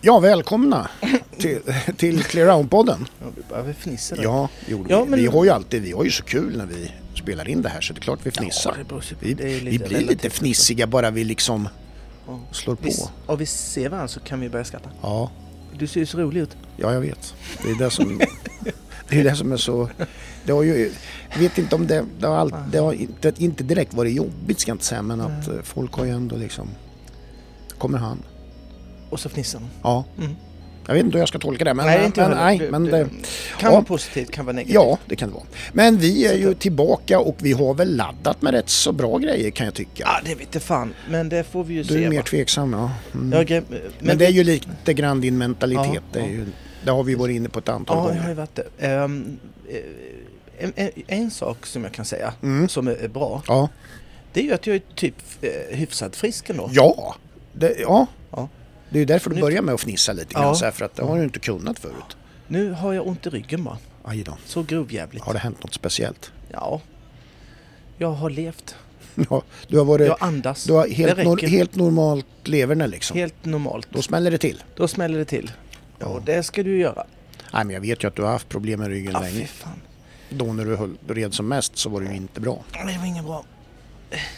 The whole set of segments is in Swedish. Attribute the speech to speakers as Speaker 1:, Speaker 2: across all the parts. Speaker 1: Ja, välkomna till, till Clear Out-podden.
Speaker 2: Ja, du bara fnissar där.
Speaker 1: Ja, jo,
Speaker 2: Ja, men-
Speaker 1: vi har ju alltid, vi har ju så kul när vi spelar in det här så det är klart vi
Speaker 2: Ja,
Speaker 1: fnissar.
Speaker 2: det beror sig på.
Speaker 1: vi,
Speaker 2: Det är lite
Speaker 1: vi blir lite
Speaker 2: relativt.
Speaker 1: fnissiga bara vi liksom
Speaker 2: Ja.
Speaker 1: slår på.
Speaker 2: Vi, ja, vi ser varandra så kan vi börja skratta.
Speaker 1: Ja,
Speaker 2: Du ser ju så rolig ut.
Speaker 1: ja jag vet. Det är det som, det är det som är så... Det har ju, jag vet inte om det, det har, allt, det har inte, inte direkt varit jobbigt ska jag inte säga men att eh, folk har ju ändå liksom... Kommer han?
Speaker 2: Och så fnissar hon.
Speaker 1: Ja.
Speaker 2: Mm.
Speaker 1: Jag vet inte hur jag ska tolka det men...
Speaker 2: nej, inte jag
Speaker 1: men,
Speaker 2: heller.
Speaker 1: nej,
Speaker 2: Du-
Speaker 1: men
Speaker 2: du-
Speaker 1: det, Ja.
Speaker 2: Kan vara positivt, kan vara negativt.
Speaker 1: Ja, det kan det vara. Men vi är ju tillbaka och vi har väl laddat med rätt så bra grejer kan jag tycka.
Speaker 2: Ja, det vete fan. Men det får vi ju se.
Speaker 1: Du är mer
Speaker 2: va?
Speaker 1: tveksam ja. Mm.
Speaker 2: Ja, gre-
Speaker 1: Men, det är ju lite grann din mentalitet.
Speaker 2: Ja,
Speaker 1: det, är
Speaker 2: ja.
Speaker 1: ju, det har vi varit inne på ett antal
Speaker 2: Ja, jag har
Speaker 1: gånger.
Speaker 2: ju varit det. Ehm, eh, en, en, en sak som jag kan säga
Speaker 1: Mm.
Speaker 2: som är bra,
Speaker 1: Ja,
Speaker 2: det är ju att jag är typ eh, hyfsat frisk ändå.
Speaker 1: ja. Det, ja.
Speaker 2: Ja.
Speaker 1: det är ju därför du
Speaker 2: Nu-
Speaker 1: börjar med att fnissa lite grann
Speaker 2: Ja.
Speaker 1: så här, för att det har du inte kunnat förut.
Speaker 2: Nu har jag ont i ryggen bara.
Speaker 1: Aj då.
Speaker 2: Så grovjävligt.
Speaker 1: Har det hänt något speciellt?
Speaker 2: Ja. Jag har levt.
Speaker 1: Ja, du har varit...
Speaker 2: Jag andas.
Speaker 1: Eh, Du har
Speaker 2: det
Speaker 1: helt,
Speaker 2: räcker.
Speaker 1: nor- helt normalt leverne liksom.
Speaker 2: Helt normalt.
Speaker 1: Då smäller det till.
Speaker 2: Då smäller det till. Ja, och det ska du göra.
Speaker 1: Nej, men jag vet ju att du har haft problem med ryggen
Speaker 2: Ja, fy
Speaker 1: länge.
Speaker 2: fan.
Speaker 1: Då när du höll, red som mest så var det ju inte bra.
Speaker 2: Det var inget bra.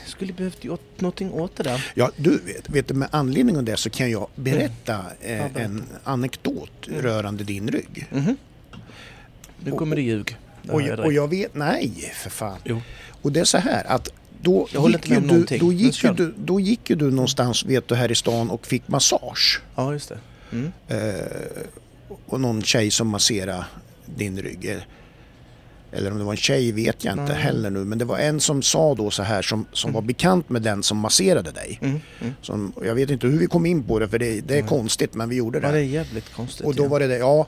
Speaker 2: Jag skulle behövt gjort någonting åt det där.
Speaker 1: Ja, du vet, vet du, med anledning av det så kan jag berätta Mm. eh,
Speaker 2: berätta.
Speaker 1: en anekdot rörande din rygg.
Speaker 2: Nu kommer det ljug. Det
Speaker 1: Mhm. Och,
Speaker 2: hör
Speaker 1: jag,
Speaker 2: direkt.
Speaker 1: och jag vet, nej för fan.
Speaker 2: Jo.
Speaker 1: Och det är så här att då
Speaker 2: Jag håller
Speaker 1: gick,
Speaker 2: inte med
Speaker 1: ju
Speaker 2: om
Speaker 1: du,
Speaker 2: någonting.
Speaker 1: då,
Speaker 2: Men
Speaker 1: gick ju
Speaker 2: kör.
Speaker 1: du, då gick ju du någonstans vet du, här i stan och fick massage.
Speaker 2: Ja, just det. Mm.
Speaker 1: Och någon tjej som masserade din rygg. Eller om det var en tjej vet jag inte heller nu. Men det var en som sa då så här som, som var bekant med den som masserade dig.
Speaker 2: Mm. Mm.
Speaker 1: Som, jag vet inte hur vi kom in på det för det, det är konstigt men vi gjorde det.
Speaker 2: Ja, det är jävligt konstigt.
Speaker 1: Och då var det det, ja.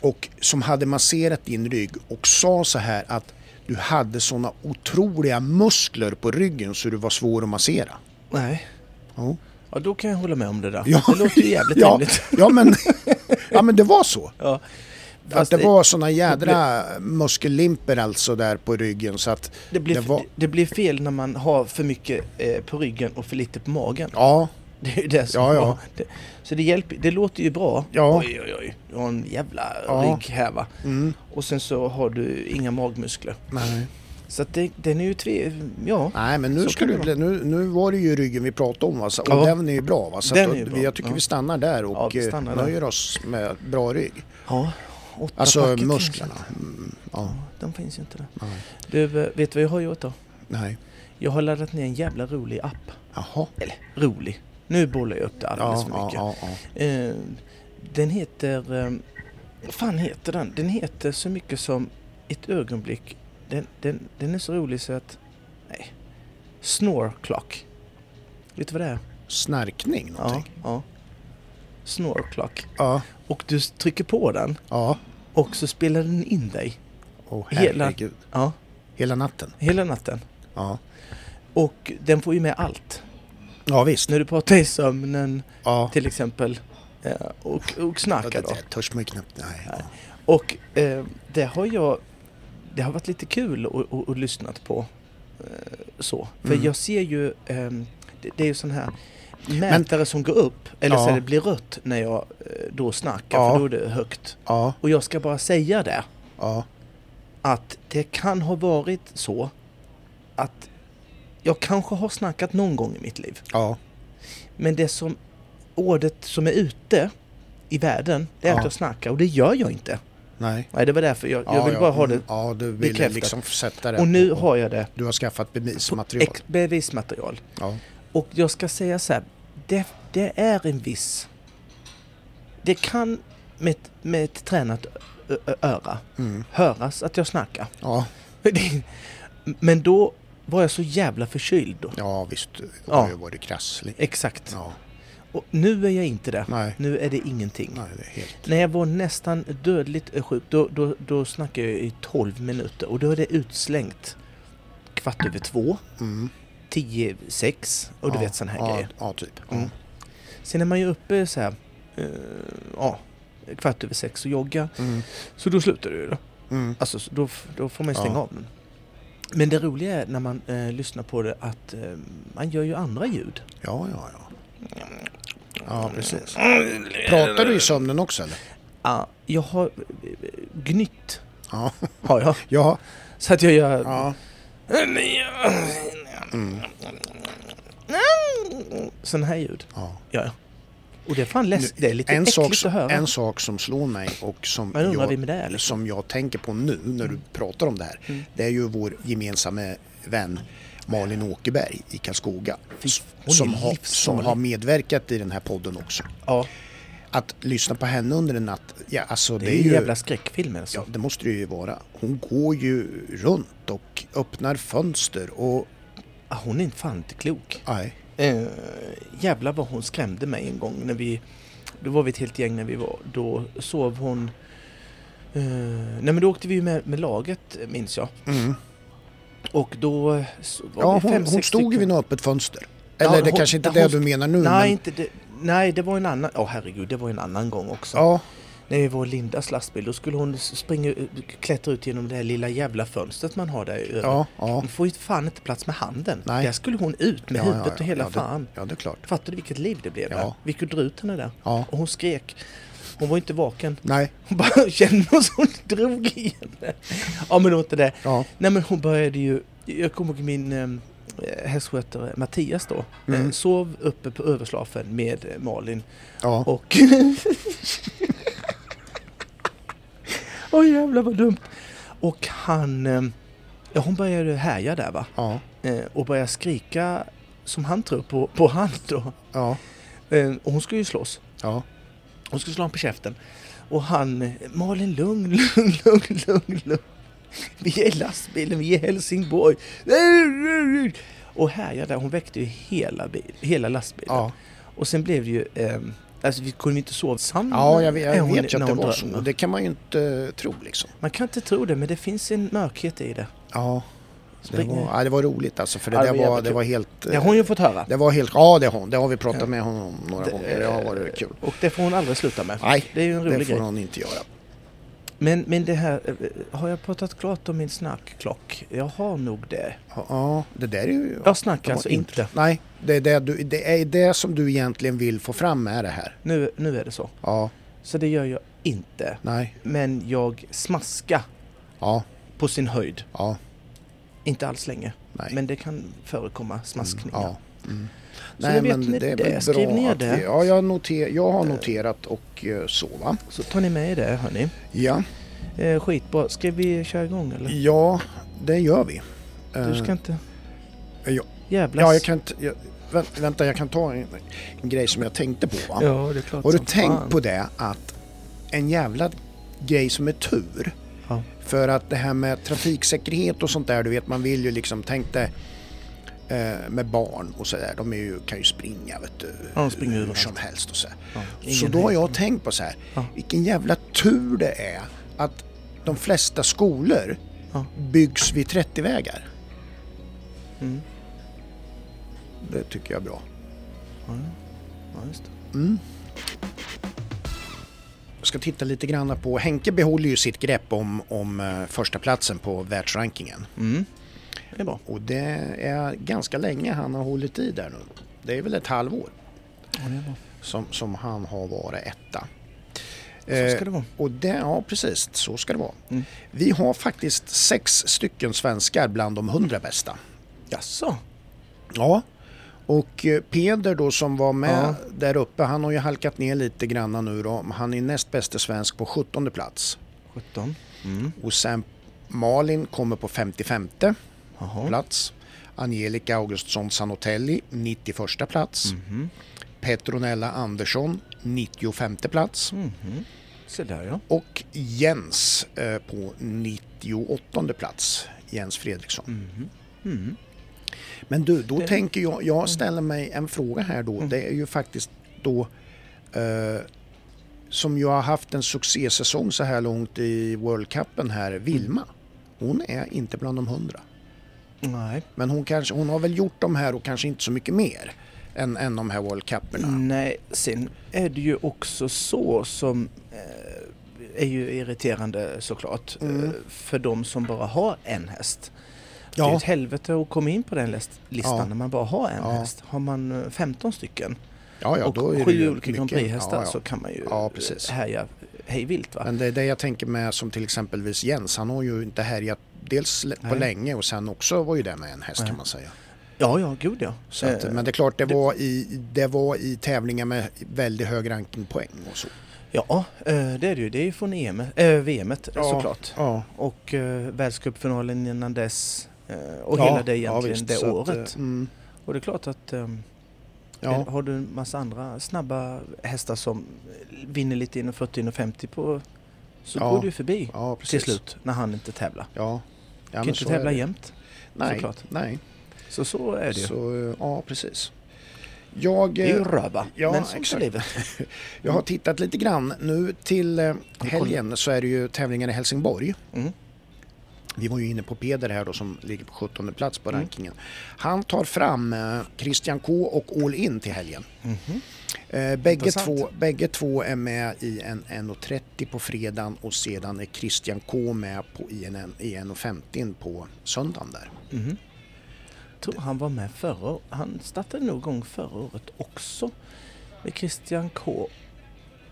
Speaker 1: Och som hade masserat din rygg och sa så här att du hade såna otroliga muskler på ryggen så du var svår att massera.
Speaker 2: Nej.
Speaker 1: Ja,
Speaker 2: Ja, då kan jag hålla med om det där.
Speaker 1: Ja.
Speaker 2: Det låter ju jävligt
Speaker 1: ja,
Speaker 2: rimligt.
Speaker 1: ja, men, ja men det var så.
Speaker 2: Ja.
Speaker 1: Att
Speaker 2: Fast
Speaker 1: det var såna jädra muskellimper alltså där på ryggen så att
Speaker 2: det, blir,
Speaker 1: det var...
Speaker 2: det blir fel när man har för mycket eh, på ryggen och för lite på magen.
Speaker 1: Ja,
Speaker 2: Det är ju det som
Speaker 1: Ja, ja.
Speaker 2: var- Det, så det, hjälper, det låter ju bra.
Speaker 1: Ja.
Speaker 2: Oj, oj, oj. Du har en jävla
Speaker 1: Ja.
Speaker 2: rygg här va.
Speaker 1: mm.
Speaker 2: Och sen så har du inga magmuskler.
Speaker 1: nej.
Speaker 2: Så att det, den är ju tve... Ja.
Speaker 1: nej men nu,
Speaker 2: Så
Speaker 1: ska
Speaker 2: kan
Speaker 1: du,
Speaker 2: det
Speaker 1: bli- nu, nu var det ju ryggen vi pratade om va? Så, och
Speaker 2: Ja.
Speaker 1: den är ju bra va? Så
Speaker 2: Den
Speaker 1: att,
Speaker 2: är ju
Speaker 1: vi-
Speaker 2: bra,
Speaker 1: Jag tycker
Speaker 2: ja.
Speaker 1: vi stannar där
Speaker 2: Ja,
Speaker 1: och
Speaker 2: vi
Speaker 1: eh,
Speaker 2: stannar där.
Speaker 1: nöjer oss med bra rygg.
Speaker 2: ja. Åtta
Speaker 1: Alltså
Speaker 2: packet
Speaker 1: musklerna.
Speaker 2: finns
Speaker 1: Mm, ja,
Speaker 2: inte. De finns ju inte där.
Speaker 1: nej.
Speaker 2: Du, eh, vet du vad jag har gjort då?
Speaker 1: nej.
Speaker 2: Jag har laddat ner en jävla rolig app.
Speaker 1: Jaha.
Speaker 2: Eller rolig. Nu bollar jag upp det alldeles
Speaker 1: Ja,
Speaker 2: för
Speaker 1: ja,
Speaker 2: mycket.
Speaker 1: ja, ja.
Speaker 2: Eh, den heter... Eh, vad fan heter den? Den heter så mycket som ett ögonblick. Den, den, den är så rolig så att... Nej. Snore clock. Vet du vad det är?
Speaker 1: Snarkning
Speaker 2: Ja.
Speaker 1: någonting?
Speaker 2: ja. Snore clock.
Speaker 1: Ja.
Speaker 2: Och du trycker på den
Speaker 1: Ja.
Speaker 2: och så spelar den in dig.
Speaker 1: Åh
Speaker 2: Hela-
Speaker 1: herregud.
Speaker 2: Ja.
Speaker 1: Hela natten?
Speaker 2: Hela natten.
Speaker 1: Ja.
Speaker 2: Och den får ju med allt.
Speaker 1: Ja visst.
Speaker 2: När du pratar i sömnen
Speaker 1: Ja.
Speaker 2: till exempel. eh, Och, och
Speaker 1: Ja,
Speaker 2: snackar
Speaker 1: det,
Speaker 2: då.
Speaker 1: det törs man ju knappt. Nej. ja.
Speaker 2: Och eh, det har jag... Det har varit lite kul att- att att lyssna på. Eh, så. För
Speaker 1: Mm.
Speaker 2: jag ser ju... ehm, det, det är ju sån här mätare som går upp. Eller
Speaker 1: Ja.
Speaker 2: så det blir rött när jag eh, då snackar.
Speaker 1: Ja.
Speaker 2: För då är det högt.
Speaker 1: Ja.
Speaker 2: Och jag ska bara säga det.
Speaker 1: Ja.
Speaker 2: Att det kan ha varit så att jag kanske har snackat någon gång i mitt liv.
Speaker 1: Ja.
Speaker 2: Men det som ordet som är ute i världen, det är
Speaker 1: Ja.
Speaker 2: att jag snackar. Och det gör jag inte.
Speaker 1: Nej.
Speaker 2: Nej, det var därför jag,
Speaker 1: ja,
Speaker 2: jag vill
Speaker 1: ja,
Speaker 2: bara ha
Speaker 1: mm,
Speaker 2: det
Speaker 1: Ja, du ville
Speaker 2: bekräftat.
Speaker 1: liksom sätta det.
Speaker 2: Och nu
Speaker 1: på-
Speaker 2: har jag det.
Speaker 1: Du har skaffat bevismaterial.
Speaker 2: Ex- bevismaterial.
Speaker 1: Ja.
Speaker 2: Och jag ska säga så här. Det, det är en viss... Det kan med, ett- med ett tränat ö- ö- öra
Speaker 1: Mm.
Speaker 2: höras att jag snackar.
Speaker 1: Ja.
Speaker 2: Det- Men då var jag så jävla förkyld då.
Speaker 1: Ja visst. Du
Speaker 2: Ja.
Speaker 1: har ju varit krasslig.
Speaker 2: Exakt.
Speaker 1: Ja.
Speaker 2: Och nu är jag inte det.
Speaker 1: Nej.
Speaker 2: Nu är det ingenting.
Speaker 1: Nej, det är helt...
Speaker 2: När jag var nästan dödligt sjuk, då, då, då snackade jag i 12 minuter. Och då är det utslängt kvart över två,
Speaker 1: Mm.
Speaker 2: tio, sex och du
Speaker 1: ja.
Speaker 2: vet sån här
Speaker 1: ja.
Speaker 2: grejer.
Speaker 1: Ja, typ. Ja.
Speaker 2: Mm. Sen är man ju uppe så här, eh, ja, kvart över sex och jogga.
Speaker 1: Mm.
Speaker 2: Så då slutar du ju då.
Speaker 1: Mm.
Speaker 2: Alltså så då, f- då får man ju stänga
Speaker 1: Ja.
Speaker 2: av den. Men det roliga är när man eh, lyssnar på det att eh, man gör ju andra ljud.
Speaker 1: Ja, ja, ja. Ja, precis. Pratar du i sömnen också eller?
Speaker 2: Ah, jag har eh, gnytt,
Speaker 1: Ja.
Speaker 2: har jag.
Speaker 1: Ja.
Speaker 2: Så att jag gör...
Speaker 1: ja. Mm.
Speaker 2: Sån här ljud.
Speaker 1: ja.
Speaker 2: Ja, ja. Och det är fan läskigt.
Speaker 1: Nu,
Speaker 2: Det är lite
Speaker 1: en sak,
Speaker 2: äckligt
Speaker 1: som-
Speaker 2: att höra.
Speaker 1: en sak som slår mig och som
Speaker 2: Man undrar
Speaker 1: jag,
Speaker 2: vem det är, liksom.
Speaker 1: som jag tänker på nu när du pratar om det här.
Speaker 2: Mm.
Speaker 1: Det är ju vår gemensamma vän Malin Åkerberg i Karlskoga.
Speaker 2: Fy,
Speaker 1: s-
Speaker 2: hon är
Speaker 1: Som har, som
Speaker 2: livsfarlig.
Speaker 1: har medverkat i den här podden också.
Speaker 2: Ja,
Speaker 1: Att lyssna på henne under en natt, ja alltså
Speaker 2: det,
Speaker 1: det,
Speaker 2: är ju
Speaker 1: ju...
Speaker 2: jävla skräckfilmer alltså.
Speaker 1: Ja, det måste det ju vara. Hon går ju runt och öppnar fönster och...
Speaker 2: Ah, hon är fan inte klok.
Speaker 1: Nej.
Speaker 2: Eh, jävlar vad hon skrämde mig en gång när vi... Då var vi ett helt gäng när vi var. Då sov hon... Eh, nej men då åkte vi ju med, med laget minns jag.
Speaker 1: Mm.
Speaker 2: Och då eh, så var
Speaker 1: Ja,
Speaker 2: vi
Speaker 1: hon,
Speaker 2: fem,
Speaker 1: hon
Speaker 2: sex
Speaker 1: stod ju
Speaker 2: stycken.
Speaker 1: vid något öppet fönster.
Speaker 2: Ja,
Speaker 1: Eller det
Speaker 2: hon-
Speaker 1: kanske inte är
Speaker 2: ja,
Speaker 1: det
Speaker 2: hon
Speaker 1: du menar nu
Speaker 2: Nej,
Speaker 1: men...
Speaker 2: inte det, nej, det var en annan... Åh herregud, det var en annan gång också.
Speaker 1: Ja,
Speaker 2: När vi var i Lindas lastbil, då skulle hon springa, eh, klättra ut genom det här lilla jävla fönstret man har där över.
Speaker 1: ja, ja.
Speaker 2: Hon får ju fan inte plats med handen.
Speaker 1: Nej.
Speaker 2: Där skulle hon ut med
Speaker 1: ja,
Speaker 2: huvudet
Speaker 1: ja,
Speaker 2: och hela
Speaker 1: ja,
Speaker 2: fan.
Speaker 1: Det, ja, det är klart.
Speaker 2: Fattar du vilket liv det blev
Speaker 1: Ja.
Speaker 2: där? Vi kunde dra ut henne där.
Speaker 1: Ja.
Speaker 2: Och hon skrek. Hon var inte vaken.
Speaker 1: Nej.
Speaker 2: Hon bara kände oss hon drog i henne. Ja men det var inte det.
Speaker 1: Ja.
Speaker 2: Nej men hon började ju, jag kommer ihåg min eh, hästskötare Mattias då,
Speaker 1: Mm.
Speaker 2: eh, sov uppe på överslafen med eh, Malin
Speaker 1: Ja.
Speaker 2: och... Åh jävlar vad dumt! Och han, eh, ja hon började härja där va,
Speaker 1: Ja.
Speaker 2: eh, och började skrika som han tror på, på han då.
Speaker 1: Ja.
Speaker 2: Eh, och hon skulle ju slåss.
Speaker 1: Ja.
Speaker 2: Hon skulle slå honom på käften. Och han, Malin lugn, lugn, lugn, lugn, lugn. Vi är i lastbilen, vi är i Helsingborg. Och härjade, hon väckte ju hela, bil, hela lastbilen.
Speaker 1: Ja.
Speaker 2: Och sen blev det ju, ehm, alltså vi kunde inte sova samman.
Speaker 1: ja, jag, vet-
Speaker 2: när
Speaker 1: jag
Speaker 2: Mm. hon-
Speaker 1: vet ju
Speaker 2: när
Speaker 1: att det
Speaker 2: hon
Speaker 1: var
Speaker 2: drömmer.
Speaker 1: så. Det kan man ju inte tro liksom.
Speaker 2: Man kan inte tro det, men det finns en mörkhet i det.
Speaker 1: Ja. Det
Speaker 2: Spring-
Speaker 1: var, ja, det var roligt alltså för det
Speaker 2: Ja, det
Speaker 1: där
Speaker 2: var
Speaker 1: var,
Speaker 2: jävligt
Speaker 1: det var helt...
Speaker 2: Det har
Speaker 1: eh,
Speaker 2: hon ju fått höra.
Speaker 1: Det var helt... Ja, det har hon. Det har vi pratat
Speaker 2: Ja.
Speaker 1: med honom om några
Speaker 2: Det-
Speaker 1: gånger. Det har varit kul.
Speaker 2: Och det får hon aldrig sluta med.
Speaker 1: Nej,
Speaker 2: Det är ju en
Speaker 1: det
Speaker 2: rolig
Speaker 1: får
Speaker 2: grej.
Speaker 1: hon inte göra.
Speaker 2: Men, men det här, eh, har jag pratat klart om min snackklock? Jag har nog det.
Speaker 1: Ja, Ja, det där är ju...
Speaker 2: Jag snackar
Speaker 1: de har
Speaker 2: alltså inte.
Speaker 1: Nej, det är det, du, det är det som du egentligen vill få fram med det här.
Speaker 2: Nu, nu är det så.
Speaker 1: Ja,
Speaker 2: Så det gör jag inte.
Speaker 1: nej,
Speaker 2: Men jag smaska
Speaker 1: ja,
Speaker 2: på sin höjd.
Speaker 1: ja,
Speaker 2: Inte alls länge.
Speaker 1: nej.
Speaker 2: Men det kan förekomma smaskningar.
Speaker 1: ja. Mm.
Speaker 2: Så då vet ni det.
Speaker 1: väl
Speaker 2: Skriv ner det.
Speaker 1: vi, ja, jag, noter, jag har noterat och eh, så va.
Speaker 2: Så tar ni med er det hörni.
Speaker 1: Ja,
Speaker 2: Eh, skitbra. Ska vi köra igång eller?
Speaker 1: ja, det gör vi. Eh,
Speaker 2: Du ska inte
Speaker 1: ja,
Speaker 2: jävlas.
Speaker 1: ja, jag kan inte... Jag, vänt- vänta, jag kan ta en, en grej som jag tänkte på. Va?
Speaker 2: Ja, det är klart
Speaker 1: Har du
Speaker 2: som
Speaker 1: tänkt
Speaker 2: fan.
Speaker 1: på det att en jävla grej som är tur
Speaker 2: Ja.
Speaker 1: För att det här med trafiksäkerhet och sånt där, du vet man vill ju liksom, tänk dig eh, med barn och sådär, de är ju, kan ju springa vet du,
Speaker 2: Ja, de springer
Speaker 1: hur
Speaker 2: överallt.
Speaker 1: som helst och så. här.
Speaker 2: Ja,
Speaker 1: Så
Speaker 2: ingen
Speaker 1: då har
Speaker 2: hejd.
Speaker 1: jag tänkt på så här,
Speaker 2: Ja.
Speaker 1: vilken jävla tur det är att de flesta skolor
Speaker 2: Ja.
Speaker 1: byggs vid 30-vägar.
Speaker 2: Mm.
Speaker 1: Det tycker jag är bra.
Speaker 2: Ja, ja, just det.
Speaker 1: Mm. Jag ska titta lite grann på, Henke behåller ju sitt grepp om, om eh, första platsen på världsrankingen.
Speaker 2: Mm. Det är bra.
Speaker 1: Och det är ganska länge han har hållit i där nu. Det är väl ett halvår
Speaker 2: Ja, det är bra.
Speaker 1: som, som han har varit etta. Eh,
Speaker 2: Så ska det vara.
Speaker 1: Och det, ja precis, så ska det vara.
Speaker 2: Mm.
Speaker 1: Vi har faktiskt sex stycken svenskar bland de hundra bästa.
Speaker 2: Jaså?
Speaker 1: Ja. Och eh, Peder då som var med
Speaker 2: Ja.
Speaker 1: där uppe, han har ju halkat ner lite grann nu då. Han är näst bäste svensk på 17 plats.
Speaker 2: 17. Mm.
Speaker 1: Och sen Malin kommer på 55
Speaker 2: Jaha.
Speaker 1: plats. Angelica Augustsson Sanotelli 91 plats.
Speaker 2: Mhm.
Speaker 1: Petronella Andersson 95 plats
Speaker 2: Mhm. Se där ja.
Speaker 1: och Jens eh, på 98 plats, Jens Fredriksson.
Speaker 2: Mhm. Mm.
Speaker 1: Men du, då
Speaker 2: Det-
Speaker 1: tänker jag,
Speaker 2: Mm.
Speaker 1: jag ställer mig en fråga här då. Det är ju faktiskt då eh, som jag har haft en succésäsong så här långt i World Cupen här,
Speaker 2: Mm.
Speaker 1: Vilma. Hon är inte bland de hundra.
Speaker 2: Nej.
Speaker 1: Men hon, kanske, hon har väl gjort de här och kanske inte så mycket mer än, än de här World Cuperna.
Speaker 2: Nej, sen är det ju också så som eh, är ju irriterande såklart
Speaker 1: Mm.
Speaker 2: eh, för de som bara har en häst. Det är ett helvete att komma in på den list- listan
Speaker 1: Ja.
Speaker 2: när man bara har en
Speaker 1: Ja.
Speaker 2: häst. Har man eh, 15 stycken
Speaker 1: Ja, ja,
Speaker 2: och
Speaker 1: då är det
Speaker 2: sju
Speaker 1: ju
Speaker 2: olika Grand
Speaker 1: mycket.
Speaker 2: Prix-hästar
Speaker 1: Ja, ja.
Speaker 2: så kan man ju
Speaker 1: Ja, precis.
Speaker 2: härja hej vilt. Va?
Speaker 1: Men det är det jag tänker med som till exempelvis Jens. Han har ju inte härjat dels l- på
Speaker 2: Nej.
Speaker 1: länge och sen också var ju det med en häst
Speaker 2: Nej.
Speaker 1: kan man säga.
Speaker 2: Ja, ja, god ja.
Speaker 1: Så att,
Speaker 2: Eh,
Speaker 1: men det är klart, det
Speaker 2: det-
Speaker 1: var, i, det var i tävlingar med väldigt hög rankingpoäng och så.
Speaker 2: Ja, eh, det är det ju. Det är ju från EM, äh, VMet
Speaker 1: Ja.
Speaker 2: såklart.
Speaker 1: Ja,
Speaker 2: Och äh, världscupfinalen innan dess. eh, och
Speaker 1: Ja,
Speaker 2: hela det
Speaker 1: ja,
Speaker 2: egentligen,
Speaker 1: visst.
Speaker 2: det
Speaker 1: Så att,
Speaker 2: året. Eh,
Speaker 1: eh, mm,
Speaker 2: och det är klart att ehm,
Speaker 1: ja.
Speaker 2: har du en massa andra snabba hästar som vinner lite inom 40 och 50 på så
Speaker 1: Ja.
Speaker 2: går du ju förbi
Speaker 1: ja, precis.
Speaker 2: till slut när han inte tävlar.
Speaker 1: Ja. Ja,
Speaker 2: kan
Speaker 1: men
Speaker 2: inte
Speaker 1: så är
Speaker 2: tävla
Speaker 1: det.
Speaker 2: jämt.
Speaker 1: Nej,
Speaker 2: såklart.
Speaker 1: nej.
Speaker 2: Så så är det ju.
Speaker 1: Så, eh, ja, precis. Jag,
Speaker 2: Det är ju
Speaker 1: eh,
Speaker 2: röva.
Speaker 1: ja,
Speaker 2: men sånt är
Speaker 1: exakt.
Speaker 2: livet.
Speaker 1: jag har tittat lite grann. Nu till eh, helgen så är det ju tävlingar i Helsingborg.
Speaker 2: Mm.
Speaker 1: Vi var ju inne på Peder här då som ligger på 17 plats på
Speaker 2: Mm.
Speaker 1: rankingen. Han tar fram eh, Christian K och All In till helgen.
Speaker 2: Mhm.
Speaker 1: Eh, bägge,
Speaker 2: Intressant.
Speaker 1: två, bägge två är med i en 1.30 på fredagen och sedan är Christian K med på, i en, i 1.50 på söndagen där.
Speaker 2: Mhm. Jag tror han var med förra å- Han startade nog igång förra året också. Med Christian K.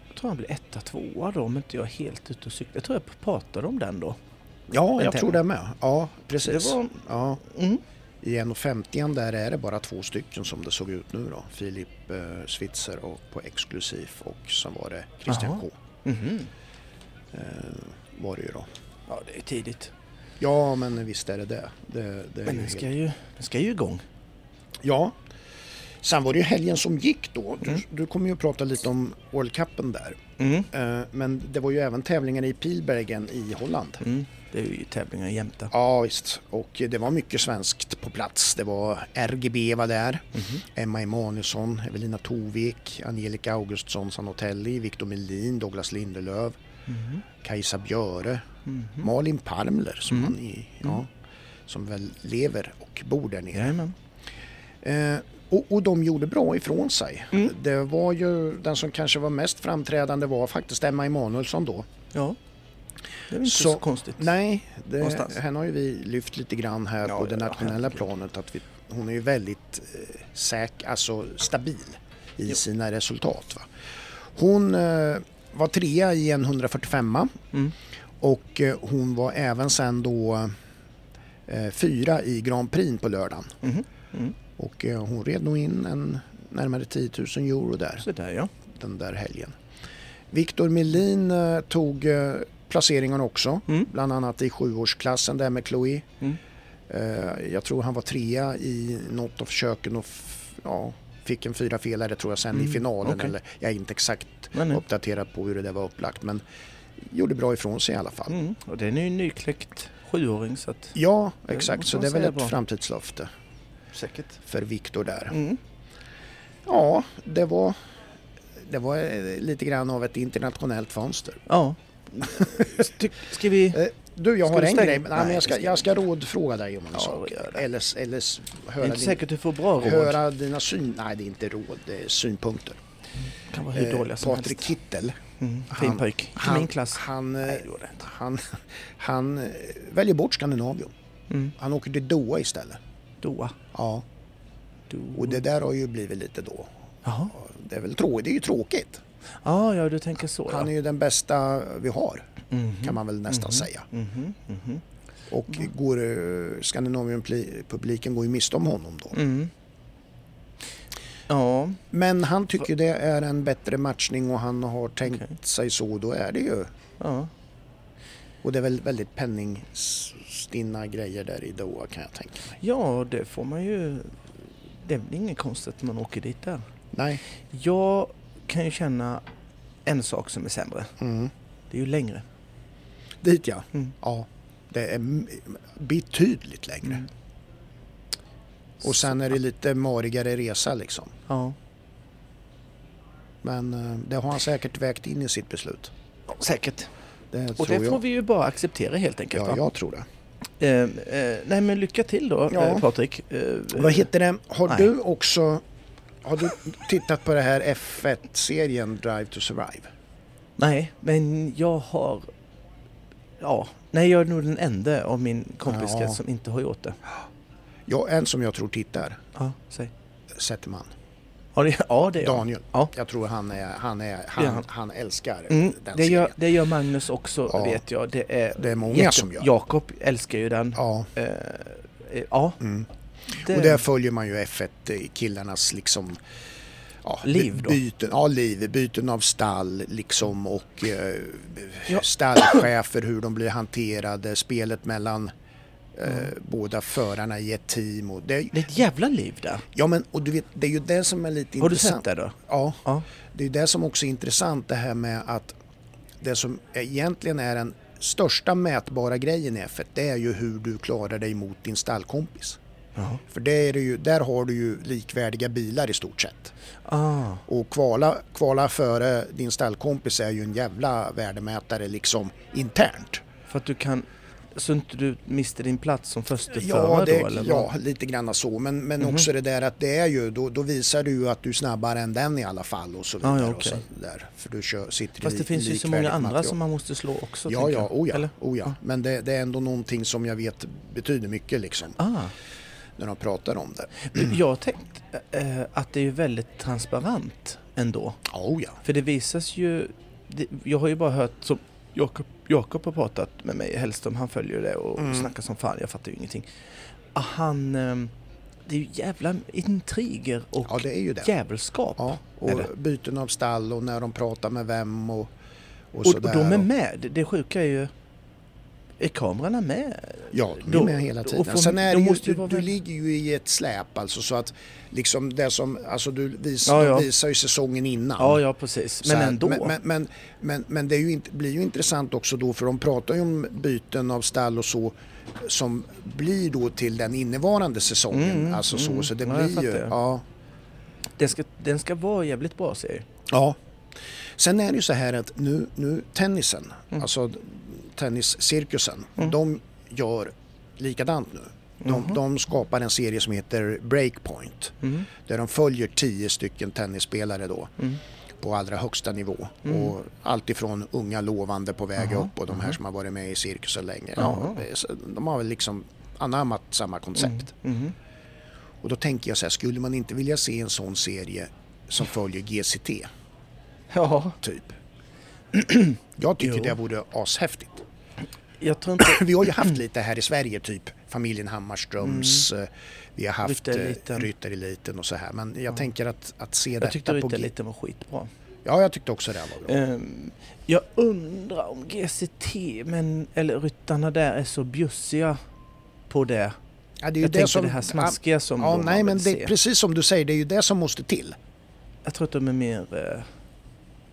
Speaker 2: Jag tror han blev etta, tvåa då om inte jag är helt ute och cyklar. Jag tror jag pratade om den då.
Speaker 1: Ja, jag
Speaker 2: tävling.
Speaker 1: tror det med. Ja,
Speaker 2: Det
Speaker 1: precis.
Speaker 2: var...
Speaker 1: Ja,
Speaker 2: Mm.
Speaker 1: I 1.50 där är det bara två stycken som det såg ut nu då. Filip eh, Switzer och på exklusiv och sen var det Christian
Speaker 2: Jaha.
Speaker 1: K.
Speaker 2: Mhm.
Speaker 1: Eh, var det ju då.
Speaker 2: Ja, det är tidigt.
Speaker 1: Ja, men visst är det det. det, det är ju
Speaker 2: Men den
Speaker 1: helt-
Speaker 2: ska ju, den ska ju igång.
Speaker 1: Ja. Sen var det ju helgen som gick då. Du,
Speaker 2: Mm.
Speaker 1: du kommer ju att prata lite om World Cupen där.
Speaker 2: Mm.
Speaker 1: Eh, men det var ju även tävlingar i Pilbergen i Holland.
Speaker 2: Mm. Det är ju tävlingar jämta.
Speaker 1: Ja, visst. Och det var mycket svenskt på plats. Det var RGB var där.
Speaker 2: Mhm.
Speaker 1: Emma Emanuelsson, Evelina Tovik, Angelica Augustsson Sanotelli, Victor Melin, Douglas Lindelöf,
Speaker 2: Mhm.
Speaker 1: Kajsa Björe,
Speaker 2: Mhm.
Speaker 1: Malin Parmler som,
Speaker 2: Mm.
Speaker 1: han i, ja, som väl lever och bor där nere.
Speaker 2: Jajamän.
Speaker 1: Eh, och, och de gjorde bra ifrån sig.
Speaker 2: Mm.
Speaker 1: Det var ju, den som kanske var mest framträdande var faktiskt Emma Emanuelsson då.
Speaker 2: Ja. Det är väl inte så,
Speaker 1: Så-
Speaker 2: konstigt.
Speaker 1: Nej, det,
Speaker 2: Någonstans.
Speaker 1: henne har ju vi lyft lite grann här
Speaker 2: Ja,
Speaker 1: på
Speaker 2: ja,
Speaker 1: det
Speaker 2: ja,
Speaker 1: nationella
Speaker 2: herregud.
Speaker 1: planet. Att vi, hon är ju väldigt eh, säker, alltså stabil i
Speaker 2: Jo.
Speaker 1: sina resultat. Va? Hon eh, var trea i en 145
Speaker 2: Mm.
Speaker 1: och eh, hon var även sen då eh, fyra i Grand Prix på lördagen.
Speaker 2: Mhm. Mm.
Speaker 1: Och eh, hon red nog in en närmare 10 000 euro där
Speaker 2: Så där ja.
Speaker 1: den där helgen. Viktor Melin eh, tog eh, placeringen också,
Speaker 2: Mm.
Speaker 1: bland annat i sjuårsklassen där med Chloe.
Speaker 2: Mm.
Speaker 1: Eh, jag tror han var trea i något av försöken och f- ja, fick en fyra felare tror jag sen
Speaker 2: Mm,
Speaker 1: i finalen.
Speaker 2: okej.
Speaker 1: Eller, jag är inte exakt
Speaker 2: Men, nu-
Speaker 1: uppdaterad på hur det där var upplagt men gjorde bra ifrån sig i alla fall.
Speaker 2: mm. Och den är ju en nykläckt sjuåring så att...
Speaker 1: Ja,
Speaker 2: Det
Speaker 1: exakt.
Speaker 2: måste
Speaker 1: Så
Speaker 2: man
Speaker 1: det är väl
Speaker 2: säga
Speaker 1: ett
Speaker 2: bra.
Speaker 1: framtidslöfte
Speaker 2: Säkert.
Speaker 1: för Viktor där.
Speaker 2: Mm.
Speaker 1: Ja, det var, det var eh, lite grann av ett internationellt fönster.
Speaker 2: Ja. Ty- Ska vi...
Speaker 1: Eh, Du, jag
Speaker 2: Ska
Speaker 1: har
Speaker 2: du
Speaker 1: en
Speaker 2: stänga?
Speaker 1: grej. Nej, men
Speaker 2: Nej,
Speaker 1: jag ska,
Speaker 2: det ska
Speaker 1: jag ska rådfråga dig om en
Speaker 2: Ja,
Speaker 1: sak.
Speaker 2: gör det.
Speaker 1: Eller, s- eller s-
Speaker 2: Det är
Speaker 1: höra,
Speaker 2: inte
Speaker 1: din,
Speaker 2: säkert du får bra råd.
Speaker 1: höra dina syn... Nej, det är inte råd, det är synpunkter.
Speaker 2: Det kan vara hur
Speaker 1: Eh,
Speaker 2: dåliga som
Speaker 1: Patrik
Speaker 2: helst.
Speaker 1: Kittel,
Speaker 2: Mm.
Speaker 1: han-
Speaker 2: Fin pojk. I
Speaker 1: han,
Speaker 2: min klass.
Speaker 1: han, eh,
Speaker 2: Nej, det gjorde jag inte.
Speaker 1: han, han eh, väljer bort Skandinavien.
Speaker 2: Mm.
Speaker 1: Han åker till Doha istället.
Speaker 2: Doa.
Speaker 1: Ja,
Speaker 2: Doa.
Speaker 1: och det där har ju blivit lite då.
Speaker 2: Jaha.
Speaker 1: Det är väl trå- det är ju tråkigt.
Speaker 2: Ja, ja, du tänker så
Speaker 1: Han är
Speaker 2: ja.
Speaker 1: ju den bästa vi har, kan man väl nästan
Speaker 2: Mhm.
Speaker 1: säga.
Speaker 2: Mhm, mhm.
Speaker 1: Och går, eh, Skandinavien-publiken går ju miste om honom då.
Speaker 2: Mm. Ja,
Speaker 1: Men han tycker det är en bättre matchning och han har tänkt
Speaker 2: Okej.
Speaker 1: sig så, då är det ju.
Speaker 2: ja.
Speaker 1: Och det är väl väldigt penningstinna grejer där i Doha kan jag tänka mig.
Speaker 2: ja, det får man ju... Det är väl inget konstigt att man åker dit där.
Speaker 1: Nej.
Speaker 2: Jag kan ju känna en sak som är sämre.
Speaker 1: Mm.
Speaker 2: Det är ju längre.
Speaker 1: Dit ja.
Speaker 2: Mm.
Speaker 1: Ja. Det är m- betydligt längre.
Speaker 2: Mm.
Speaker 1: Och sen är det lite marigare resa liksom.
Speaker 2: Ja.
Speaker 1: Men eh, det har han säkert vägt in i sitt beslut.
Speaker 2: Säkert.
Speaker 1: Det
Speaker 2: Och
Speaker 1: tror
Speaker 2: det får
Speaker 1: jag.
Speaker 2: vi ju bara acceptera helt enkelt.
Speaker 1: Ja,
Speaker 2: va?
Speaker 1: jag tror det.
Speaker 2: Eh, eh, nej men lycka till då
Speaker 1: Ja.
Speaker 2: eh, Patrik. Eh,
Speaker 1: Vad heter det? Har
Speaker 2: Nej.
Speaker 1: du också har du tittat på det här F1-serien Drive to Survive?
Speaker 2: Nej, men jag har... Ja, nej jag är nog den enda av min kompiskrets
Speaker 1: Ja.
Speaker 2: som inte har gjort det.
Speaker 1: Ja, en som jag tror tittar,
Speaker 2: Ja, säg.
Speaker 1: Zetterman.
Speaker 2: Ja, det, ja, det gör han.
Speaker 1: Daniel.
Speaker 2: Ja.
Speaker 1: Jag tror han, är, han, är,
Speaker 2: Det är
Speaker 1: han,
Speaker 2: han.
Speaker 1: han älskar
Speaker 2: Mm,
Speaker 1: den
Speaker 2: det, gör,
Speaker 1: serien.
Speaker 2: det gör Magnus också,
Speaker 1: Ja.
Speaker 2: vet jag. Det är,
Speaker 1: Det är många som gör.
Speaker 2: Jakob älskar ju den.
Speaker 1: Ja.
Speaker 2: Eh, eh, ja.
Speaker 1: Mm.
Speaker 2: Det,
Speaker 1: Och där följer man ju F1-killarnas liksom... Ja,
Speaker 2: Liv
Speaker 1: by-
Speaker 2: då?
Speaker 1: Byten, ja, liv. Byten av stall liksom och eh,
Speaker 2: Ja.
Speaker 1: stallchefer, hur de blir hanterade, spelet mellan eh,
Speaker 2: Mm.
Speaker 1: båda förarna i ett team. Och det,
Speaker 2: det är ett jävla liv där.
Speaker 1: ja, men och du vet, det är ju det som är lite
Speaker 2: Har du
Speaker 1: intressant.
Speaker 2: sett det då?
Speaker 1: Ja,
Speaker 2: Ja.
Speaker 1: det är det som också är intressant det här med att det som egentligen är den största mätbara grejen i F1, det är ju hur du klarar dig mot din stallkompis.
Speaker 2: Ja.
Speaker 1: För det är det ju, där har du ju likvärdiga bilar i stort sett.
Speaker 2: Ah.
Speaker 1: Och kvala, kvala före din stallkompis är ju en jävla värdemätare liksom internt.
Speaker 2: För att du kan... Så inte du mister din plats som försteförare
Speaker 1: Ja, det,
Speaker 2: då? Eller vad?
Speaker 1: ja lite grann så. Men, men
Speaker 2: Mhm.
Speaker 1: också det där att det är ju, då, då visar du ju att du är snabbare än den i alla fall och så vidare.
Speaker 2: Ah, Ja, ja,
Speaker 1: och
Speaker 2: okej.
Speaker 1: så där. För du kör, sitter i
Speaker 2: Fast det
Speaker 1: lik-
Speaker 2: finns ju så många
Speaker 1: likvärdigt
Speaker 2: andra
Speaker 1: material.
Speaker 2: som man måste slå också.
Speaker 1: Ja,
Speaker 2: tänker
Speaker 1: ja,
Speaker 2: jag.
Speaker 1: oh ja,
Speaker 2: Eller?
Speaker 1: oh ja. Men det, det är ändå någonting som jag vet betyder mycket liksom,
Speaker 2: Ah.
Speaker 1: när de pratar om det.
Speaker 2: Du, Jag har tänkt eh, att det är ju väldigt transparent ändå.
Speaker 1: Oh ja.
Speaker 2: För det visas ju... Det, jag har ju bara hört som Jakob, Jakob har pratat med mig, Hellström, han följer det och
Speaker 1: Mm.
Speaker 2: snackar som fan, jag fattar ju ingenting. Ah, Han... ehm, Det är ju jävla intriger och
Speaker 1: ja, det är ju det.
Speaker 2: jävelskap.
Speaker 1: Ja,
Speaker 2: Är
Speaker 1: och
Speaker 2: det?
Speaker 1: byten av stall och när de pratar med vem och, och,
Speaker 2: och, och
Speaker 1: sådär.
Speaker 2: de är med, det- det sjuka är ju... Är kamerorna med?
Speaker 1: Ja, de är
Speaker 2: Då-
Speaker 1: med hela
Speaker 2: och
Speaker 1: tiden.
Speaker 2: får-
Speaker 1: Sen är
Speaker 2: de
Speaker 1: det ju,
Speaker 2: måste ju
Speaker 1: du,
Speaker 2: vara
Speaker 1: du
Speaker 2: väl-
Speaker 1: ligger ju i ett släp alltså så att liksom det som, alltså du vis,
Speaker 2: Ja, ja.
Speaker 1: De visar ju säsongen innan.
Speaker 2: Ja, ja precis.
Speaker 1: Så
Speaker 2: Men
Speaker 1: här,
Speaker 2: ändå.
Speaker 1: Men, men, men, men, men det är ju inte, blir ju intressant också då för de pratar ju om byten av stall och så som blir då till den innevarande säsongen.
Speaker 2: Mm,
Speaker 1: alltså
Speaker 2: mm.
Speaker 1: så, så det
Speaker 2: Ja, jag
Speaker 1: blir ju...
Speaker 2: fattar.
Speaker 1: Ja,
Speaker 2: Den, ska, den ska vara jävligt bra serie.
Speaker 1: Ja. Sen är det ju så här att nu, nu tennisen,
Speaker 2: Mm.
Speaker 1: alltså tenniscirkusen, de gör likadant nu. De,
Speaker 2: Mhm.
Speaker 1: de skapar en serie som heter Breakpoint
Speaker 2: Mm.
Speaker 1: där de följer tio stycken tennisspelare då
Speaker 2: Mm.
Speaker 1: på allra högsta nivå. Och allt ifrån unga lovande på väg upp och de
Speaker 2: Mm.
Speaker 1: här som har varit med i cirkusen länge. Ja,
Speaker 2: Jaha.
Speaker 1: så de har väl liksom anammat samma koncept.
Speaker 2: Mhm.
Speaker 1: Och då tänker jag så här, skulle man inte vilja se en sån serie som följer GCT?
Speaker 2: Ja,
Speaker 1: typ. Jag tycker
Speaker 2: Jo.
Speaker 1: det vore ashäftigt.
Speaker 2: jag tror inte...
Speaker 1: Vi har ju haft lite här i Sverige, typ familjen Hammarströms,
Speaker 2: Mm.
Speaker 1: eh, vi har haft eh,
Speaker 2: Ryttareliten.
Speaker 1: Ryttareliten, ryttareliten och så här. Men jag tänker att, att se
Speaker 2: Jag tyckte
Speaker 1: detta på...
Speaker 2: Rytter
Speaker 1: G-
Speaker 2: lite var skitbra.
Speaker 1: ja, jag tyckte också det här var bra.
Speaker 2: Ehm, jag undrar om GCT, men, eller ryttarna där, är så bjussiga på det.
Speaker 1: Ja, det är ju
Speaker 2: Jag
Speaker 1: det
Speaker 2: tänkte
Speaker 1: som...
Speaker 2: det här smaskiga som
Speaker 1: ja,
Speaker 2: de
Speaker 1: nej,
Speaker 2: har
Speaker 1: men
Speaker 2: velat
Speaker 1: det,
Speaker 2: se.
Speaker 1: precis som du säger, det är ju det som måste till.
Speaker 2: Jag tror att de är mer... eh,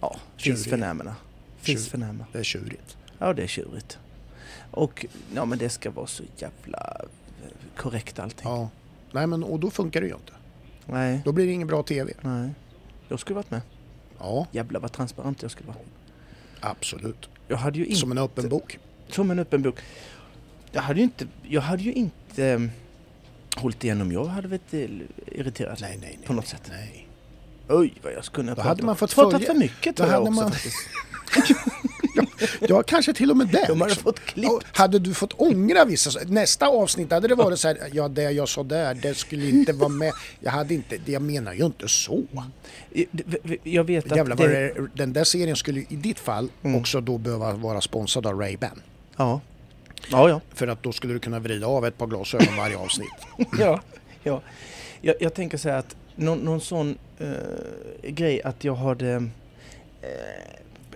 Speaker 2: ja,
Speaker 1: Tjuriga.
Speaker 2: fisförnämarna.
Speaker 1: Tjur-
Speaker 2: Fisförnäma.
Speaker 1: Det är tjurigt.
Speaker 2: Ja, det är tjurigt. Och ja, men det ska vara så jävla eh, korrekt allting.
Speaker 1: Ja. Nej, men och då funkar det ju inte.
Speaker 2: Nej,
Speaker 1: Då blir det ingen bra TV.
Speaker 2: nej. Jag skulle varit med.
Speaker 1: Ja,
Speaker 2: Jävlar vad transparent jag skulle vara.
Speaker 1: absolut.
Speaker 2: Jag hade ju inte...
Speaker 1: Som en öppen bok.
Speaker 2: Som en öppen bok. Jag hade ju inte, jag hade ju inte eh, hållit igen om jag hade varit eh, irriterad.
Speaker 1: Nej, nej, nej.
Speaker 2: På något sätt.
Speaker 1: Nej.
Speaker 2: Oj, vad jag skulle ha
Speaker 1: Då
Speaker 2: pratat.
Speaker 1: hade man fått
Speaker 2: pratat
Speaker 1: följa-
Speaker 2: för mycket
Speaker 1: då
Speaker 2: tror jag
Speaker 1: hade
Speaker 2: också
Speaker 1: man-
Speaker 2: faktiskt.
Speaker 1: Ja, kanske till och med det.
Speaker 2: De hade
Speaker 1: liksom.
Speaker 2: fått klipp.
Speaker 1: Ja, Hade du fått ångra vissa saker? Nästa avsnitt hade det varit så här, ja det jag sa där, det skulle inte vara med. Jag hade inte, jag menar ju inte så.
Speaker 2: Jag vet att
Speaker 1: Jävlar vad det, Mm. den där serien skulle i ditt fall också då behöva vara sponsrad av Ray-Ban.
Speaker 2: Ja. Ja, ja.
Speaker 1: För att då skulle du kunna vrida av ett par glasögon varje avsnitt.
Speaker 2: ja, ja. Jag, jag tänker säga att någon, någon sån eh, grej att jag hade eh,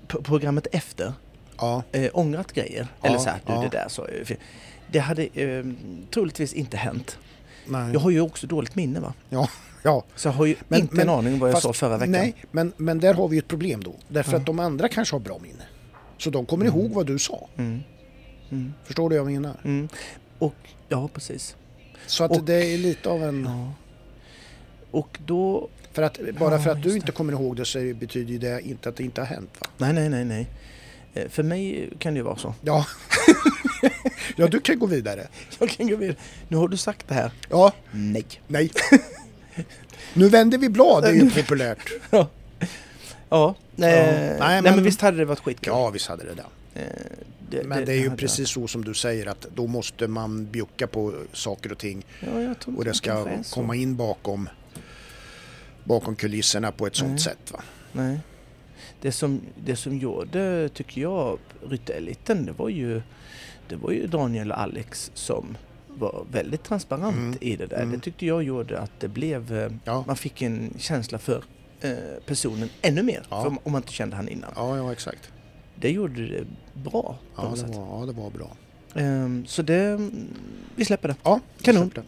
Speaker 2: p- programmet efter
Speaker 1: Ja,
Speaker 2: eh, ångrat grejer.
Speaker 1: Ja,
Speaker 2: Eller så här, du
Speaker 1: ja.
Speaker 2: det där sa jag ju fel. Det hade eh, troligtvis inte hänt.
Speaker 1: Mm. nej.
Speaker 2: Jag har ju också dåligt minne va?
Speaker 1: Ja, ja.
Speaker 2: Så jag har ju
Speaker 1: Men-
Speaker 2: inte
Speaker 1: men-
Speaker 2: en aning om vad jag
Speaker 1: fast-
Speaker 2: sa förra veckan.
Speaker 1: Nej, men, men där har vi ju ett problem då. Därför att de andra kanske har bra minne. Så de kommer ihåg vad du sa.
Speaker 2: Mm. Mm.
Speaker 1: Förstår du vad jag menar?
Speaker 2: Mm. Och, ja precis.
Speaker 1: Så att
Speaker 2: Och-
Speaker 1: det är lite av en...
Speaker 2: Ja. Och då...
Speaker 1: För att, bara
Speaker 2: Ja,
Speaker 1: för att du
Speaker 2: just
Speaker 1: inte kommer ihåg det så betyder ju det inte att det inte har hänt va?
Speaker 2: Nej, nej, nej, nej. Eh, För mig kan det ju vara så.
Speaker 1: Ja. ja, du kan gå vidare.
Speaker 2: Jag kan gå vidare. Nu har du sagt det här.
Speaker 1: Ja,
Speaker 2: Nej.
Speaker 1: nej. Nu vänder vi blad, det är ju populärt.
Speaker 2: Ja. Ja. Nej, nej,
Speaker 1: Nej,
Speaker 2: men,
Speaker 1: men-
Speaker 2: visst hade det varit skitkul.
Speaker 1: Ja, visst hade det det.
Speaker 2: Eh,
Speaker 1: Men det är ju
Speaker 2: hade
Speaker 1: precis så som du säger att då måste man bjucka på saker och ting
Speaker 2: varit. Ja, jag tror
Speaker 1: och det
Speaker 2: kanske
Speaker 1: ska
Speaker 2: är så.
Speaker 1: komma in bakom bakom kulisserna på ett sånt
Speaker 2: Nej.
Speaker 1: sätt. Va?
Speaker 2: Nej. Det som, det som gjorde, tycker jag, Rytteliten, det var ju, det var ju Daniel och Alex som var väldigt transparent
Speaker 1: Mm.
Speaker 2: i det där.
Speaker 1: Mm.
Speaker 2: Det tyckte jag gjorde att det blev, eh,
Speaker 1: Ja.
Speaker 2: man fick en känsla för eh, personen ännu mer,
Speaker 1: Ja.
Speaker 2: för om- om man inte kände han innan.
Speaker 1: Ja, ja exakt.
Speaker 2: Det gjorde det bra på
Speaker 1: Ja
Speaker 2: något
Speaker 1: det,
Speaker 2: sätt.
Speaker 1: var, ja, det var bra.
Speaker 2: Ehm, Så det, vi släpper det.
Speaker 1: Ja, jag
Speaker 2: Kanon.
Speaker 1: köpte den.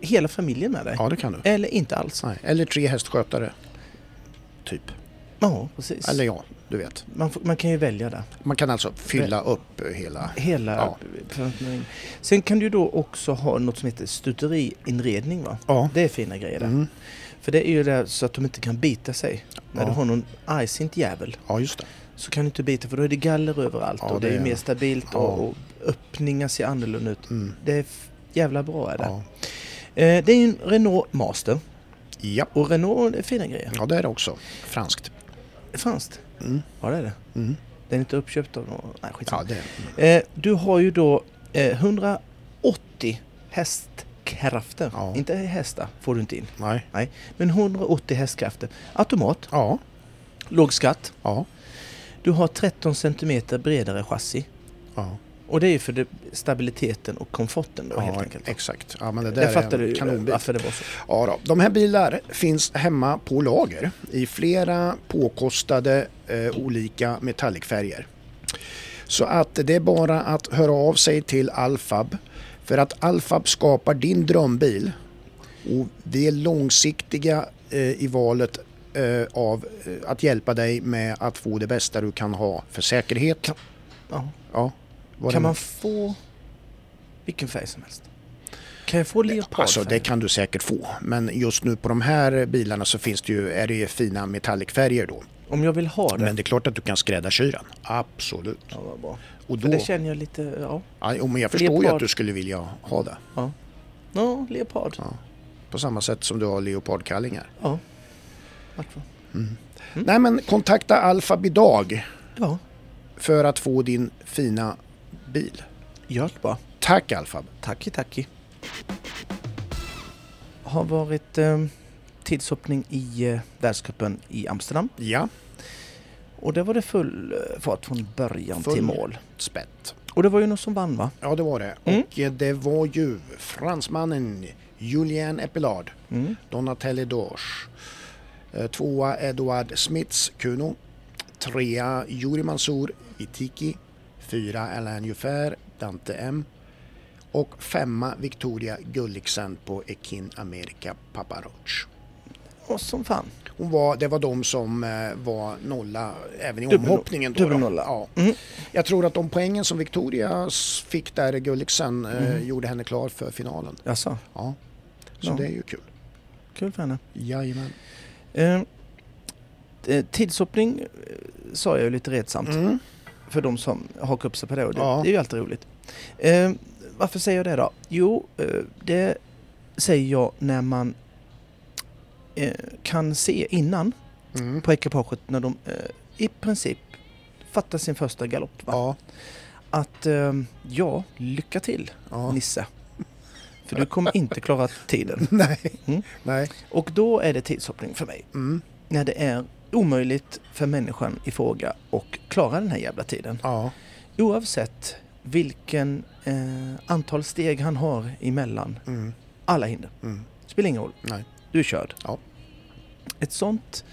Speaker 2: hela familjen med dig.
Speaker 1: ja, det kan du.
Speaker 2: Eller inte alls.
Speaker 1: Nej. Eller tre hästskötare, typ.
Speaker 2: Ja, precis.
Speaker 1: Eller ja, du vet.
Speaker 2: Man, får, man kan ju välja där.
Speaker 1: Man kan alltså fylla upp eh, hela...
Speaker 2: Hela...
Speaker 1: Ja.
Speaker 2: Sen kan du då också ha något som heter stuteriinredning va?
Speaker 1: Ja.
Speaker 2: Det är fina grejer där.
Speaker 1: Mm.
Speaker 2: För det är ju där så att de inte kan bita sig. När
Speaker 1: Ja.
Speaker 2: du har någon argsint jävel
Speaker 1: ja, just det.
Speaker 2: så kan du inte bita för då är det galler överallt
Speaker 1: Ja,
Speaker 2: och det är
Speaker 1: det
Speaker 2: ju
Speaker 1: är-
Speaker 2: mer stabilt
Speaker 1: Ja.
Speaker 2: och, och öppningar ser annorlunda ut.
Speaker 1: Mm.
Speaker 2: Det är f- jävla bra är det.
Speaker 1: Ja.
Speaker 2: Eh, det är ju en Renault Master
Speaker 1: ja,
Speaker 2: och Renault är fina grejer.
Speaker 1: ja, det är det också. Franskt.
Speaker 2: Det är Franskt?
Speaker 1: Mm.
Speaker 2: Ja det är det.
Speaker 1: Mm.
Speaker 2: Den är inte uppköpt av någon. Nej
Speaker 1: Ja,
Speaker 2: skitsamma.
Speaker 1: det är mm. det.
Speaker 2: eh, Du har ju då eh, 180 hästkrafter.
Speaker 1: Ja.
Speaker 2: Inte hästar får du inte in.
Speaker 1: Nej.
Speaker 2: Nej, men 180 hästkrafter. Automat,
Speaker 1: Ja,
Speaker 2: låg skatt.
Speaker 1: ja,
Speaker 2: Du har 13 cm bredare chassi.
Speaker 1: ja.
Speaker 2: Och det är ju för det, stabiliteten och komforten då
Speaker 1: ja
Speaker 2: helt enkelt.
Speaker 1: exakt. Ja, men det
Speaker 2: Det
Speaker 1: där
Speaker 2: fattar
Speaker 1: är
Speaker 2: du
Speaker 1: en
Speaker 2: ju
Speaker 1: kanonbil.
Speaker 2: varför det var så.
Speaker 1: Ja, då. De här bilar finns hemma på lager i flera påkostade eh, olika metallicfärger. Så att det är bara att höra av sig till Alfab för att Alfab skapar din drömbil och vi är långsiktiga eh, i valet eh, av eh, att hjälpa dig med att få det bästa du kan ha för säkerhet.
Speaker 2: Ja.
Speaker 1: Ja, vad
Speaker 2: Kan
Speaker 1: det-
Speaker 2: man få vilken färg som helst? Kan jag få leopardfärg?
Speaker 1: Alltså det kan du säkert få, men just nu på de här bilarna så finns det ju, är det ju fina metallicfärger då.
Speaker 2: Om jag vill ha det?
Speaker 1: Men det är klart att du kan skräddarsy den. Absolut.
Speaker 2: Ja, vad bra.
Speaker 1: Och då,
Speaker 2: För det känner jag lite, ja.
Speaker 1: ja, jo, men jag förstår ju
Speaker 2: Leopard.
Speaker 1: att du skulle vilja ha det.
Speaker 2: Ja, leopard.
Speaker 1: Ja. På samma sätt som du har leopardkallingar.
Speaker 2: Ja. Vart var- Mm.
Speaker 1: Nej men kontakta Alfab idag
Speaker 2: Ja,
Speaker 1: för att få din fina bil.
Speaker 2: gör det bara.
Speaker 1: Tack Alfab!
Speaker 2: Tacki, tacki. Har varit eh, tidshoppning i eh, världscupen i Amsterdam.
Speaker 1: Ja,
Speaker 2: Och där var det full eh, fart från början
Speaker 1: Full.
Speaker 2: till mål.
Speaker 1: spett.
Speaker 2: Och det var ju någon som vann va?
Speaker 1: Ja det var det.
Speaker 2: Mm.
Speaker 1: Och eh, det var ju fransmannen Julien Epelard,
Speaker 2: Mm.
Speaker 1: Donatelli Dorsch. Eh, Tvåa Edouard Smits Kuno. Trea Juri Mansour Itiki. Fyra Alain Jufer Dante M. Och femma Victoria Gulliksen på Ekin America Paparoch.
Speaker 2: Och som fan.
Speaker 1: Hon var, det var de som eh, var nolla även i
Speaker 2: Dubbel-
Speaker 1: omhoppningen. Då,
Speaker 2: dubbel
Speaker 1: då.
Speaker 2: nolla.
Speaker 1: Ja.
Speaker 2: Mm.
Speaker 1: Jag tror att de poängen som Victoria s- fick där i Gulliksen eh, gjorde henne klar för finalen.
Speaker 2: Jaså,
Speaker 1: Ja. Så
Speaker 2: Mm. Ja.
Speaker 1: det är ju kul.
Speaker 2: kul för henne.
Speaker 1: Jajamän.
Speaker 2: Eh, eh, tidshoppning eh, sa jag ju lite retsamt.
Speaker 1: Mm.
Speaker 2: För de som hakar upp sig på det. Och det,
Speaker 1: Ja.
Speaker 2: det är ju alltid roligt. Eh, varför säger jag det då? Jo, eh, det säger jag när man eh, kan se innan
Speaker 1: Mm.
Speaker 2: på ekipaget när de eh, i princip fattar sin första galopp. Va?
Speaker 1: Ja.
Speaker 2: Att eh, ja, lycka till
Speaker 1: ja.
Speaker 2: Nisse. För du kommer inte klara tiden.
Speaker 1: Nej.
Speaker 2: Mm.
Speaker 1: Nej.
Speaker 2: Och då är det tidshoppning för mig.
Speaker 1: Mm.
Speaker 2: När det är omöjligt för människan i fråga och klara den här jävla tiden.
Speaker 1: Ja.
Speaker 2: Oavsett vilken eh, antal steg han har emellan
Speaker 1: Mm.
Speaker 2: alla hinder.
Speaker 1: Mm.
Speaker 2: Spelar ingen roll.
Speaker 1: Nej.
Speaker 2: Du är körd.
Speaker 1: Ja.
Speaker 2: Ett sånt,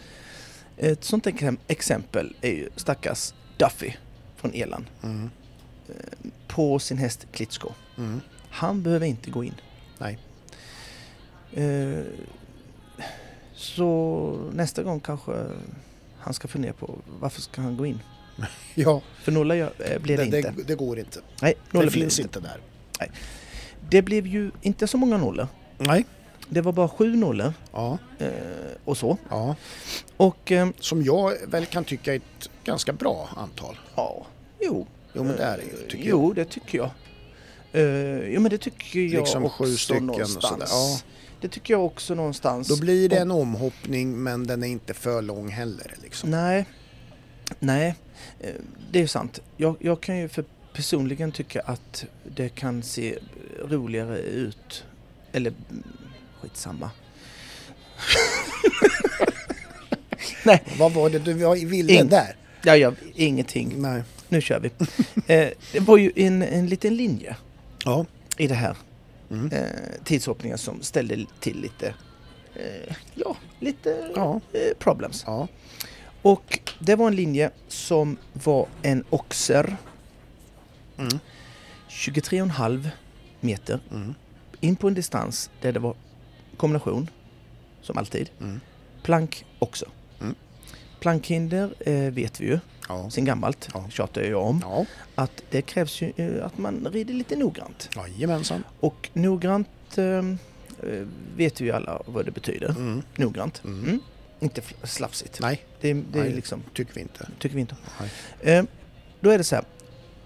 Speaker 2: ett sånt exem- exempel är ju stackars Duffy från Elan
Speaker 1: Mm.
Speaker 2: på sin häst Klitschko.
Speaker 1: Mm.
Speaker 2: Han behöver inte gå in.
Speaker 1: Nej.
Speaker 2: Eh, så nästa gång kanske han ska fundera på varför ska han gå in?
Speaker 1: Ja,
Speaker 2: För nolla gör- eh,
Speaker 1: det,
Speaker 2: blev det,
Speaker 1: det,
Speaker 2: inte.
Speaker 1: det, går inte.
Speaker 2: Nej,
Speaker 1: Det
Speaker 2: nolla blev
Speaker 1: finns
Speaker 2: det
Speaker 1: inte där.
Speaker 2: Det blev ju inte så många nollor.
Speaker 1: Nej.
Speaker 2: Det var bara sju nollor
Speaker 1: Ja,
Speaker 2: eh, och så.
Speaker 1: ja.
Speaker 2: Och eh,
Speaker 1: Som jag väl kan tycka är ett ganska bra antal.
Speaker 2: ja, jo.
Speaker 1: Jo men det är det ju Eh, tycker jag.
Speaker 2: Eh, jo, det tycker jag. Eh, jo, men det tycker jag
Speaker 1: Liksom
Speaker 2: också
Speaker 1: sju stycken och sådär,
Speaker 2: någonstans.
Speaker 1: ja.
Speaker 2: Det tycker jag också någonstans.
Speaker 1: Då blir det
Speaker 2: Och-
Speaker 1: en omhoppning men den är inte för lång heller. Liksom.
Speaker 2: Nej, nej, eh, det är sant. Jag, jag kan ju för personligen tycka att det kan se roligare ut. Eller mm, skitsamma. nej,
Speaker 1: Vad var det du ville
Speaker 2: In-
Speaker 1: där?
Speaker 2: jag gör ingenting.
Speaker 1: Nej.
Speaker 2: Nu kör vi. Eh, det var ju en, en liten linje
Speaker 1: Ja.
Speaker 2: i det här
Speaker 1: Mm.
Speaker 2: eh, tidshoppningen som ställde till lite, eh, ja, lite
Speaker 1: Ja.
Speaker 2: eh, problems.
Speaker 1: Ja.
Speaker 2: Och det var en linje som var en oxer
Speaker 1: Mm.
Speaker 2: 23,5 meter
Speaker 1: Mm.
Speaker 2: in på en distans där det var kombination, som alltid.
Speaker 1: Mm.
Speaker 2: Plank också.
Speaker 1: Mm.
Speaker 2: Plankhinder eh, vet vi ju
Speaker 1: Ja.
Speaker 2: sen gammalt,
Speaker 1: Ja.
Speaker 2: tjatar jag om,
Speaker 1: Ja.
Speaker 2: att det krävs ju eh, att man rider lite noggrant.
Speaker 1: Jajamensan.
Speaker 2: Och noggrant eh, eh, vet vi ju alla vad det betyder.
Speaker 1: Mm.
Speaker 2: Noggrant.
Speaker 1: Mm.
Speaker 2: Mm. Inte fl- slafsigt.
Speaker 1: Nej,
Speaker 2: Det, det är
Speaker 1: Nej.
Speaker 2: liksom,
Speaker 1: tycker vi inte.
Speaker 2: tycker vi inte om.
Speaker 1: Nej.
Speaker 2: Eh, då är det så här.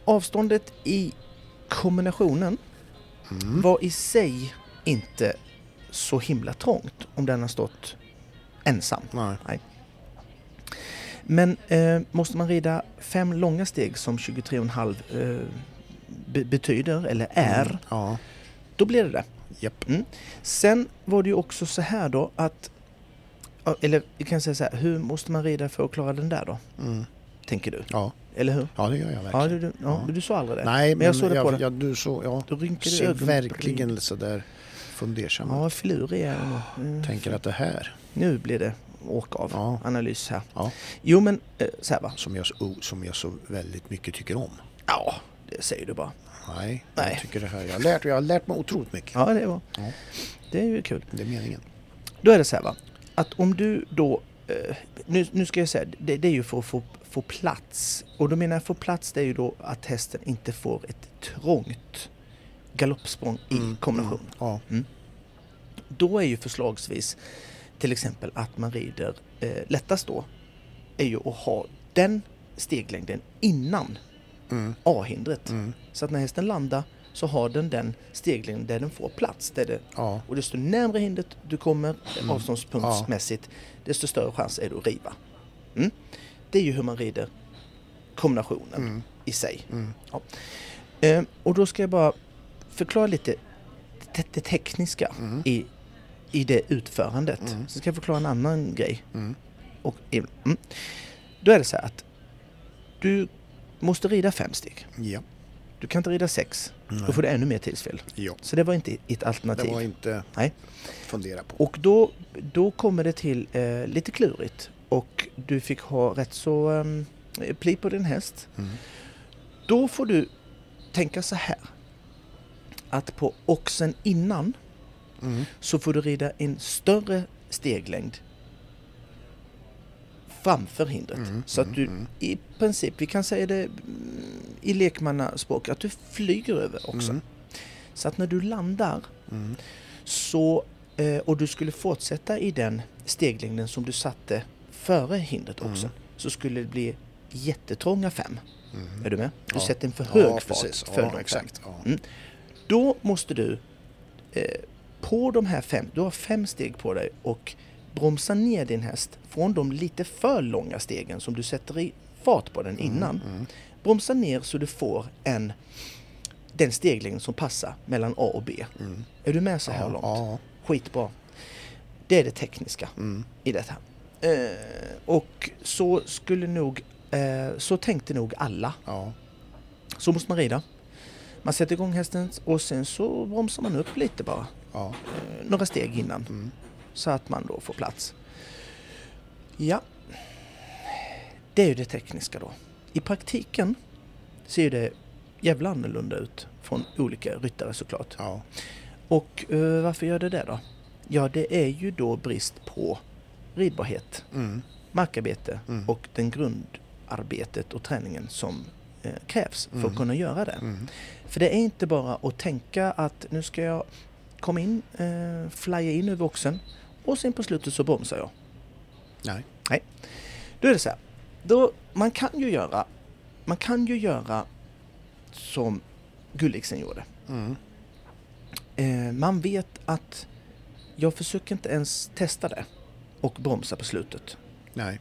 Speaker 2: Avståndet i kombinationen
Speaker 1: Mm.
Speaker 2: var i sig inte så himla trångt om den har stått ensam.
Speaker 1: Nej.
Speaker 2: Men eh, måste man rida fem långa steg som 23,5 eh, be- betyder eller är,
Speaker 1: Mm. Ja.
Speaker 2: då blir det det.
Speaker 1: Japp.
Speaker 2: Sen var det ju också så här då att, ja, eller vi kan säga så här, hur måste man rida för att klara den där då?
Speaker 1: Mm.
Speaker 2: Tänker du,
Speaker 1: Ja.
Speaker 2: eller hur?
Speaker 1: ja, det gör jag
Speaker 2: Ja,
Speaker 1: verkligen.
Speaker 2: du, du, ja,
Speaker 1: Ja.
Speaker 2: du sa aldrig det.
Speaker 1: Nej, men,
Speaker 2: jag såg det på
Speaker 1: jag,
Speaker 2: dig.
Speaker 1: jag, du så, ja.
Speaker 2: Då rynkade du
Speaker 1: Ser
Speaker 2: ögonbrynen.
Speaker 1: verkligen sådär fundersam ut.
Speaker 2: Ja, filurig är jag nu. Mm.
Speaker 1: Tänker att det här,
Speaker 2: Nu blir det åka av.
Speaker 1: Ja.
Speaker 2: Analys här.
Speaker 1: Ja.
Speaker 2: Jo men, eh, så här va.
Speaker 1: som jag, så- som jag så väldigt mycket tycker om.
Speaker 2: Ja, det säger du bara.
Speaker 1: Nej,
Speaker 2: Nej.
Speaker 1: jag tycker det här. Jag har lärt, jag har lärt mig otroligt mycket.
Speaker 2: Ja, det var.
Speaker 1: Ja.
Speaker 2: Det är ju kul.
Speaker 1: Det är meningen.
Speaker 2: Då är det så här va. Att om du då, eh, nu, nu ska jag säga, det, det är ju för att få, få plats. Och då menar jag få plats, det är ju då att hästen inte får ett trångt galoppsprång i
Speaker 1: Mm,
Speaker 2: kombination.
Speaker 1: mm, Ja.
Speaker 2: Då är ju förslagsvis till exempel att man rider eh, lättast då är ju att ha den steglängden innan
Speaker 1: Mm,
Speaker 2: A-hindret.
Speaker 1: mm,
Speaker 2: Så att när hästen landar så har den den steglängden där den får plats. Där det,
Speaker 1: ja.
Speaker 2: och desto närmre hindret du kommer
Speaker 1: Mm.
Speaker 2: avståndspunktsmässigt desto större chans är det att riva. Mm. Det är ju hur man rider kombinationen
Speaker 1: Mm,
Speaker 2: i sig.
Speaker 1: mm,
Speaker 2: Ja. Eh, och då ska jag bara förklara lite det, det tekniska
Speaker 1: Mm.
Speaker 2: i, i det utförandet.
Speaker 1: Mm.
Speaker 2: Så ska jag förklara en annan grej.
Speaker 1: mm,
Speaker 2: Och, mm. Då är det så här att du måste rida fem steg.
Speaker 1: ja.
Speaker 2: Du kan inte rida sex.
Speaker 1: Nej.
Speaker 2: Då får du ännu mer tidsfel.
Speaker 1: ja.
Speaker 2: Så det var inte ett
Speaker 1: Det
Speaker 2: alternativ.
Speaker 1: var inte
Speaker 2: Nej.
Speaker 1: fundera på.
Speaker 2: Och då, då kommer det till eh, lite klurigt. Och du fick ha rätt så ehm, pli på din häst.
Speaker 1: Mm,
Speaker 2: Då får du tänka så här. Att på oxen innan
Speaker 1: mm,
Speaker 2: så får du rida en större steglängd framför hindret.
Speaker 1: Mm,
Speaker 2: så att du
Speaker 1: mm.
Speaker 2: i princip, vi kan säga det mm, i lekmannaspråk, att du flyger över också.
Speaker 1: Mm.
Speaker 2: Så att när du landar
Speaker 1: mm,
Speaker 2: så, eh, och du skulle fortsätta i den steglängden som du satte före hindret också, så skulle det bli jättetrånga fem.
Speaker 1: mm.
Speaker 2: Är du med? Du
Speaker 1: Ja.
Speaker 2: sätter en för hög
Speaker 1: Ja,
Speaker 2: fart
Speaker 1: precis.
Speaker 2: för
Speaker 1: Ja,
Speaker 2: de
Speaker 1: exakt.
Speaker 2: fem.
Speaker 1: Ja.
Speaker 2: Mm. Då måste du eh, på de här fem, du har fem steg på dig och bromsa ner din häst från de lite för långa stegen som du sätter i fart på den
Speaker 1: Mm.
Speaker 2: innan. Bromsa ner så du får en, den steglängd som passar mellan A och B.
Speaker 1: Mm.
Speaker 2: Är du med så här
Speaker 1: Ja,
Speaker 2: långt?
Speaker 1: ja.
Speaker 2: Skitbra. Det är det tekniska
Speaker 1: Mm.
Speaker 2: i detta. Eh, och så skulle nog, eh, så tänkte nog alla.
Speaker 1: Ja.
Speaker 2: Så måste man rida. Man sätter igång hästen och sen så bromsar man upp lite bara.
Speaker 1: Ja.
Speaker 2: Eh, några steg innan.
Speaker 1: Mm.
Speaker 2: Så att man då får plats. Ja. Det är ju det tekniska då. I praktiken ser det jävla annorlunda ut från olika ryttare såklart.
Speaker 1: Ja.
Speaker 2: Och eh, varför gör det det då? Ja, det är ju då brist på ridbarhet,
Speaker 1: Mm.
Speaker 2: markarbete
Speaker 1: Mm.
Speaker 2: och den grundarbetet och träningen som eh, krävs för
Speaker 1: Mm.
Speaker 2: att kunna göra det.
Speaker 1: Mm.
Speaker 2: För det är inte bara att tänka att nu ska jag kom in, eh, flya in över boxen och sen på slutet så bromsar jag.
Speaker 1: Nej.
Speaker 2: Då är det så här. Då, man kan ju göra, man kan ju göra som Gulliksen gjorde.
Speaker 1: Mm.
Speaker 2: Eh, man vet att jag försöker inte ens testa det och bromsa på slutet.
Speaker 1: Nej.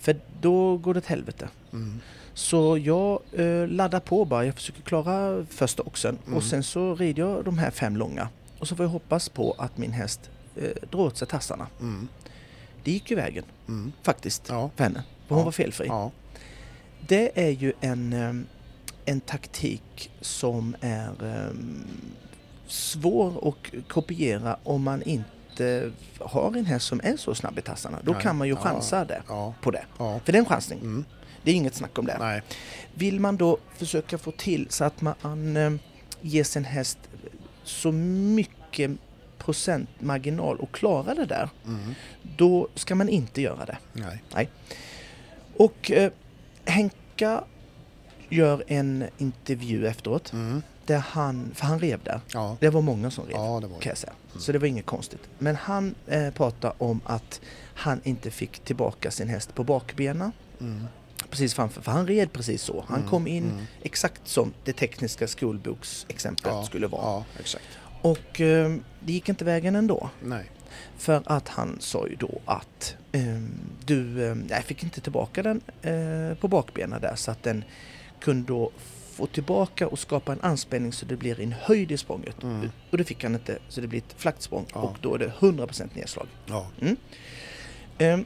Speaker 2: För då går det till helvete.
Speaker 1: Mm.
Speaker 2: Så jag eh, laddar på bara. Jag försöker klara första oxen
Speaker 1: Mm.
Speaker 2: och sen så rider jag de här fem långa. Och så får jag hoppas på att min häst eh, drar åt sig tassarna.
Speaker 1: Mm.
Speaker 2: Det gick ju vägen
Speaker 1: Mm.
Speaker 2: faktiskt
Speaker 1: Ja.
Speaker 2: för henne. För hon
Speaker 1: Ja.
Speaker 2: var felfri.
Speaker 1: Ja.
Speaker 2: Det är ju en, ehm, en taktik som är ehm, svår att kopiera om man inte har en häst som är så snabb i tassarna. Då
Speaker 1: Nej.
Speaker 2: kan man ju
Speaker 1: Ja.
Speaker 2: chansa det,
Speaker 1: Ja.
Speaker 2: på det.
Speaker 1: Ja.
Speaker 2: För det är en chansning.
Speaker 1: Mm.
Speaker 2: Det är inget snack om det.
Speaker 1: Nej.
Speaker 2: Vill man då försöka få till så att man eh, ger sin häst så mycket procentmarginal och klara det där,
Speaker 1: Mm.
Speaker 2: då ska man inte göra det.
Speaker 1: Nej.
Speaker 2: Och eh, Henka gör en intervju efteråt,
Speaker 1: Mm.
Speaker 2: där han, för han rev där.
Speaker 1: Ja.
Speaker 2: Det var många som rev,
Speaker 1: Ja, Mm. det var
Speaker 2: kan
Speaker 1: det.
Speaker 2: jag säga. Så det var inget konstigt. Men han eh, pratar om att han inte fick tillbaka sin häst på bakbenen.
Speaker 1: Mm.
Speaker 2: Precis framför, för han red precis så. Han
Speaker 1: Mm,
Speaker 2: kom in
Speaker 1: mm.
Speaker 2: exakt som det tekniska skolboksexemplet
Speaker 1: Ja.
Speaker 2: skulle vara.
Speaker 1: Ja, exakt.
Speaker 2: Och eh, det gick inte vägen ändå.
Speaker 1: Nej.
Speaker 2: För att han sa ju då att ehm, du, eh, jag fick inte tillbaka den eh, på bakbenen där så att den kunde då få tillbaka och skapa en anspänning så det blir en höjd i språnget.
Speaker 1: Mm.
Speaker 2: Och det fick han inte så det blir ett flackt språng
Speaker 1: Ja.
Speaker 2: och då är det 100% nedslag.
Speaker 1: Ja.
Speaker 2: Ehm,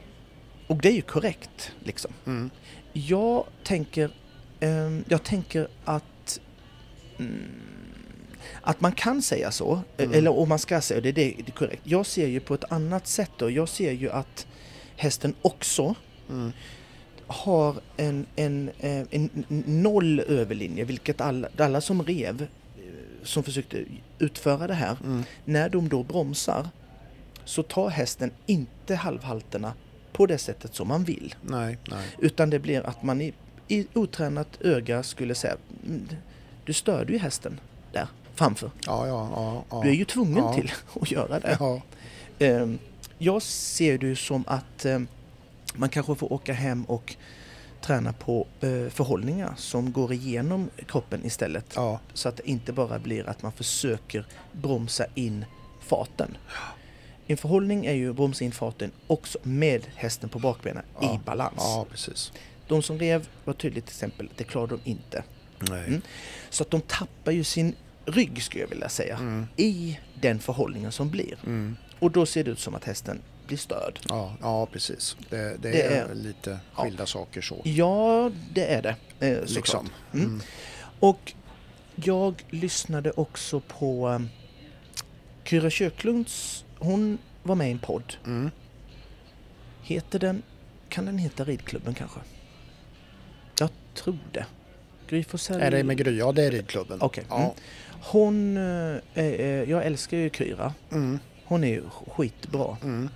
Speaker 2: och det är ju korrekt liksom.
Speaker 1: Mm.
Speaker 2: Jag tänker, ehm, jag tänker att mm, att man kan säga så, eh,
Speaker 1: Mm.
Speaker 2: eller om man ska säga det, det det är korrekt. Jag ser ju på ett annat sätt då. Jag ser ju att hästen också
Speaker 1: Mm.
Speaker 2: har en, en, eh, en n- noll överlinje, vilket alla, alla som rev, eh, som försökte utföra det här,
Speaker 1: Mm.
Speaker 2: när de då bromsar så tar hästen inte halvhalterna på det sättet som man vill.
Speaker 1: Nej. Nej.
Speaker 2: Utan det blir att man i, i otränat öga skulle säga "Mm, Du störde ju hästen där framför.
Speaker 1: Ja, ja, ja. ja.
Speaker 2: Du är ju tvungen
Speaker 1: Ja.
Speaker 2: till att göra det.
Speaker 1: Ja.
Speaker 2: Ehm, Jag ser det ju som att ehm, man kanske får åka hem och träna på eh, förhållningar som går igenom kroppen istället.
Speaker 1: Ja.
Speaker 2: Så att det inte bara blir att man försöker bromsa in farten. En förhållning är ju att bromsa in farten också med hästen på bakbenen i
Speaker 1: Ja.
Speaker 2: balans.
Speaker 1: Ja, precis.
Speaker 2: De som rev var tydligt till exempel, det klarade de inte.
Speaker 1: Nej.
Speaker 2: Mm. Så att de tappar ju sin rygg skulle jag vilja säga
Speaker 1: Mm.
Speaker 2: i den förhållningen som blir.
Speaker 1: Mm.
Speaker 2: Och då ser det ut som att hästen blir störd.
Speaker 1: Ja, ja, precis. Det, det,
Speaker 2: Det
Speaker 1: är,
Speaker 2: är-
Speaker 1: lite
Speaker 2: ja.
Speaker 1: skilda saker så.
Speaker 2: Ja, det är det. Eh, såklart.
Speaker 1: Liksom.
Speaker 2: Mm.
Speaker 1: Mm.
Speaker 2: Och jag lyssnade också på eh, Kyra Köklunds, hon var med i en podd.
Speaker 1: Mm.
Speaker 2: Heter den, kan den heta Ridklubben kanske? Jag tror det. Gry Forssell-
Speaker 1: Mm. Är det med Gry? Ja, det är ridklubben.
Speaker 2: Okej. Mm.
Speaker 1: Ja.
Speaker 2: Hon, eh, eh, jag älskar ju Kyra.
Speaker 1: Mm.
Speaker 2: Hon är ju skitbra.
Speaker 1: Mm.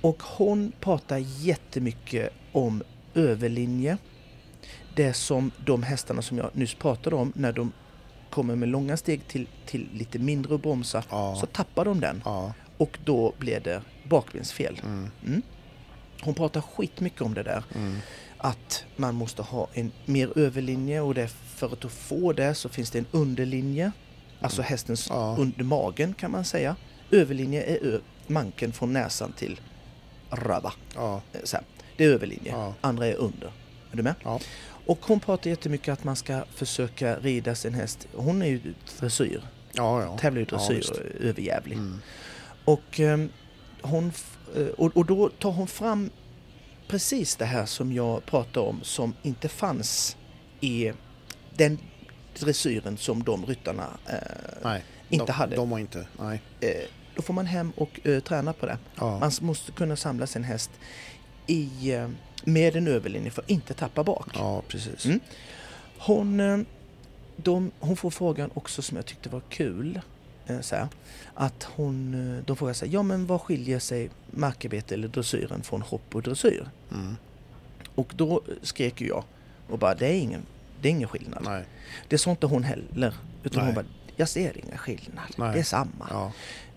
Speaker 2: Och hon pratar jättemycket om överlinje. Det som de hästarna som jag nyss pratade om, när de kommer med långa steg till, till lite mindre och bromsar,
Speaker 1: Ja.
Speaker 2: så tappar de den.
Speaker 1: Ja.
Speaker 2: Och då blir det bakbensfel.
Speaker 1: Mm.
Speaker 2: Hon pratar skitmycket om det där.
Speaker 1: Mm.
Speaker 2: Att man måste ha en mer överlinje och det, för att få det så finns det en underlinje. Alltså hästens
Speaker 1: Mm. Ja.
Speaker 2: under magen kan man säga. Överlinje är ö- manken från näsan till röva.
Speaker 1: Ja.
Speaker 2: Eh, Så här. Det är överlinje.
Speaker 1: Ja.
Speaker 2: Andra är under. Är du med?
Speaker 1: Ja.
Speaker 2: Och hon pratar jättemycket att man ska försöka rida sin häst. Hon är ju dressyr.
Speaker 1: Ja, ja.
Speaker 2: Tävlar ju i
Speaker 1: Ja,
Speaker 2: dressyr
Speaker 1: visst.
Speaker 2: och är överjävlig.
Speaker 1: Mm.
Speaker 2: Och, ehm, hon, f- eh, och, och då tar hon fram precis det här som jag pratar om som inte fanns i den dressyren som de ryttarna... Eh,
Speaker 1: Nej.
Speaker 2: Inte
Speaker 1: de,
Speaker 2: hade.
Speaker 1: De var inte. Nej.
Speaker 2: eh, då får man hem och eh, träna på det.
Speaker 1: Ja.
Speaker 2: Man s- måste kunna samla sin häst i, eh, med en överlinje för att inte tappa bak.
Speaker 1: Ja, precis.
Speaker 2: Mm. Hon, eh, de, hon får frågan också som jag tyckte var kul. eh, Så här, att hon, eh, de frågar sig, ja men vad skiljer sig markarbete eller dressyren från hopp och dressyr?
Speaker 1: Mm.
Speaker 2: Och då eh, skrek ju jag och bara, det är ingen, det är ingen skillnad.
Speaker 1: Nej.
Speaker 2: Det sa inte hon heller. Utan
Speaker 1: Nej.
Speaker 2: hon bara, jag Jag ser ingen skillnad.
Speaker 1: Nej.
Speaker 2: Det är samma.
Speaker 1: Ja.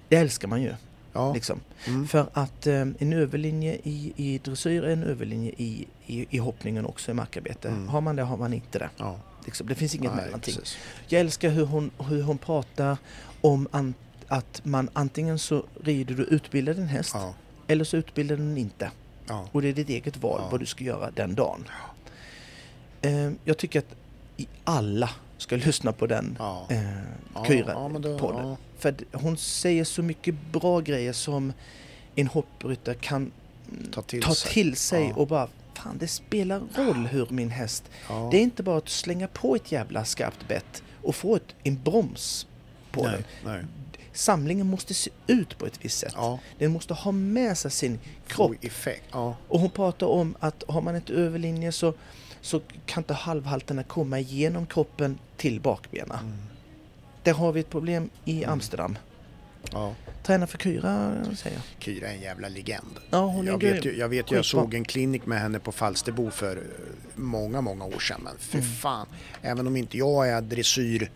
Speaker 2: Det älskar man ju.
Speaker 1: Ja.
Speaker 2: Liksom.
Speaker 1: Mm.
Speaker 2: För att eh, en överlinje i, i dressyr är en överlinje i, i, i hoppningen också i markarbete.
Speaker 1: Mm.
Speaker 2: Har man det har man inte det.
Speaker 1: ja.
Speaker 2: Liksom. Det finns inget
Speaker 1: Nej,
Speaker 2: mellanting.
Speaker 1: precis.
Speaker 2: Jag älskar hur hon, hur hon pratar om an, att man antingen så rider du utbildad en häst
Speaker 1: Ja.
Speaker 2: eller så utbildar du den inte.
Speaker 1: Ja.
Speaker 2: Och det är ditt eget val
Speaker 1: Ja.
Speaker 2: vad du ska göra den dagen. Eh, jag tycker att i- alla ska lyssna på den
Speaker 1: Ja.
Speaker 2: eh,
Speaker 1: Ja, ja, men då-
Speaker 2: Kyra-podden.
Speaker 1: ja.
Speaker 2: För att hon säger så mycket bra grejer som en hoppryttare kan mm,
Speaker 1: Ta till
Speaker 2: ta
Speaker 1: sig.
Speaker 2: till sig
Speaker 1: Ja.
Speaker 2: och bara Fan, det spelar roll hur min häst...
Speaker 1: Ja.
Speaker 2: Det är inte bara att slänga på ett jävla skarpt bett och få ett, en broms på den.
Speaker 1: nej, nej.
Speaker 2: Samlingen måste se ut på ett visst sätt.
Speaker 1: Ja.
Speaker 2: Den måste ha med sig sin kropp.
Speaker 1: Få effekt. Ja.
Speaker 2: Och hon pratar om att har man ett överlinje så, så kan inte halvhalterna komma igenom kroppen till bakbenen.
Speaker 1: Mm.
Speaker 2: Där har vi ett problem i Amsterdam.
Speaker 1: Ja.
Speaker 2: Träna för Kyra, säger jag.
Speaker 1: Kyra är en jävla legend.
Speaker 2: Ja, hon är
Speaker 1: jag,
Speaker 2: grym.
Speaker 1: vet ju, jag vet ju, jag
Speaker 2: Skitbra.
Speaker 1: såg en klinik med henne på Falsterbo för eh, många, många år sedan. Men för
Speaker 2: Mm.
Speaker 1: fan, även om inte jag är dressyr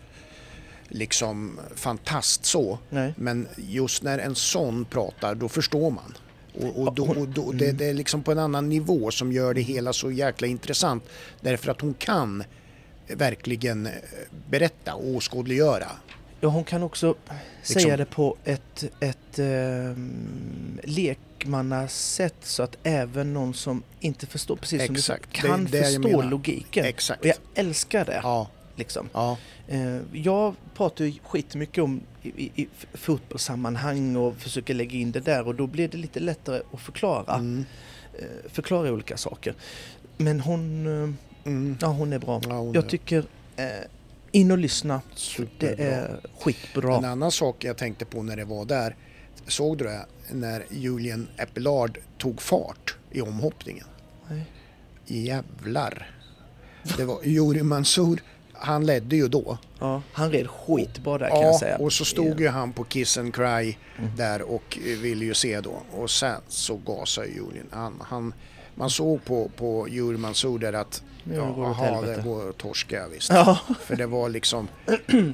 Speaker 1: liksom fantast så.
Speaker 2: Nej.
Speaker 1: Men just när en sån pratar, då förstår man. Och, och, då, och då, det, det är liksom på en annan nivå som gör det hela så jäkla intressant. Därför att hon kan verkligen eh, berätta och åskådliggöra.
Speaker 2: Ja, hon kan också säga
Speaker 1: Liksom-
Speaker 2: det på ett, ett ehm, lekmannasätt så att även någon som inte förstår, precis som
Speaker 1: Exakt.
Speaker 2: du sa, kan
Speaker 1: Det är det jag
Speaker 2: förstå
Speaker 1: menar.
Speaker 2: logiken.
Speaker 1: Exakt.
Speaker 2: Och jag älskar det.
Speaker 1: Ja,
Speaker 2: Liksom.
Speaker 1: ja,
Speaker 2: Eh, Jag pratar ju skitmycket om i, i, i f- fotbollssammanhang och försöker lägga in det där och då blir det lite lättare att förklara.
Speaker 1: Mm.
Speaker 2: eh, Förklara olika saker. Men hon, eh,
Speaker 1: mm,
Speaker 2: ja, hon är bra.
Speaker 1: Ja, hon
Speaker 2: Jag
Speaker 1: är-
Speaker 2: tycker, eh, in och lyssna. Det
Speaker 1: superbra.
Speaker 2: är skitbra.
Speaker 1: En annan sak jag tänkte på när det var där, såg du det? När Julian Eppelard tog fart i omhoppningen.
Speaker 2: Nej.
Speaker 1: Jävlar! Det var Juri Mansour, han ledde ju då.
Speaker 2: Ja, han red skitbra där kan
Speaker 1: ja,
Speaker 2: jag säga.
Speaker 1: och så stod ju han på Kiss and Cry där och eh, ville ju se då. Och sen så gasade ju Julian. Han, han, man såg på, på Juri Mansour där att
Speaker 2: Nu
Speaker 1: ja,
Speaker 2: går det åt
Speaker 1: aha,
Speaker 2: helvete.
Speaker 1: det går att torska visst.
Speaker 2: Ja,
Speaker 1: För det var liksom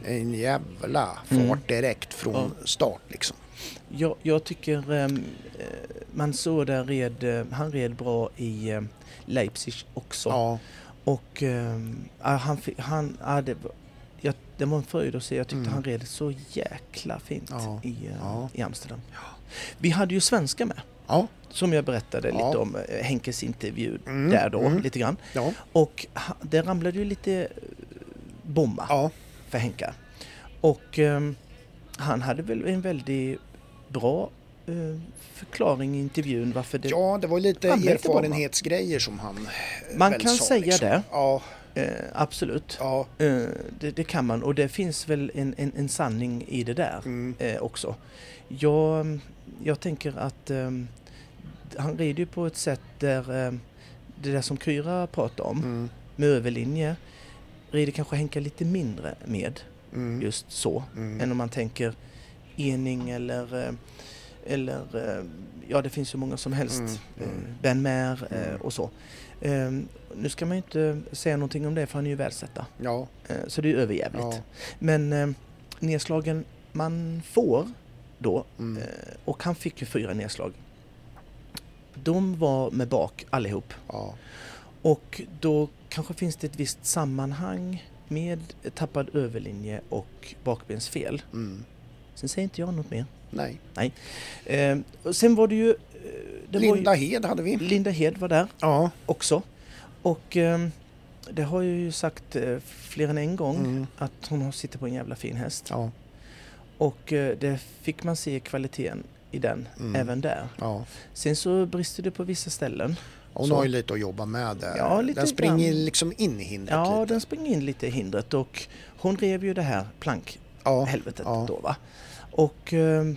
Speaker 1: en jävla
Speaker 2: Mm.
Speaker 1: fart direkt från start liksom.
Speaker 2: jag, jag tycker ehm, eh, Mansour där red, eh, han red bra i eh, Leipzig också.
Speaker 1: Ja,
Speaker 2: Och ehm, ah, han, fi- han ah, det, var- jag, det var en fröjd att se. Jag tyckte
Speaker 1: Mm.
Speaker 2: han red så jäkla fint
Speaker 1: Ja.
Speaker 2: i, eh,
Speaker 1: Ja.
Speaker 2: i Amsterdam. Vi hade ju svenska med.
Speaker 1: ja,
Speaker 2: Som jag berättade
Speaker 1: Ja.
Speaker 2: lite om eh, Henkes intervju
Speaker 1: Mm,
Speaker 2: där då,
Speaker 1: mm.
Speaker 2: lite grann.
Speaker 1: ja,
Speaker 2: Och ha- det ramlade ju lite eh, bomba.
Speaker 1: ja.
Speaker 2: för Henka. Och ehm, han hade väl en väldigt bra eh, förklaring i intervjun varför det...
Speaker 1: Ja, det var lite
Speaker 2: Han vet inte vad man-
Speaker 1: erfarenhetsgrejer som han eh,
Speaker 2: Man
Speaker 1: väl
Speaker 2: kan
Speaker 1: sa,
Speaker 2: säga
Speaker 1: liksom.
Speaker 2: det.
Speaker 1: Ja,
Speaker 2: Eh, absolut.
Speaker 1: ja,
Speaker 2: Eh, det, det kan man och det finns väl en, en, en sanning i det där
Speaker 1: mm,
Speaker 2: eh, också. Jag, jag tänker att ehm, han rider ju på ett sätt där ehm, det där som Kyra pratar om
Speaker 1: mm,
Speaker 2: med överlinje rider kanske Henka lite mindre med
Speaker 1: mm,
Speaker 2: just så.
Speaker 1: mm.
Speaker 2: än om man tänker ening eller, eh, eller eh, ja det finns ju många som helst,
Speaker 1: Mm,
Speaker 2: eh,
Speaker 1: mm.
Speaker 2: Ben Maher eh,
Speaker 1: Mm.
Speaker 2: och så. Eh, Nu ska man ju inte säga någonting om det för han är ju världsetta,
Speaker 1: Ja,
Speaker 2: Eh, så det är ju överjävligt.
Speaker 1: ja,
Speaker 2: Men eh, nedslagen man får då,
Speaker 1: mm,
Speaker 2: eh, och han fick ju fyra nedslag, de var med bak allihop.
Speaker 1: ja,
Speaker 2: Och då kanske finns det ett visst sammanhang med tappad överlinje och bakbensfel.
Speaker 1: mm.
Speaker 2: Sen säger inte jag något mer.
Speaker 1: Nej.
Speaker 2: Eh, och sen var det ju... eh, Det
Speaker 1: Linda
Speaker 2: var
Speaker 1: Hed hade
Speaker 2: ju
Speaker 1: vi.
Speaker 2: Linda Hed var där
Speaker 1: Ja,
Speaker 2: också. Och eh, det har jag ju sagt eh, fler än en gång
Speaker 1: mm,
Speaker 2: att hon har- sitter på en jävla fin häst.
Speaker 1: ja,
Speaker 2: Och eh, det fick man se kvaliteten i den
Speaker 1: Mm.
Speaker 2: även där.
Speaker 1: ja.
Speaker 2: Sen så brister det på vissa ställen.
Speaker 1: Hon
Speaker 2: Så.
Speaker 1: har ju lite att jobba med där.
Speaker 2: Ja, lite
Speaker 1: den springer
Speaker 2: grann.
Speaker 1: liksom in i hindret
Speaker 2: Ja,
Speaker 1: lite.
Speaker 2: den springer in lite i hindret och hon rev ju det här plank
Speaker 1: Ja,
Speaker 2: helvetet
Speaker 1: ja.
Speaker 2: då va. Och, ehm,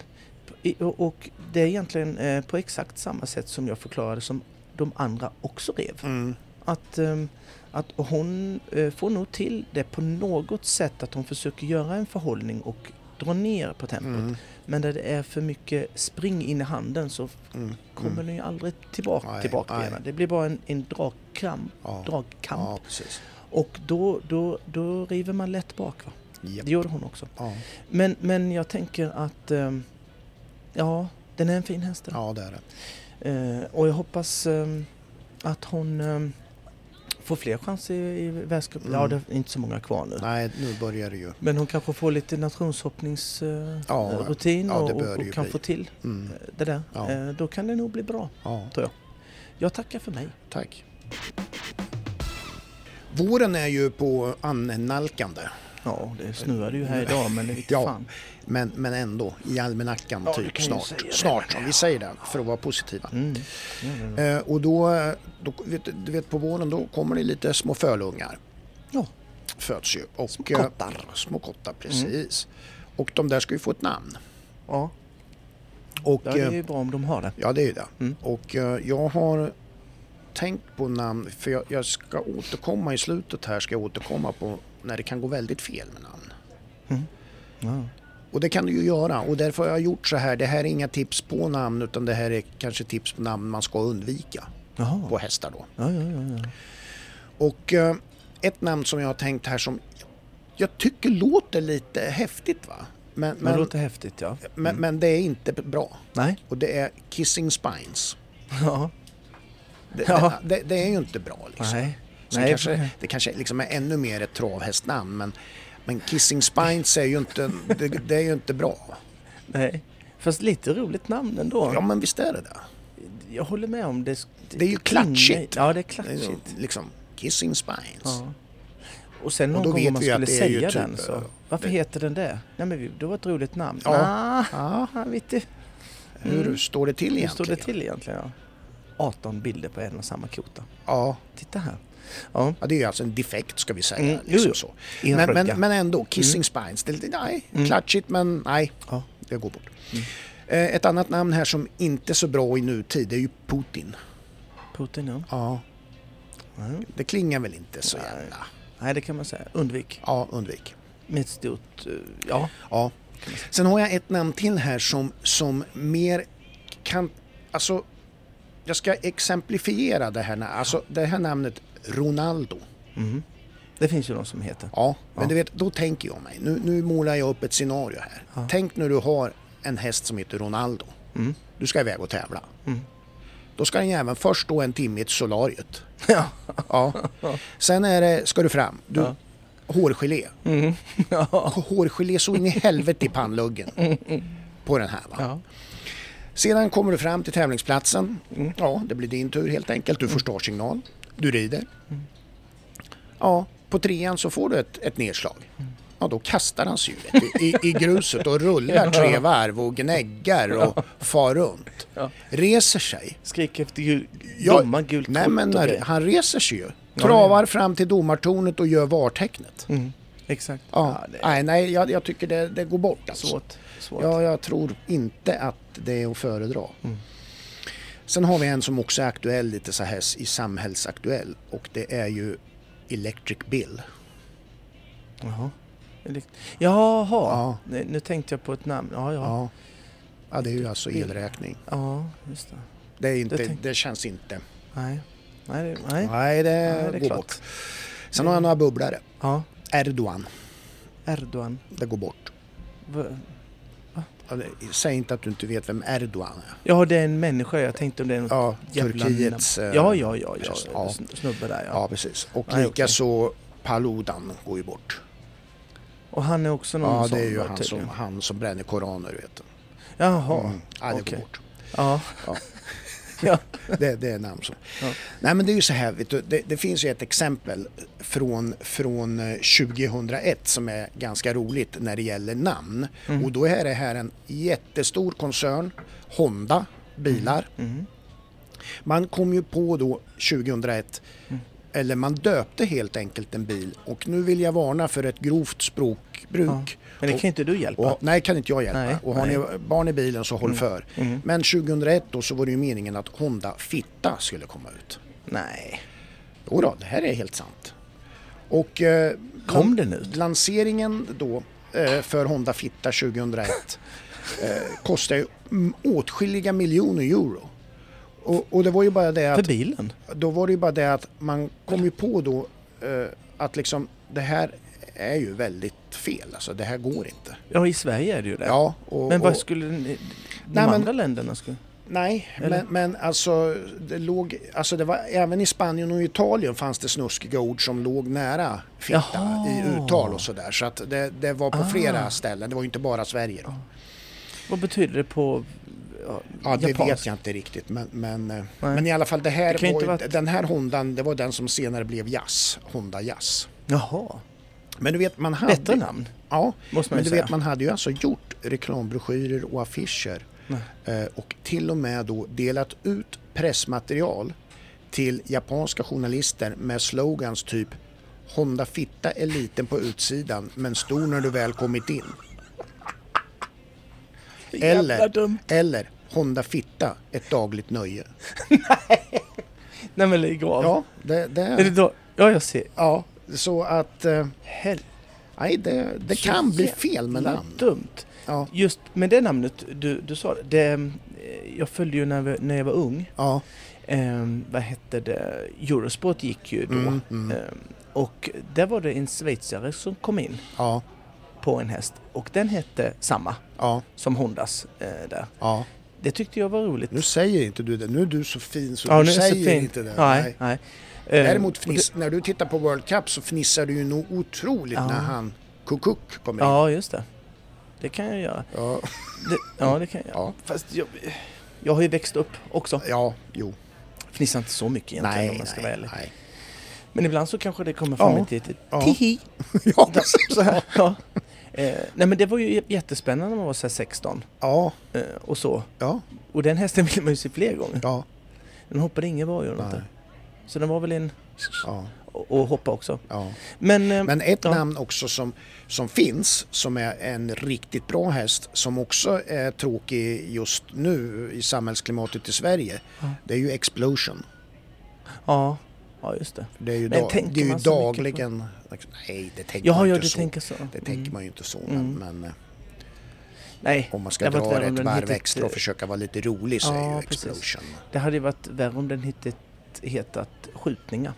Speaker 2: i- och, och det är egentligen eh, på exakt samma sätt som jag förklarade som de andra också rev.
Speaker 1: mm,
Speaker 2: Att, ehm, att hon eh, får nog till det på något sätt att hon försöker göra en förhållning och dra ner på tempot.
Speaker 1: mm,
Speaker 2: Men där det är för mycket spring in i handen så
Speaker 1: mm,
Speaker 2: kommer
Speaker 1: mm.
Speaker 2: den ju aldrig tillbaka
Speaker 1: Nej,
Speaker 2: till bakbenen.
Speaker 1: nej.
Speaker 2: Det blir bara en, en dragkramp,
Speaker 1: Ja,
Speaker 2: dragkamp.
Speaker 1: ja, precis.
Speaker 2: Och då, då, då river man lätt bak. Va?
Speaker 1: Japp.
Speaker 2: Det gjorde hon också.
Speaker 1: Ja,
Speaker 2: Men, men jag tänker att ehm, ja, den är en fin häst. den.
Speaker 1: ja det är det.
Speaker 2: Eh, och jag hoppas ehm, att hon ehm, får fler chanser i, i världscupen.
Speaker 1: Mm.
Speaker 2: Ja, det är inte så många kvar nu.
Speaker 1: Nej, nu börjar det ju.
Speaker 2: Men hon kanske får lite nationshoppningsrutin
Speaker 1: Ja,
Speaker 2: eh, rutin
Speaker 1: ja, det
Speaker 2: och,
Speaker 1: bör
Speaker 2: och,
Speaker 1: det ju
Speaker 2: och kan
Speaker 1: bli.
Speaker 2: få till
Speaker 1: Mm.
Speaker 2: eh, det där.
Speaker 1: Ja.
Speaker 2: Eh, då kan det nog bli bra.
Speaker 1: Ja,
Speaker 2: Jag tackar för mig.
Speaker 1: tack. Våren är ju på annalkande,
Speaker 2: Ja, det snöade ju här idag men det inte
Speaker 1: Ja.
Speaker 2: fan.
Speaker 1: men, men ändå i almanackan
Speaker 2: Ja, du
Speaker 1: typ
Speaker 2: kan ju
Speaker 1: snart.
Speaker 2: säga det.
Speaker 1: Snart, om vi säger det, för att vara positiva.
Speaker 2: Mm. Ja, ja, ja.
Speaker 1: Eh, och då, eh, då vet, du- du vet på våren då kommer det lite små fölungar.
Speaker 2: Ja.
Speaker 1: Föds ju. Och, små
Speaker 2: kottar. Mm.
Speaker 1: Små kottar, precis. Och de där ska ju få ett namn.
Speaker 2: Ja,
Speaker 1: Och,
Speaker 2: det är
Speaker 1: eh,
Speaker 2: ju bra om de har det.
Speaker 1: Ja, det är ju det.
Speaker 2: Mm.
Speaker 1: Och eh, jag har tänkt på namn, för jag, jag ska återkomma i slutet här, ska jag återkomma på när det kan gå väldigt fel med namn.
Speaker 2: Mm. Ja.
Speaker 1: Och det kan du ju göra och därför har jag gjort så här, det här är inga tips på namn utan det här är kanske tips på namn man ska undvika
Speaker 2: Jaha.
Speaker 1: på hästar då.
Speaker 2: Ja, ja, ja, ja.
Speaker 1: Och eh, ett namn som jag har tänkt här som jag tycker låter lite häftigt va? Men,
Speaker 2: Men, det
Speaker 1: men,
Speaker 2: låter Mm. häftigt ja.
Speaker 1: men, men det är inte bra.
Speaker 2: Nej.
Speaker 1: Och det är Kissing Spines.
Speaker 2: Ja.
Speaker 1: Det,
Speaker 2: Ja.
Speaker 1: det, det, det är ju inte bra liksom.
Speaker 2: Nej.
Speaker 1: Sen
Speaker 2: Nej.
Speaker 1: kanske, det kanske liksom är ännu mer ett travhästnamn men, men Kissing Spines är ju inte, det, det är ju inte bra.
Speaker 2: Nej. Fast lite roligt namn ändå.
Speaker 1: Ja men visst är det det.
Speaker 2: Jag håller med om det.
Speaker 1: Det är ju klatschigt.
Speaker 2: Ja, det är
Speaker 1: det är ju,
Speaker 2: klatschigt.
Speaker 1: liksom Kissing Spines.
Speaker 2: Ja. Och sen
Speaker 1: Och
Speaker 2: någon
Speaker 1: då
Speaker 2: gång
Speaker 1: vet
Speaker 2: om man
Speaker 1: vi att
Speaker 2: skulle
Speaker 1: det är ju
Speaker 2: säga
Speaker 1: typ,
Speaker 2: den
Speaker 1: eh,
Speaker 2: så. Varför
Speaker 1: det-
Speaker 2: heter den det? Nej men vi- det var ett roligt namn.
Speaker 1: Ja.
Speaker 2: Ah,
Speaker 1: Ja,
Speaker 2: han vet inte.
Speaker 1: hur
Speaker 2: Mm.
Speaker 1: står det till
Speaker 2: Hur
Speaker 1: egentligen?
Speaker 2: står det till egentligen? Ja. 18 bilder på en och samma kota.
Speaker 1: Ja,
Speaker 2: Titta här. Ja.
Speaker 1: ja, det är ju alltså en defekt ska vi säga.
Speaker 2: Mm, jo,
Speaker 1: Liksom
Speaker 2: jo. Mm.
Speaker 1: så.
Speaker 2: En
Speaker 1: Men,
Speaker 2: röka.
Speaker 1: men, men ändå, Kissing Spines. Det är lite, nej,
Speaker 2: Mm.
Speaker 1: klatschigt men nej,
Speaker 2: Ja.
Speaker 1: det går bort. Eh, Ett annat namn här som inte är så bra i nutid det är ju Putin.
Speaker 2: Putin ja.
Speaker 1: Ja,
Speaker 2: Mm.
Speaker 1: det klingar väl inte så
Speaker 2: Nej.
Speaker 1: jävla...
Speaker 2: Nej det kan man säga. Undvik.
Speaker 1: Ja, undvik.
Speaker 2: Med ett stort... eh, Ja.
Speaker 1: Ja. Sen har jag ett namn till här som, som mer kan... Alltså, jag ska exemplifiera det här, na- alltså, det här namnet Ronaldo.
Speaker 2: Mhm. Det finns ju någon som heter.
Speaker 1: Ja, men
Speaker 2: Ja.
Speaker 1: du vet, då tänker jag mig. Nu, nu målar jag upp ett scenario här.
Speaker 2: Ja.
Speaker 1: Tänk när du har en häst som heter Ronaldo.
Speaker 2: Mm.
Speaker 1: Du ska iväg och tävla.
Speaker 2: Mm.
Speaker 1: Då ska den även först stå en timme i ett solariet.
Speaker 2: Ja.
Speaker 1: Ja. Sen är det, ska du fram. Du,
Speaker 2: Ja.
Speaker 1: Hårgelé.
Speaker 2: Mm. Ja. Mm.
Speaker 1: Hårgelé så in i helvete i pannluggen. På den här va.
Speaker 2: Ja.
Speaker 1: Sedan kommer du fram till tävlingsplatsen.
Speaker 2: Mm.
Speaker 1: Ja, det blir din tur helt enkelt. Du får startsignal. Du rider.
Speaker 2: Mm.
Speaker 1: Ja, på trean så får du ett, ett nedslag.
Speaker 2: Mm.
Speaker 1: Ja, då kastar han sig ju vet du, i, i gruset och rullar tre varv och gnäggar och far runt.
Speaker 2: Ja.
Speaker 1: Reser sig.
Speaker 2: Skrik efter gul...
Speaker 1: Ja,
Speaker 2: Domaren gult
Speaker 1: Nej,
Speaker 2: kort
Speaker 1: men
Speaker 2: och
Speaker 1: när,
Speaker 2: grejer.
Speaker 1: han reser sig ju. Travar fram till domartornet och gör vartecknet.
Speaker 2: Mm. Exakt.
Speaker 1: Ja,
Speaker 2: det är
Speaker 1: nej, nej, jag, jag tycker det, det går bort alltså.
Speaker 2: svårt. svårt. Mm.
Speaker 1: Ja, jag tror inte att det är att föredra. Sen har vi en som också är aktuell lite så här i samhällsaktuell och det är ju Electric Bill.
Speaker 2: Jaha. Elekt- Jaha,
Speaker 1: Ja.
Speaker 2: Nu, nu tänkte jag på ett namn. Ja, ja. ja.
Speaker 1: Ja. ja, det är ju alltså elräkning.
Speaker 2: just det.
Speaker 1: Det, är inte,
Speaker 2: Det
Speaker 1: det,
Speaker 2: tänk-
Speaker 1: känns inte.
Speaker 2: Nej. Nej, det, nej.
Speaker 1: Nej, det,
Speaker 2: nej, det
Speaker 1: går
Speaker 2: är klart.
Speaker 1: bort. Sen har jag några bubblare.
Speaker 2: Ja.
Speaker 1: Erdogan,
Speaker 2: Erdogan.
Speaker 1: det går bort.
Speaker 2: V-
Speaker 1: Ja, det- Säg inte att du inte vet vem Erdogan är.
Speaker 2: Ja, det är en människa. Jag tänkte om det är något
Speaker 1: Ja,
Speaker 2: jävla
Speaker 1: Turkiets...
Speaker 2: namn.
Speaker 1: eh,
Speaker 2: Ja, ja, ja. ja.
Speaker 1: precis. Ja.
Speaker 2: Sn- Snubbe där, ja.
Speaker 1: Ja, precis. Och
Speaker 2: Nej, okej.
Speaker 1: likaså Paludan går ju bort.
Speaker 2: Och han är också någon
Speaker 1: Ja,
Speaker 2: sån,
Speaker 1: det är ju
Speaker 2: va,
Speaker 1: han som,
Speaker 2: tydligen.
Speaker 1: han som bränner koraner, vet du.
Speaker 2: Jaha.
Speaker 1: Mm. Ja, det
Speaker 2: okej.
Speaker 1: går bort.
Speaker 2: Ja.
Speaker 1: Ja.
Speaker 2: ja.
Speaker 1: Det, det är namn som.
Speaker 2: Ja.
Speaker 1: Nej men det är ju så här, vet du, det, det finns ju ett exempel från, från eh, 2001 som är ganska roligt när det gäller namn.
Speaker 2: Mm.
Speaker 1: Och då är det här en jättestor koncern, Honda bilar.
Speaker 2: Mm.
Speaker 1: Man kom ju på då 2001,
Speaker 2: Mm.
Speaker 1: eller man döpte helt enkelt en bil och nu vill jag varna för ett grovt
Speaker 2: ja.
Speaker 1: språkbruk.
Speaker 2: Men det
Speaker 1: Och-
Speaker 2: kan inte du hjälpa.
Speaker 1: och, nej, kan inte jag hjälpa.
Speaker 2: Nej,
Speaker 1: och har
Speaker 2: nej. Mm.
Speaker 1: ni barn i bilen så håll för. Men 2001 då så var det ju meningen att Honda Fitta skulle komma ut.
Speaker 2: Nej.
Speaker 1: Jo då, det här är helt sant. Och eh,
Speaker 2: Kom
Speaker 1: lan-
Speaker 2: den ut?
Speaker 1: lanseringen då eh, för Honda Fitta 2001 eh, kostade ju mm, åtskilliga miljoner euro. Och, och det var ju bara det att
Speaker 2: För bilen?
Speaker 1: då var det ju bara det att man kom ju på då eh, att liksom det här är ju väldigt fel. Alltså, det här går inte.
Speaker 2: Ja, i Sverige är det ju det.
Speaker 1: Ja, och,
Speaker 2: men vad
Speaker 1: och,
Speaker 2: skulle den, de
Speaker 1: Nej, men-
Speaker 2: andra länderna... Skulle,
Speaker 1: nej,
Speaker 2: Eller?
Speaker 1: men, men alltså, det låg, alltså det var, även i Spanien och Italien fanns det snuskiga ord som låg nära fitta
Speaker 2: Jaha.
Speaker 1: i uttal och sådär. Så att det, det var på
Speaker 2: Ah.
Speaker 1: flera ställen, det var ju inte bara Sverige. Då.
Speaker 2: vad betyder det på ja,
Speaker 1: Ja, det vet
Speaker 2: japanska?
Speaker 1: jag inte riktigt. Men, men, eh,
Speaker 2: Nej.
Speaker 1: men i alla fall, det här
Speaker 2: Det kan ju
Speaker 1: var, ju-
Speaker 2: inte varit-
Speaker 1: den här Hondan, det var den som senare blev Jazz, Honda Jazz.
Speaker 2: Jaha,
Speaker 1: Men du vet, man hade...
Speaker 2: bättre namn
Speaker 1: Ja,
Speaker 2: måste man
Speaker 1: men
Speaker 2: ju
Speaker 1: du
Speaker 2: säga.
Speaker 1: vet, man hade ju alltså gjort reklambroschyrer och affischer
Speaker 2: Nej.
Speaker 1: eh, och till och med då delat ut pressmaterial till japanska journalister med slogans typ Honda Fitta är liten på utsidan men stor när du väl kommit in.
Speaker 2: Jävla
Speaker 1: Eller-
Speaker 2: dumt.
Speaker 1: Eller Honda Fitta, ett dagligt nöje.
Speaker 2: Nej men lägg av.
Speaker 1: Ja, det, det
Speaker 2: Är det då? Ja, jag ser.
Speaker 1: Ja, så att... eh,
Speaker 2: Hel-
Speaker 1: Nej, det, det
Speaker 2: Så
Speaker 1: kan bli
Speaker 2: jävla
Speaker 1: fel med namn.
Speaker 2: dumt.
Speaker 1: Ja,
Speaker 2: Just med det namnet du, du sa, det, eh, jag följde ju när, vi- när jag var ung,
Speaker 1: ja,
Speaker 2: eh, vad hette det, Eurosport gick ju då.
Speaker 1: Mm, mm.
Speaker 2: Eh, och där var det en schweizare som kom in
Speaker 1: ja,
Speaker 2: på en häst och den hette samma
Speaker 1: ja,
Speaker 2: som Hondas eh, där.
Speaker 1: ja.
Speaker 2: Det tyckte jag var roligt.
Speaker 1: Nu säger inte du det. Nu är du så fin så
Speaker 2: Ja,
Speaker 1: du
Speaker 2: nu är jag så
Speaker 1: säger
Speaker 2: fin.
Speaker 1: inte det.
Speaker 2: Nej, nej. Eh,
Speaker 1: Däremot
Speaker 2: och det-
Speaker 1: fniss, när du tittar på World Cup så fnissar du ju nog otroligt
Speaker 2: Ja.
Speaker 1: när han Kukuk kommer in.
Speaker 2: Ja, just det. Det kan jag göra.
Speaker 1: Ja,
Speaker 2: Det, ja, det kan jag.
Speaker 1: ja,
Speaker 2: Fast jag, jag har ju växt upp också.
Speaker 1: ja, jo.
Speaker 2: Fnissar inte så mycket egentligen om
Speaker 1: Nej,
Speaker 2: man ska vara
Speaker 1: nej,
Speaker 2: ärlig.
Speaker 1: nej.
Speaker 2: Men ibland så kanske det kommer fram
Speaker 1: Ja.
Speaker 2: ett litet
Speaker 1: Ja.
Speaker 2: tihi.
Speaker 1: Ja, precis.
Speaker 2: Så här. Ja. Eh, nej men det var ju jättespännande när man var så här 16
Speaker 1: ja,
Speaker 2: eh, och så.
Speaker 1: ja,
Speaker 2: Och den hästen ville man ju se fler gånger.
Speaker 1: ja,
Speaker 2: Den hoppade ingen varje eller något
Speaker 1: Nej.
Speaker 2: där. Så den var väl en...
Speaker 1: ja,
Speaker 2: Och, och hoppa också.
Speaker 1: ja.
Speaker 2: Men... Eh,
Speaker 1: Men ett
Speaker 2: Ja.
Speaker 1: namn också som, som finns, som är en riktigt bra häst, som också är tråkig just nu i samhällsklimatet i Sverige,
Speaker 2: Ja.
Speaker 1: det är ju Explosion.
Speaker 2: ja. ja, just det.
Speaker 1: Det är ju,
Speaker 2: Men
Speaker 1: dag,
Speaker 2: tänker
Speaker 1: det är ju
Speaker 2: man så mycket på-
Speaker 1: dagligen... Nej, det tänker
Speaker 2: Ja,
Speaker 1: man
Speaker 2: ja,
Speaker 1: inte
Speaker 2: du
Speaker 1: så.
Speaker 2: tänker så.
Speaker 1: Det
Speaker 2: Mm.
Speaker 1: tänker man ju inte så,
Speaker 2: Mm.
Speaker 1: men, men eh,
Speaker 2: Nej,
Speaker 1: om man ska
Speaker 2: Det var inte
Speaker 1: dra
Speaker 2: värre om
Speaker 1: ett
Speaker 2: den
Speaker 1: varv
Speaker 2: heter-
Speaker 1: extra och försöka vara lite rolig så är
Speaker 2: Ja,
Speaker 1: ju
Speaker 2: precis.
Speaker 1: Explosion...
Speaker 2: det hade ju varit värre om den hittat, hetat skjutningar.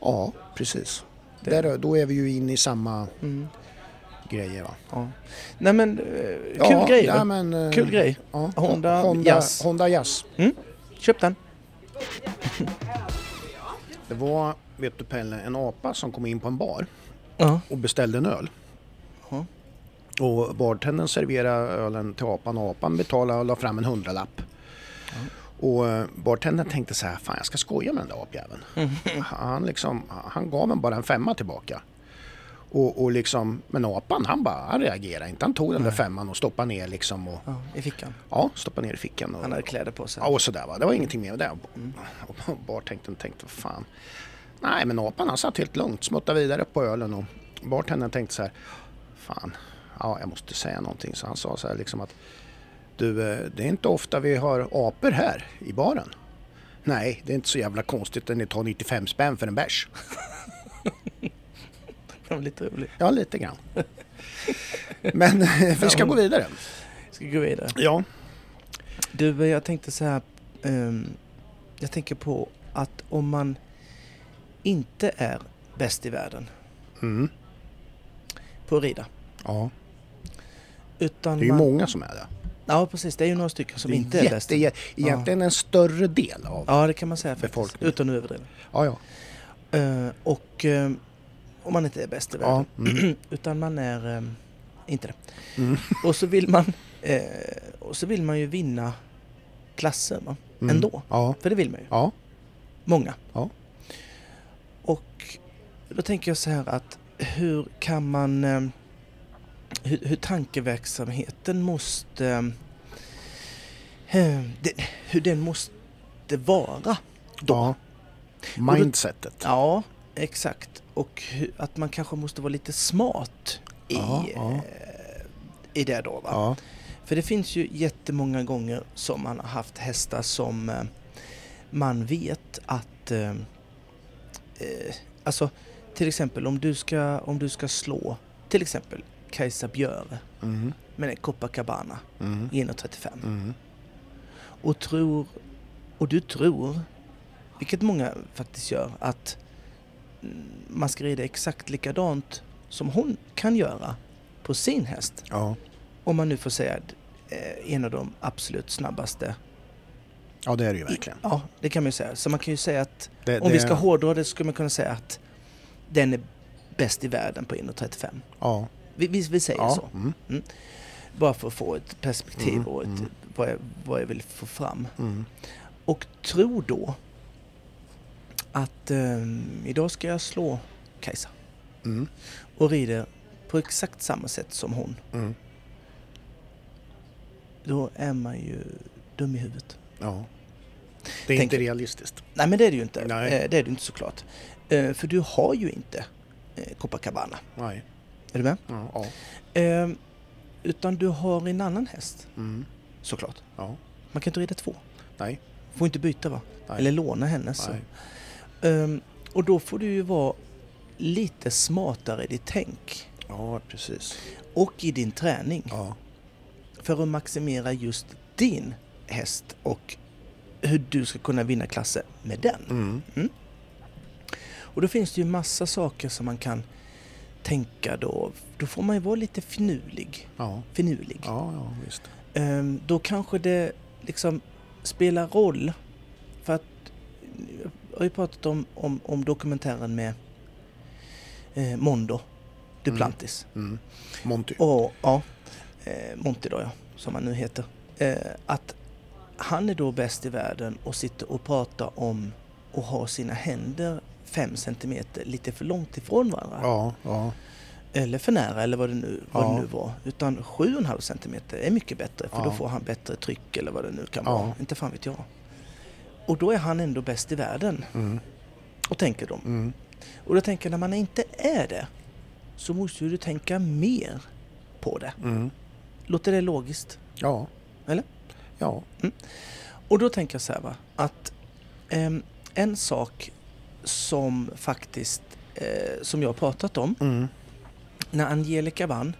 Speaker 1: Ja, precis.
Speaker 2: Det-
Speaker 1: Där, då är vi ju inne i samma
Speaker 2: Mm,
Speaker 1: grejer va?
Speaker 2: ja. Nej men, eh, kul
Speaker 1: ja,
Speaker 2: grej
Speaker 1: ja,
Speaker 2: då.
Speaker 1: men, eh,
Speaker 2: Kul grej.
Speaker 1: Ja.
Speaker 2: Honda Jazz.
Speaker 1: Honda Jazz.
Speaker 2: Köp den.
Speaker 1: Det var, vet du Pelle, en apa som kom in på en bar
Speaker 2: Ja.
Speaker 1: och beställde en öl.
Speaker 2: Ja.
Speaker 1: Och bartendern serverade ölen till apan och apan betalade och la fram en hundralapp. Och eh, bartendern tänkte så här, fan jag ska skoja med den där apjäveln.
Speaker 2: Mm.
Speaker 1: Han, liksom, han gav en bara en femma tillbaka. Och, och liksom, men apan han bara, han reagerade inte. Han tog den där femman och stoppade ner liksom och,
Speaker 2: ja, i fickan.
Speaker 1: ja, stoppade ner i fickan. Och,
Speaker 2: Han hade kläder på sig.
Speaker 1: Ja, och sådär va. Det var ingenting mer med det. Och bartendern tänkte, vad fan. Nej, men apan han satt helt lugnt, smuttade vidare på ölen och bartendern tänkte så här, fan, ja, jag måste säga någonting. Så han sa så här liksom att, du, eh, det är inte ofta vi har apor här i baren. Nej, det är inte så jävla konstigt att ni tar 95 spänn för en bärs.
Speaker 2: Det var lite roligt.
Speaker 1: Ja, lite grann. Men eh, vi ska gå vidare.
Speaker 2: Ska gå vidare.
Speaker 1: Ja.
Speaker 2: Du, eh, jag tänkte så här. ehm, jag tänker på att om man inte är bäst i världen
Speaker 1: Mm.
Speaker 2: på att rida.
Speaker 1: ja.
Speaker 2: Utan
Speaker 1: Det är ju
Speaker 2: man,
Speaker 1: många som är det.
Speaker 2: Ja, precis. Det är ju några stycken som
Speaker 1: Det är
Speaker 2: inte är bäst.
Speaker 1: jätte, egentligen en större del av...
Speaker 2: Ja, det kan man säga faktiskt.
Speaker 1: Befolkningen.
Speaker 2: Utan att överdriva.
Speaker 1: Ja, ja.
Speaker 2: Eh, och ehm, om man inte är bäst i världen.
Speaker 1: ja. Mm.
Speaker 2: Utan man är ehm, inte det.
Speaker 1: Mm.
Speaker 2: Och så vill man, eh, och så vill man ju vinna klasser va?
Speaker 1: Mm.
Speaker 2: ändå.
Speaker 1: Ja.
Speaker 2: För det vill man ju.
Speaker 1: Ja,
Speaker 2: Många.
Speaker 1: Ja.
Speaker 2: Och då tänker jag så här att hur kan man... eh, Hur, hur tankeverksamheten måste... ehm, eh, det- Hur den måste vara.
Speaker 1: då. Mindsetet.
Speaker 2: Ja, exakt. Och hur, att man kanske måste vara lite smart i,
Speaker 1: Ja, ja.
Speaker 2: eh, i det då. Va?
Speaker 1: Ja,
Speaker 2: För det finns ju jättemånga gånger som man har haft hästar som eh, man vet att... Eh, eh, alltså till exempel om du ska, om du ska slå till exempel Kajsa Björe
Speaker 1: mm,
Speaker 2: med en Copacabana
Speaker 1: mm,
Speaker 2: i 1,35
Speaker 1: mm.
Speaker 2: och tror, och du tror, vilket många faktiskt gör, att mm, man ska rida exakt likadant som hon kan göra på sin häst.
Speaker 1: Ja.
Speaker 2: Om man nu får säga eh, en av de absolut snabbaste.
Speaker 1: ja, det är det ju verkligen.
Speaker 2: Ja, det kan man ju säga. Så man kan ju säga att
Speaker 1: Det,
Speaker 2: om
Speaker 1: det,
Speaker 2: vi ska hårdra det så skulle man kunna säga att den är bäst i världen på 1,35.
Speaker 1: Ja.
Speaker 2: Vi, vi, vi säger så.
Speaker 1: ja. Mm,
Speaker 2: Bara för att få ett perspektiv
Speaker 1: Mm,
Speaker 2: och ett,
Speaker 1: mm.
Speaker 2: vad, jag, vad jag vill få fram.
Speaker 1: mm.
Speaker 2: Och tror då att ehm, idag ska jag slå Kajsa
Speaker 1: Mm.
Speaker 2: och rider på exakt samma sätt som hon.
Speaker 1: Mm.
Speaker 2: Då är man ju dum i huvudet.
Speaker 1: Ja. Det är
Speaker 2: Tänk-
Speaker 1: inte realistiskt.
Speaker 2: Nej men det är det ju inte.
Speaker 1: Nej.
Speaker 2: Eh, Det är det inte såklart. Eh, För du har ju inte eh, Copacabana.
Speaker 1: Nej.
Speaker 2: Är du med?
Speaker 1: Ja. ja.
Speaker 2: Eh, Utan du har en annan häst
Speaker 1: Mm.
Speaker 2: såklart.
Speaker 1: ja.
Speaker 2: Man kan inte rida två.
Speaker 1: Nej.
Speaker 2: Får inte byta va?
Speaker 1: Nej.
Speaker 2: Eller låna hennes.
Speaker 1: Nej.
Speaker 2: Ehm, och då får du ju vara lite smartare i ditt tänk
Speaker 1: Ja, precis.
Speaker 2: och i din träning
Speaker 1: Ja.
Speaker 2: för att maximera just din häst och hur du ska kunna vinna klasser med den.
Speaker 1: Mm.
Speaker 2: Och då finns det ju massa saker som man kan tänka då. Då får man ju vara lite finurlig.
Speaker 1: Ja.
Speaker 2: finurlig.
Speaker 1: Ja, ja, visst.
Speaker 2: Ehm, då kanske det liksom spelar roll. För att jag har ju pratat om, om, om dokumentären med eh, Mondo Duplantis.
Speaker 1: Mm. Monty.
Speaker 2: Och ja, eh, Monty då ja, som han nu heter. Eh, att han är då bäst i världen och sitter och pratar om och har sina händer fem centimeter lite för långt ifrån varandra.
Speaker 1: Ja, ja.
Speaker 2: Eller för nära eller vad det nu, vad
Speaker 1: Ja.
Speaker 2: det nu var. Utan 7,5 centimeter är mycket bättre för
Speaker 1: Ja.
Speaker 2: då får han bättre tryck eller vad det nu kan
Speaker 1: Ja.
Speaker 2: vara. Inte fan vet jag. Och då är han ändå bäst i världen.
Speaker 1: Mm.
Speaker 2: Och tänker de.
Speaker 1: Mm.
Speaker 2: Och då tänker jag när man inte är det så måste ju du tänka mer på det.
Speaker 1: Mm.
Speaker 2: Låter det logiskt?
Speaker 1: Ja.
Speaker 2: Eller?
Speaker 1: Ja.
Speaker 2: Och då tänker jag så här va, att ehm, en sak som faktiskt, eh, som jag har pratat om,
Speaker 1: Mm.
Speaker 2: när Angelica vann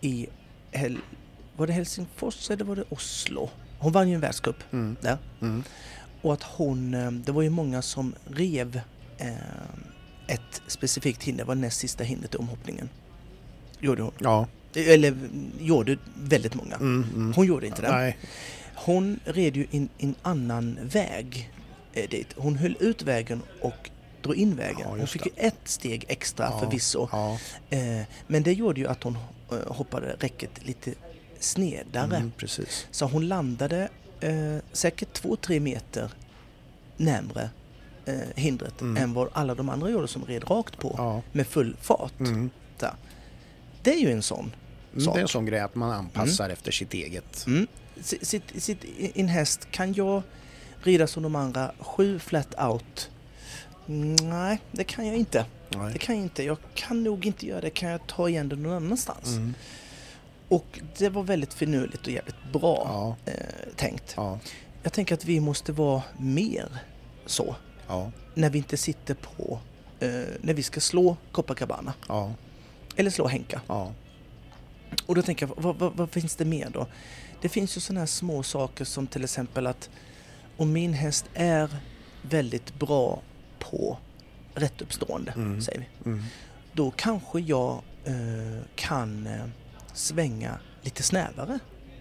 Speaker 2: i, Hel- var det Helsingfors eller var det Oslo? Hon vann ju en världscup
Speaker 1: Mm.
Speaker 2: där.
Speaker 1: Mm.
Speaker 2: Och att hon, eh, det var ju många som rev eh, ett specifikt hinder, det var näst sista hindret i omhoppningen. Gjorde hon.
Speaker 1: Ja.
Speaker 2: Eller mm, gjorde väldigt många.
Speaker 1: Mm. Mm.
Speaker 2: Hon gjorde inte det.
Speaker 1: Nej.
Speaker 2: Hon red ju in en annan väg eh, dit. Hon höll ut vägen och drog in vägen.
Speaker 1: Ja,
Speaker 2: hon
Speaker 1: just
Speaker 2: fick
Speaker 1: det.
Speaker 2: ju ett steg extra
Speaker 1: Ja,
Speaker 2: förvisso.
Speaker 1: Ja.
Speaker 2: Eh, Men det gjorde ju att hon eh, hoppade räcket lite snedare.
Speaker 1: Mm. Precis.
Speaker 2: Så hon landade eh, säkert 2-3 meter närmre eh, hindret
Speaker 1: Mm.
Speaker 2: än vad alla de andra gjorde som red rakt på
Speaker 1: Ja.
Speaker 2: med full fart.
Speaker 1: Mm.
Speaker 2: Så. Det är ju en sån
Speaker 1: Mm,
Speaker 2: sak.
Speaker 1: Det är en sån grej att man anpassar efter sitt eget.
Speaker 2: Mm. Sitt, sitt, sitt, en häst, kan jag rida som de andra, sju flat out? Mm, Nej, det kan jag inte. Mm. Det
Speaker 1: Nej.
Speaker 2: kan jag inte. Jag kan nog inte göra det. Kan jag ta igen det någon annanstans?
Speaker 1: Mm.
Speaker 2: Och det var väldigt finurligt och jävligt bra
Speaker 1: Ja.
Speaker 2: eh, tänkt.
Speaker 1: Ja.
Speaker 2: Jag tänker att vi måste vara mer så
Speaker 1: Ja.
Speaker 2: när vi inte sitter på eh, när vi ska slå Copacabana
Speaker 1: Ja.
Speaker 2: eller slå Henka.
Speaker 1: Ja.
Speaker 2: Och då tänker jag, vad, vad, vad finns det mer då? Det finns ju sådana här små saker som till exempel att om min häst är väldigt bra på rättuppstående,
Speaker 1: Mm.
Speaker 2: säger vi,
Speaker 1: Mm.
Speaker 2: då kanske jag eh, kan eh, svänga lite snävare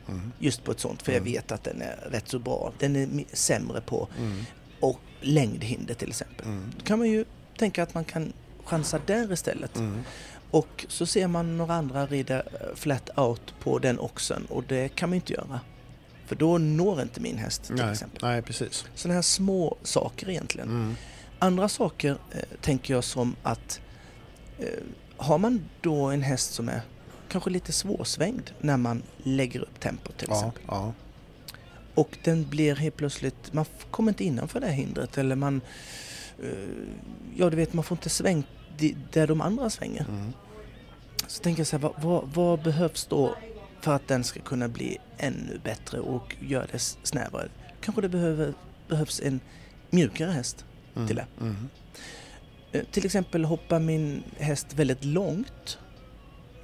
Speaker 1: Mm.
Speaker 2: just på ett sånt, för
Speaker 1: Mm.
Speaker 2: jag vet att den är rätt så bra. Den är mi- sämre på
Speaker 1: Mm.
Speaker 2: och längdhinder till exempel.
Speaker 1: Mm.
Speaker 2: Då kan man ju tänka att man kan chansa där istället.
Speaker 1: Mm.
Speaker 2: Och så ser man några andra rida eh, flat out på den oxen och det kan man ju inte göra. För då når inte min häst till
Speaker 1: Nej.
Speaker 2: exempel.
Speaker 1: Mm. Nej, precis.
Speaker 2: Sådana här små saker egentligen.
Speaker 1: Mm.
Speaker 2: Andra saker eh, tänker jag som att eh, har man då en häst som är kanske lite svårsvängd när man lägger upp tempot till
Speaker 1: Ja.
Speaker 2: exempel.
Speaker 1: Ja.
Speaker 2: Och den blir helt plötsligt, man f- kommer inte innanför det här hindret eller man, eh, ja du vet man får inte svängt di- där de andra svänger.
Speaker 1: Mm.
Speaker 2: Så tänker jag så här, vad, vad, vad behövs då för att den ska kunna bli ännu bättre och göra det s- snävare? Kanske det behöver, behövs en mjukare häst.
Speaker 1: Mm.
Speaker 2: Till det.
Speaker 1: Mm.
Speaker 2: Eh, Till exempel hoppar min häst väldigt långt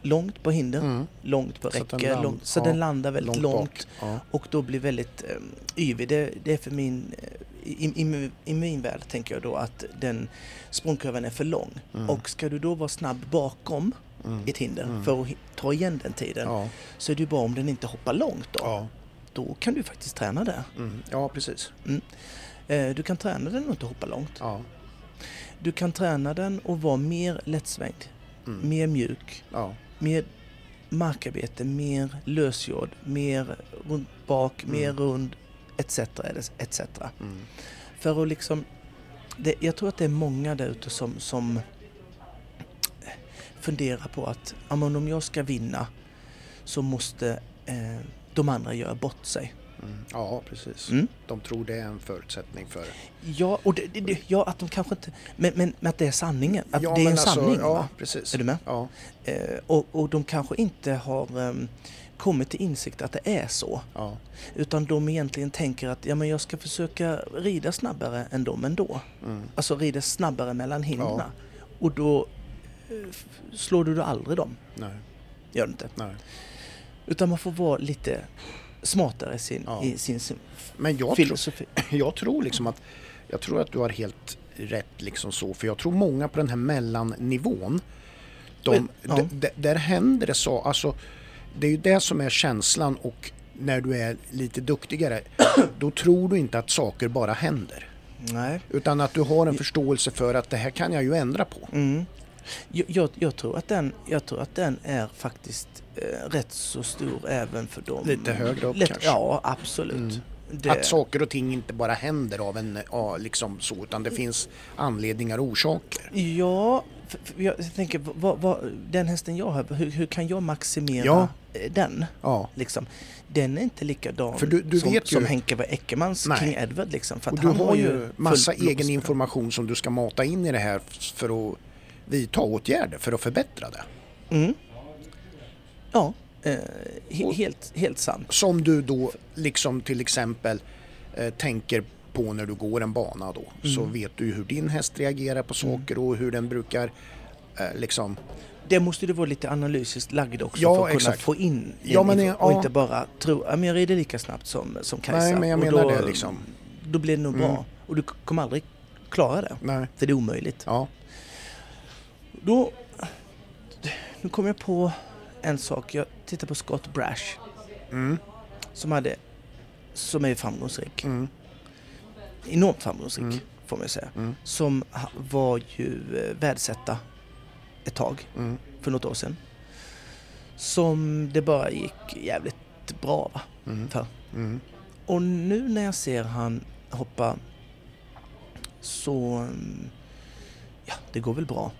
Speaker 2: långt på hindern,
Speaker 1: Mm.
Speaker 2: långt på
Speaker 1: Så att den
Speaker 2: räcke,
Speaker 1: land-
Speaker 2: långt, så
Speaker 1: ja,
Speaker 2: den landar väldigt långt,
Speaker 1: bak. Ja.
Speaker 2: och då blir väldigt eh, yvig. Det, det är för min, eh, i, i, i min värld tänker jag då att den språngkurvan är för lång.
Speaker 1: Mm.
Speaker 2: Och ska du då vara snabb bakom
Speaker 1: Mm.
Speaker 2: ett hinder
Speaker 1: Mm.
Speaker 2: för att hi- ta igen den tiden
Speaker 1: Ja.
Speaker 2: så är det ju bra om den inte hoppar långt då.
Speaker 1: Ja.
Speaker 2: Då kan du faktiskt träna det.
Speaker 1: Mm. ja, precis.
Speaker 2: Eh, Du kan träna den att inte hoppa långt.
Speaker 1: Ja.
Speaker 2: Du kan träna den att vara mer lättsvängd,
Speaker 1: Mm.
Speaker 2: mer mjuk,
Speaker 1: Ja.
Speaker 2: mer markarbete, mer lösgjord, mer rund bak,
Speaker 1: Mm.
Speaker 2: mer rund etc. etc.
Speaker 1: Mm.
Speaker 2: För att liksom, det, jag tror att det är många där ute som, som funderar på att ja, men om jag ska vinna så måste eh, de andra göra bort sig.
Speaker 1: Mm. ja, precis.
Speaker 2: Mm.
Speaker 1: De tror det är en förutsättning för...
Speaker 2: Ja, och det, det- det, ja, att de kanske inte... Men, men, men att det är sanningen. Att
Speaker 1: ja,
Speaker 2: det är en
Speaker 1: men alltså,
Speaker 2: sanning.
Speaker 1: Ja,
Speaker 2: va?
Speaker 1: precis.
Speaker 2: Är du med?
Speaker 1: Ja.
Speaker 2: Eh, och, och de kanske inte har em, kommit till insikt att det är så.
Speaker 1: Ja.
Speaker 2: Utan de egentligen tänker att ja, men jag ska försöka rida snabbare än dem ändå.
Speaker 1: Mm.
Speaker 2: Alltså rida snabbare mellan hindren.
Speaker 1: Ja.
Speaker 2: Och då eh, f- slår du då aldrig dem.
Speaker 1: Nej.
Speaker 2: Gör du inte.
Speaker 1: Nej.
Speaker 2: Utan man får vara lite smartare i sin,
Speaker 1: Ja.
Speaker 2: i sin, sin
Speaker 1: Men jag tror,
Speaker 2: filosofi.
Speaker 1: jag tror liksom att... Jag tror att du har helt rätt liksom så, för jag tror många på den här mellannivån, de,
Speaker 2: Ja.
Speaker 1: d- d- där händer det så, alltså det är ju det som är känslan och när du är lite duktigare, då tror du inte att saker bara händer.
Speaker 2: Nej.
Speaker 1: Utan att du har en förståelse för att det här kan jag ju ändra på.
Speaker 2: Mm. Jag, jag, jag, tror att den, jag tror att den är faktiskt eh, rätt så stor även för dem.
Speaker 1: Lite högre upp kanske. Mm.
Speaker 2: Ja, absolut. Det,
Speaker 1: Att saker och ting inte bara händer av en, ja, liksom så, utan det finns anledningar och orsaker.
Speaker 2: Ja, för, för jag tänker, vad, vad, den hästen jag har, hur, hur kan jag maximera
Speaker 1: Ja.
Speaker 2: eh, den?
Speaker 1: Ja.
Speaker 2: Liksom. Den är inte likadan
Speaker 1: För du- du
Speaker 2: som,
Speaker 1: vet ju-
Speaker 2: som Henke var Eckermans
Speaker 1: Nej.
Speaker 2: King Edward. Liksom, för
Speaker 1: Och
Speaker 2: att
Speaker 1: du
Speaker 2: han
Speaker 1: har ju
Speaker 2: full
Speaker 1: massa
Speaker 2: blås-
Speaker 1: egen information som du ska mata in i det här f- för att vidta åtgärder för att förbättra det.
Speaker 2: Mm. Ja, eh, he,
Speaker 1: Och-
Speaker 2: helt, helt sant.
Speaker 1: Som du då liksom till exempel eh, tänker på när du går en bana då.
Speaker 2: Mm.
Speaker 1: Så vet du ju hur din häst reagerar på saker och hur den brukar eh, liksom...
Speaker 2: Det måste det vara lite analysiskt lagd också
Speaker 1: Ja,
Speaker 2: för att
Speaker 1: exakt.
Speaker 2: kunna få in den
Speaker 1: Ja, men
Speaker 2: info-
Speaker 1: ja.
Speaker 2: och inte bara tro att jag rider lika snabbt som, som Kajsa.
Speaker 1: Nej, men jag
Speaker 2: och
Speaker 1: menar det liksom. Mm.
Speaker 2: Då blir det nog bra. Och du k- kommer aldrig klara det.
Speaker 1: Nej.
Speaker 2: För det är omöjligt.
Speaker 1: Ja.
Speaker 2: Då, nu kom jag på en sak. Jag tittade på Scott Brash.
Speaker 1: Mm.
Speaker 2: Som, hade, som är framgångsrik.
Speaker 1: Mm.
Speaker 2: Enormt framgångsrik får man säga.
Speaker 1: Mm.
Speaker 2: Som ha- var ju eh, världsetta ett tag.
Speaker 1: Mm.
Speaker 2: för något år sedan. Som det bara gick jävligt bra va?
Speaker 1: Mm.
Speaker 2: för.
Speaker 1: Mm.
Speaker 2: Och nu när jag ser han hoppa så... mm, Ja, det går väl bra.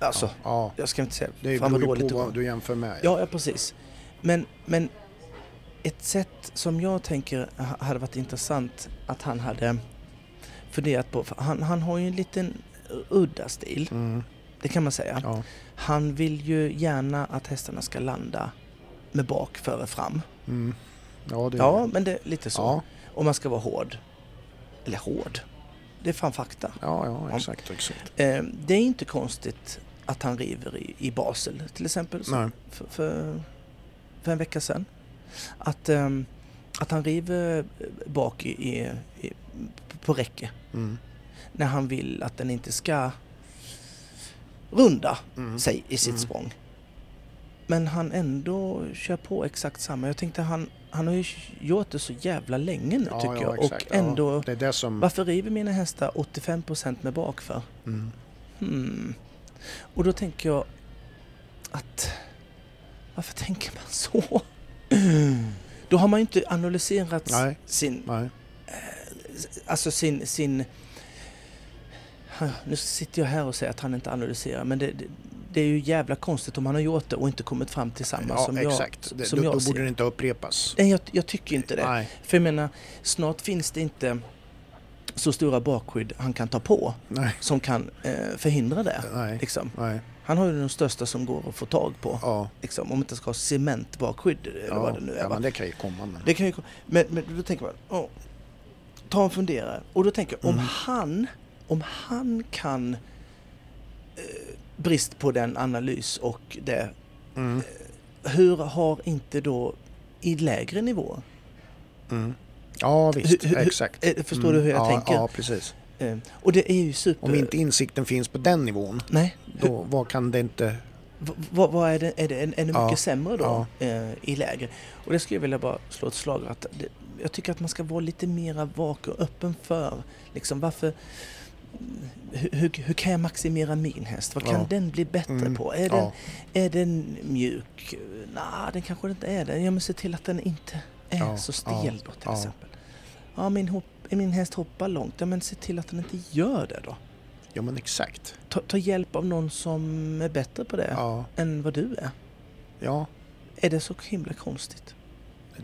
Speaker 2: Alltså,
Speaker 1: Ja.
Speaker 2: jag ska inte säga...
Speaker 1: Det
Speaker 2: fan vad
Speaker 1: beror ju
Speaker 2: dåligt
Speaker 1: på
Speaker 2: det var.
Speaker 1: vad du jämför med.
Speaker 2: Ja, ja precis. Men, men ett sätt som jag tänker ha- hade varit intressant att han hade funderat på. För han, han har ju en liten udda stil,
Speaker 1: Mm.
Speaker 2: det kan man säga.
Speaker 1: Ja.
Speaker 2: Han vill ju gärna att hästarna ska landa med bak före fram.
Speaker 1: Mm. Ja, det är
Speaker 2: Ja, men det är lite så.
Speaker 1: Ja.
Speaker 2: Och man ska vara hård. Eller hård. Det är fan fakta.
Speaker 1: Ja, ja,
Speaker 2: Ja.
Speaker 1: exakt. exakt.
Speaker 2: Eh, det är inte konstigt att han river i, i Basel till exempel. som
Speaker 1: Nej.
Speaker 2: För, för, för en vecka sedan. Att, ehm, att han river bak i, i, i, på räcke.
Speaker 1: Mm.
Speaker 2: När han vill att den inte ska runda
Speaker 1: Mm.
Speaker 2: sig i sitt
Speaker 1: Mm.
Speaker 2: språng. Men han ändå kör på exakt samma. Jag tänkte han, han har ju gjort det så jävla länge nu tycker jag. Och
Speaker 1: exakt.
Speaker 2: ändå,
Speaker 1: Ja, Mm. det är det som...
Speaker 2: varför river mina hästar 85% med bak för?
Speaker 1: Mm.
Speaker 2: Hmm. Och då tänker jag att varför tänker man så? Då har man ju inte analyserat
Speaker 1: Nej.
Speaker 2: sin
Speaker 1: Nej.
Speaker 2: alltså sin, sin... Nu sitter jag här och säger att han inte analyserar, men det, det, det är ju jävla konstigt om han har gjort det och inte kommit fram till samma
Speaker 1: Ja,
Speaker 2: som
Speaker 1: exakt.
Speaker 2: jag,
Speaker 1: Det,
Speaker 2: som
Speaker 1: då,
Speaker 2: jag
Speaker 1: då
Speaker 2: ser.
Speaker 1: borde det inte upprepas.
Speaker 2: Nej, jag, jag tycker inte det.
Speaker 1: Nej.
Speaker 2: För jag menar, snart finns det inte så stora bakskydd han kan ta på
Speaker 1: Nej.
Speaker 2: som kan eh, förhindra det.
Speaker 1: Nej.
Speaker 2: Liksom.
Speaker 1: Nej.
Speaker 2: Han har ju de största som går att få tag på.
Speaker 1: Ja.
Speaker 2: Liksom, om man inte ska ha cementbakskydd eller
Speaker 1: ja.
Speaker 2: vad det nu är.
Speaker 1: ja,
Speaker 2: va?
Speaker 1: men det kan ju komma. Men...
Speaker 2: Det kan ju, men, men då tänker man, åh, ta en funderare. Och då tänker jag,
Speaker 1: Mm.
Speaker 2: om han, om han kan eh, brist på den analys och det
Speaker 1: Mm.
Speaker 2: Hur har inte då i lägre nivå?
Speaker 1: Mm. Ja, visst.
Speaker 2: Hur- hur-
Speaker 1: Exakt.
Speaker 2: Eh, Förstår
Speaker 1: Mm.
Speaker 2: du hur jag
Speaker 1: ja,
Speaker 2: tänker?
Speaker 1: Ja, precis.
Speaker 2: Eh, Och det är ju super...
Speaker 1: Om inte insikten finns på den nivån,
Speaker 2: Nej. Hur-
Speaker 1: då vad kan det inte...
Speaker 2: v- Vad, vad är det? Är det än- ännu
Speaker 1: Ja,
Speaker 2: mycket sämre då eh, i lägre? Och det skulle jag vilja bara slå ett slag att det, jag tycker att man ska vara lite mera vak och öppen för liksom varför hur, hur, hur kan jag maximera min häst? Vad kan
Speaker 1: Ja.
Speaker 2: den bli bättre
Speaker 1: Mm,
Speaker 2: på? Är,
Speaker 1: ja.
Speaker 2: den, är den mjuk? Nej, den kanske inte är det. Jag måste se till att den inte är
Speaker 1: Ja,
Speaker 2: så stel
Speaker 1: ja,
Speaker 2: då till
Speaker 1: ja.
Speaker 2: exempel. Ja, min, hopp, min häst hoppar långt. Ja, men se till att den inte gör det då.
Speaker 1: Ja, men exakt.
Speaker 2: Ta, ta hjälp av någon som är bättre på det
Speaker 1: Ja.
Speaker 2: än vad du är.
Speaker 1: ja.
Speaker 2: Är det så himla konstigt?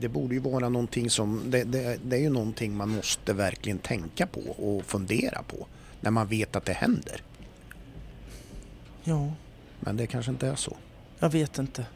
Speaker 1: Det borde ju vara någonting som... Det, det, det är ju någonting man måste verkligen tänka på och fundera på. När man vet att det händer.
Speaker 2: Ja,
Speaker 1: Men det kanske inte är så.
Speaker 2: jag vet inte.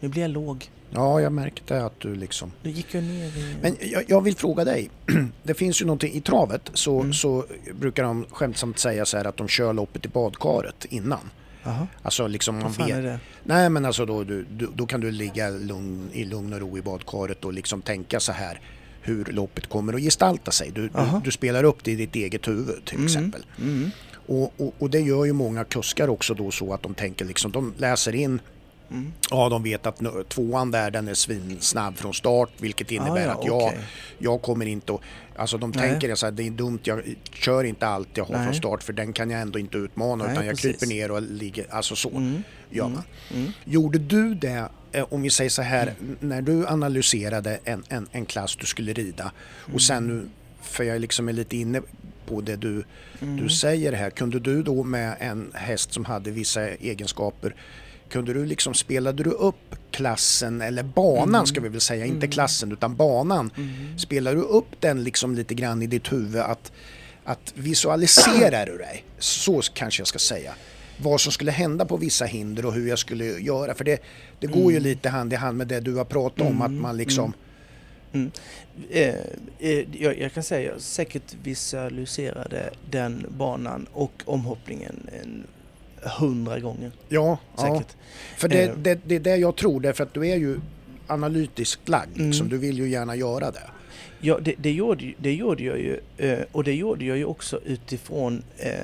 Speaker 2: Nu blir jag låg.
Speaker 1: Ja, jag märkte att du liksom...
Speaker 2: Nu gick jag ner i...
Speaker 1: Men jag, jag vill fråga dig. Det finns ju någonting i travet så,
Speaker 2: Mm.
Speaker 1: så brukar de skämtsamt säga så här att de kör loppet i badkaret innan.
Speaker 2: Jaha,
Speaker 1: Alltså liksom man
Speaker 2: vad fan
Speaker 1: vet.
Speaker 2: är det?
Speaker 1: Nej men alltså då, du, du, då kan du ligga lugn, i lugn och ro i badkaret och liksom tänka så här hur loppet kommer att gestalta sig. Du, du,
Speaker 2: Aha.
Speaker 1: du spelar upp det i ditt eget huvud till
Speaker 2: Mm,
Speaker 1: exempel.
Speaker 2: Mm.
Speaker 1: Och, och, och det gör ju många kuskar också då så att de tänker liksom, de läser in
Speaker 2: Mm.
Speaker 1: Ja, de vet att nu- tvåan där den är svinsnabb från start vilket innebär
Speaker 2: Ah, ja,
Speaker 1: att jag,
Speaker 2: okej.
Speaker 1: jag kommer inte att... Alltså de
Speaker 2: Nej.
Speaker 1: tänker så här, det är dumt, jag kör inte allt jag har
Speaker 2: Nej.
Speaker 1: från start för den kan jag ändå inte utmana
Speaker 2: Nej,
Speaker 1: utan jag
Speaker 2: precis.
Speaker 1: kryper ner och ligger... Alltså så
Speaker 2: Mm.
Speaker 1: gör
Speaker 2: Mm.
Speaker 1: man.
Speaker 2: Mm.
Speaker 1: Gjorde du det, eh, om vi säger så här, n- när du analyserade en, en, en klass du skulle rida
Speaker 2: Mm.
Speaker 1: och sen nu, för jag liksom är lite inne på det du,
Speaker 2: Mm.
Speaker 1: du säger här, kunde du då med en häst som hade vissa egenskaper kunde du liksom, spelade du upp klassen eller banan
Speaker 2: Mm.
Speaker 1: ska vi väl säga, inte klassen utan banan. Spelade du upp den liksom lite grann i ditt huvud att, att visualiserar du dig, så kanske jag ska säga, vad som skulle hända på vissa hinder och hur jag skulle göra. För det, det går
Speaker 2: Mm.
Speaker 1: ju lite hand i hand med det du har pratat om, att man liksom,
Speaker 2: Eh, eh, jag, jag kan säga, jag säkert visualiserade den banan och omhoppningen en hundra gånger.
Speaker 1: ja, ja.
Speaker 2: Säkert.
Speaker 1: För det,
Speaker 2: Eh.
Speaker 1: det, det är det jag tror, därför att du är ju analytiskt lagd, liksom.
Speaker 2: Mm.
Speaker 1: du vill ju gärna göra det.
Speaker 2: Ja, det, det, gjorde, ju- det gjorde jag ju eh, och det gjorde jag ju också utifrån, eh,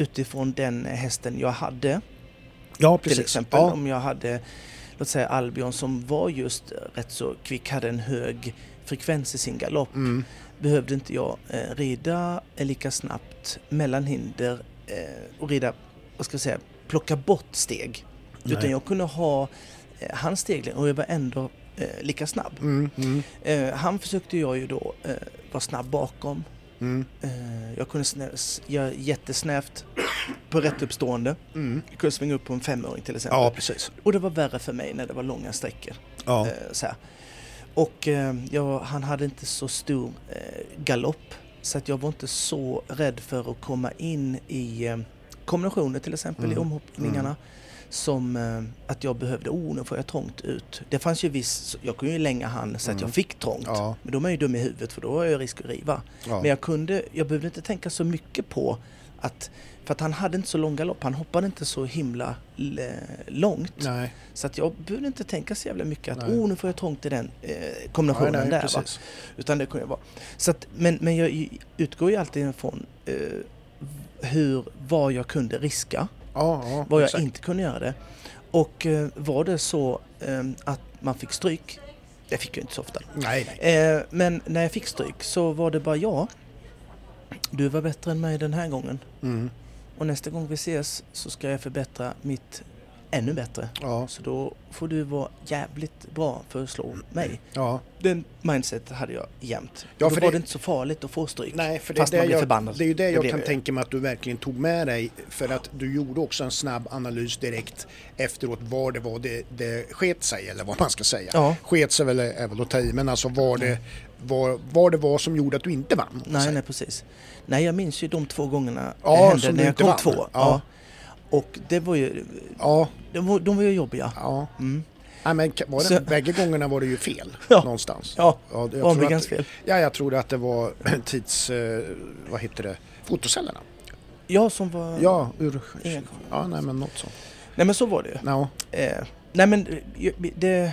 Speaker 2: utifrån den hästen jag hade.
Speaker 1: Ja,
Speaker 2: Till exempel
Speaker 1: Ja.
Speaker 2: om jag hade, låt säga Albion som var just rätt så kvick, hade en hög frekvens i sin galopp.
Speaker 1: Mm.
Speaker 2: Behövde inte jag eh, rida lika snabbt mellan hinder eh, och rida, vad ska jag säga, plocka bort steg.
Speaker 1: Nej.
Speaker 2: Utan jag kunde ha eh, hans stegling och jag var ändå eh, lika snabb.
Speaker 1: Mm. Mm.
Speaker 2: Eh, han försökte jag ju då eh, vara snabb bakom.
Speaker 1: Mm.
Speaker 2: Eh, jag kunde snä- s- göra jättesnävt på rättuppstående.
Speaker 1: Mm.
Speaker 2: Jag kunde svänga upp på en femöring till exempel.
Speaker 1: Ja, precis.
Speaker 2: Och det var värre för mig när det var långa sträckor.
Speaker 1: Ja.
Speaker 2: Eh, så här. Och eh, jag, han hade inte så stor eh, galopp. Så att jag var inte så rädd för att komma in i eh, kombinationer till exempel i
Speaker 1: Mm.
Speaker 2: omhoppningarna.
Speaker 1: Mm.
Speaker 2: Som eh, att jag behövde, oh nu får jag trångt ut. Det fanns ju viss, jag kunde ju länga han så att
Speaker 1: Mm.
Speaker 2: jag fick trångt.
Speaker 1: Ja.
Speaker 2: Men då är man ju dum i huvudet för då är jag risk att riva.
Speaker 1: Ja.
Speaker 2: Men jag kunde, jag behövde inte tänka så mycket på att, för att han hade inte så lång galopp, han hoppade inte så himla eh, långt.
Speaker 1: Nej.
Speaker 2: Så att jag behövde inte tänka så jävla mycket att
Speaker 1: Nej.
Speaker 2: oh, nu får jag trångt i den eh,
Speaker 1: Nej,
Speaker 2: kombinationen
Speaker 1: nej,
Speaker 2: där. Va?
Speaker 1: precis.
Speaker 2: Utan det kunde jag vara. Så att, men, men jag i- utgår ju alltid ifrån eh, hur, vad jag kunde riska,
Speaker 1: Ja, ja,
Speaker 2: vad jag
Speaker 1: exakt.
Speaker 2: inte kunde göra det. Och eh, var det så eh, att man fick stryk, det fick jag inte så ofta,
Speaker 1: Nej, nej.
Speaker 2: Eh, men när jag fick stryk så var det bara jag. Du var bättre än mig den här gången.
Speaker 1: Mm.
Speaker 2: Och nästa gång vi ses så ska jag förbättra mitt ännu bättre.
Speaker 1: Ja,
Speaker 2: Så då får du vara jävligt bra för att slå mig.
Speaker 1: ja.
Speaker 2: Den mindset hade jag jämt.
Speaker 1: Ja,
Speaker 2: Ja,
Speaker 1: för
Speaker 2: då var
Speaker 1: det-
Speaker 2: det inte så farligt att få stryk.
Speaker 1: Nej, för det,
Speaker 2: fast
Speaker 1: är
Speaker 2: man
Speaker 1: det,
Speaker 2: blir
Speaker 1: jag,
Speaker 2: förbannad.
Speaker 1: det är ju det jag
Speaker 2: blev
Speaker 1: kan
Speaker 2: jag.
Speaker 1: tänka mig att du verkligen tog med dig för att du gjorde också en snabb analys direkt efteråt var det var det, det sket sig eller vad man ska säga.
Speaker 2: Ja. Mm.
Speaker 1: Sket sig väl är väl att ta i men alltså var det var, var det var som gjorde att du inte vann? om man
Speaker 2: Nej,
Speaker 1: säger.
Speaker 2: nej precis. Nej, jag minns ju de två gångerna
Speaker 1: Ja,
Speaker 2: det hände
Speaker 1: som
Speaker 2: när
Speaker 1: du
Speaker 2: jag
Speaker 1: inte
Speaker 2: kom
Speaker 1: vann.
Speaker 2: två.
Speaker 1: Ja.
Speaker 2: Och det var ju,
Speaker 1: Ja,
Speaker 2: de var, de var ju jobbiga.
Speaker 1: ja.
Speaker 2: Mm.
Speaker 1: Nej, men ka- var det,
Speaker 2: Så-
Speaker 1: bägge gångerna var det ju fel
Speaker 2: Ja.
Speaker 1: någonstans.
Speaker 2: Ja,
Speaker 1: jag tror
Speaker 2: Omegans
Speaker 1: att-
Speaker 2: fel.
Speaker 1: Ja, jag tror att det var tids... Eh, vad heter det? Fotocellerna.
Speaker 2: Jag som var...
Speaker 1: Ja, ur...
Speaker 2: Ingen-
Speaker 1: Ja, nej men något sånt.
Speaker 2: Nej men så var det ju.
Speaker 1: Ja,
Speaker 2: Eh, Nej men eh, det...